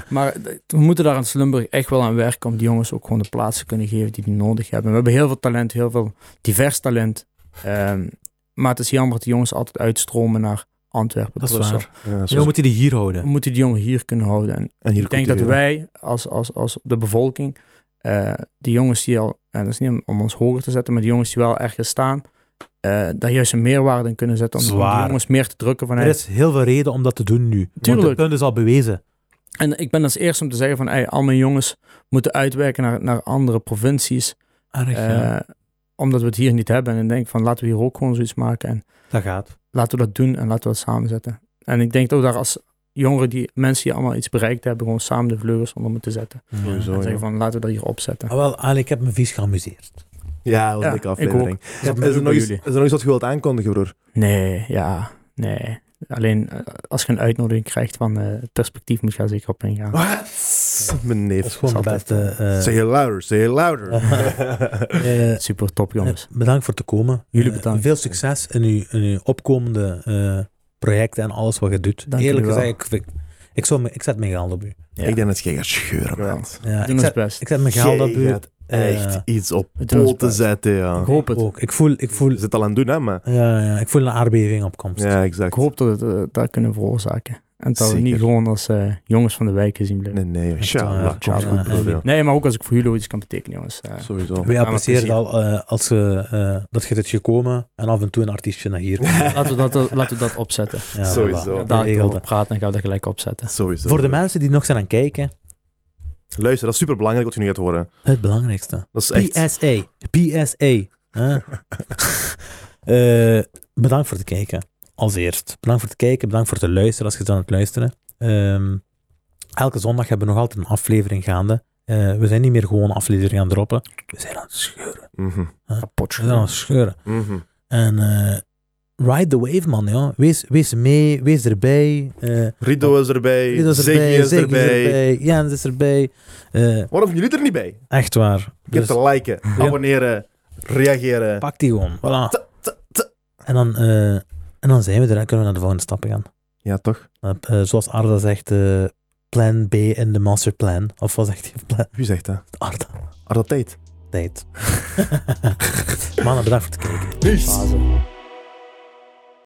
S3: maar d- we moeten daar in Slumburg echt wel aan werken om die jongens ook gewoon de plaats te kunnen geven die die nodig hebben. We hebben heel veel talent, heel veel divers talent. Ehm, maar het is jammer dat die jongens altijd uitstromen naar Antwerpen.
S2: Dat is
S3: Brussel.
S2: waar.
S1: Ja,
S2: Zo
S1: zo.
S2: moet je die hier
S3: We
S2: houden.
S3: moeten die jongen hier kunnen houden. En
S1: En hier
S3: ik denk
S1: komt
S3: dat
S1: die,
S3: wij als, als, als de bevolking, eh, die jongens die al, en dat is niet om, om ons hoger te zetten, maar die jongens die wel ergens staan, eh, daar juist een meerwaarde in kunnen zetten. Om om die
S2: Zwaar.
S3: jongens meer te drukken
S2: Er
S3: vanuit.
S2: is heel veel reden om dat te doen nu. Want
S3: Tuurlijk.
S2: het punt is al bewezen.
S3: En ik ben als eerste om te zeggen van, hey, al mijn jongens moeten uitwerken naar, naar andere provincies.
S2: Erg, ja.
S3: eh, omdat we het hier niet hebben. En ik denk van, laten we hier ook gewoon zoiets maken. En
S2: Dat gaat.
S3: laten we dat doen en laten we dat samenzetten. En ik denk ook daar als jongeren, die mensen die allemaal iets bereikt hebben, gewoon samen de vleugels onder moeten zetten.
S2: Ja.
S1: Sowieso.
S3: en
S1: ja.
S3: zeggen van, laten we dat hier opzetten.
S2: Ah, wel, Ali, ik heb me vies geamuseerd.
S1: Ja, wat
S3: Ja,
S1: een dikke
S3: ik
S1: aflevering.
S3: Ik
S1: Is
S3: heb
S1: er,
S3: bezoek
S1: nog
S3: bij
S1: iets, is
S3: jullie.
S1: er nog iets wat je wilt aankondigen, broer?
S3: Nee, ja, nee. Alleen eh, als je een uitnodiging krijgt van eh, het perspectief, moet je daar zeker op ingaan.
S1: Oh. Wat? Mijn neef.
S2: Dat is gewoon de
S1: altijd-
S2: beste. eh,
S1: Say it louder, say it louder.
S2: eh,
S3: Super top, jongens.
S2: eh, bedankt voor te komen.
S3: Jullie
S2: Eh,
S3: bedankt.
S2: veel succes in uw, in uw opkomende eh, projecten en alles wat je doet.
S3: Dank
S2: Eerlijk
S3: jullie wel.
S2: gezegd, ik, ik, ik, zou me, ik zet mijn geld op u.
S3: Ja.
S1: Ik denk dat jij gaat scheuren,
S3: Ja.
S1: man.
S2: Ja,
S3: We
S2: ik,
S3: doen ons
S2: zet,
S3: best.
S2: ik zet mijn
S1: Jij
S2: geld op u.
S1: gaat
S2: Eh,
S1: echt iets op
S3: we doen ons
S1: poten
S3: best.
S1: zetten, ja.
S3: Ik hoop het.
S2: ook. Ik voel, ik voel,
S1: Je zit al aan het doen, hè, maar...
S2: ja, ja, ik voel een aardbeving opkomst.
S1: Ja, exact.
S3: Ik hoop dat we het eh, daar kunnen veroorzaken. En dat we
S1: Zeker.
S3: niet gewoon als eh, jongens van de wijk gezien blijven.
S1: Nee, nee,
S2: waar,
S3: eh,
S1: inshallah. Komt
S2: inshallah.
S1: goed, broer, ja.
S3: Nee. maar ook als ik voor jullie iets kan betekenen, jongens. Eh,
S1: Sowieso.
S2: Wij
S3: maar
S2: appreciëren het
S3: plezier.
S2: al eh, als je, eh, dat je dit gekomen en af en toe een artiestje naar hier komt.
S3: laten, we dat, eh, laten we dat opzetten.
S2: Ja,
S1: Sowieso. Ja,
S2: voilà.
S3: Daar gaan we
S2: Geregeld.
S3: praten en gaan we dat gelijk opzetten.
S1: Sowieso.
S2: Voor de mensen die nog zijn aan het kijken,
S1: Luister, dat is super belangrijk wat je nu gaat horen.
S2: het belangrijkste.
S1: Dat is echt...
S2: PSA. PSA. hè. Eh, bedankt voor het kijken. Als eerst. Bedankt voor het kijken. Bedankt voor het luisteren als je het aan het luisteren. Ehm, elke zondag hebben we nog altijd een aflevering gaande. Eh, we zijn niet meer gewoon afleveringen aan het droppen. We zijn aan het scheuren.
S1: Mhm,
S2: We zijn aan het scheuren.
S1: mhm.
S2: En eh, ride the wave, man. Ja. Wees, wees mee. Wees erbij. Eh,
S1: Rido is erbij.
S2: Ziggy is erbij.
S1: Ziggy is
S2: Ziggy is
S1: erbij.
S2: erbij. Jens is erbij. Eh,
S1: Waarom zijn jullie er niet bij?
S2: echt waar.
S1: Je hebt
S2: Dus
S1: te liken, abonneren, reageren.
S2: pak die gewoon. Voilà.
S1: T- t- t-
S2: En dan, eh, en dan zijn we er en kunnen we naar de volgende stappen gaan.
S1: Ja, toch?
S2: Eh, eh, zoals Arda zegt, eh, plan B in de masterplan. Of wat zegt hij? Plan
S1: Wie zegt dat?
S2: Arda.
S1: Arda Tijd.
S2: Tijd. Mannen, bedankt voor het kijken.
S1: Peace.
S3: Fase.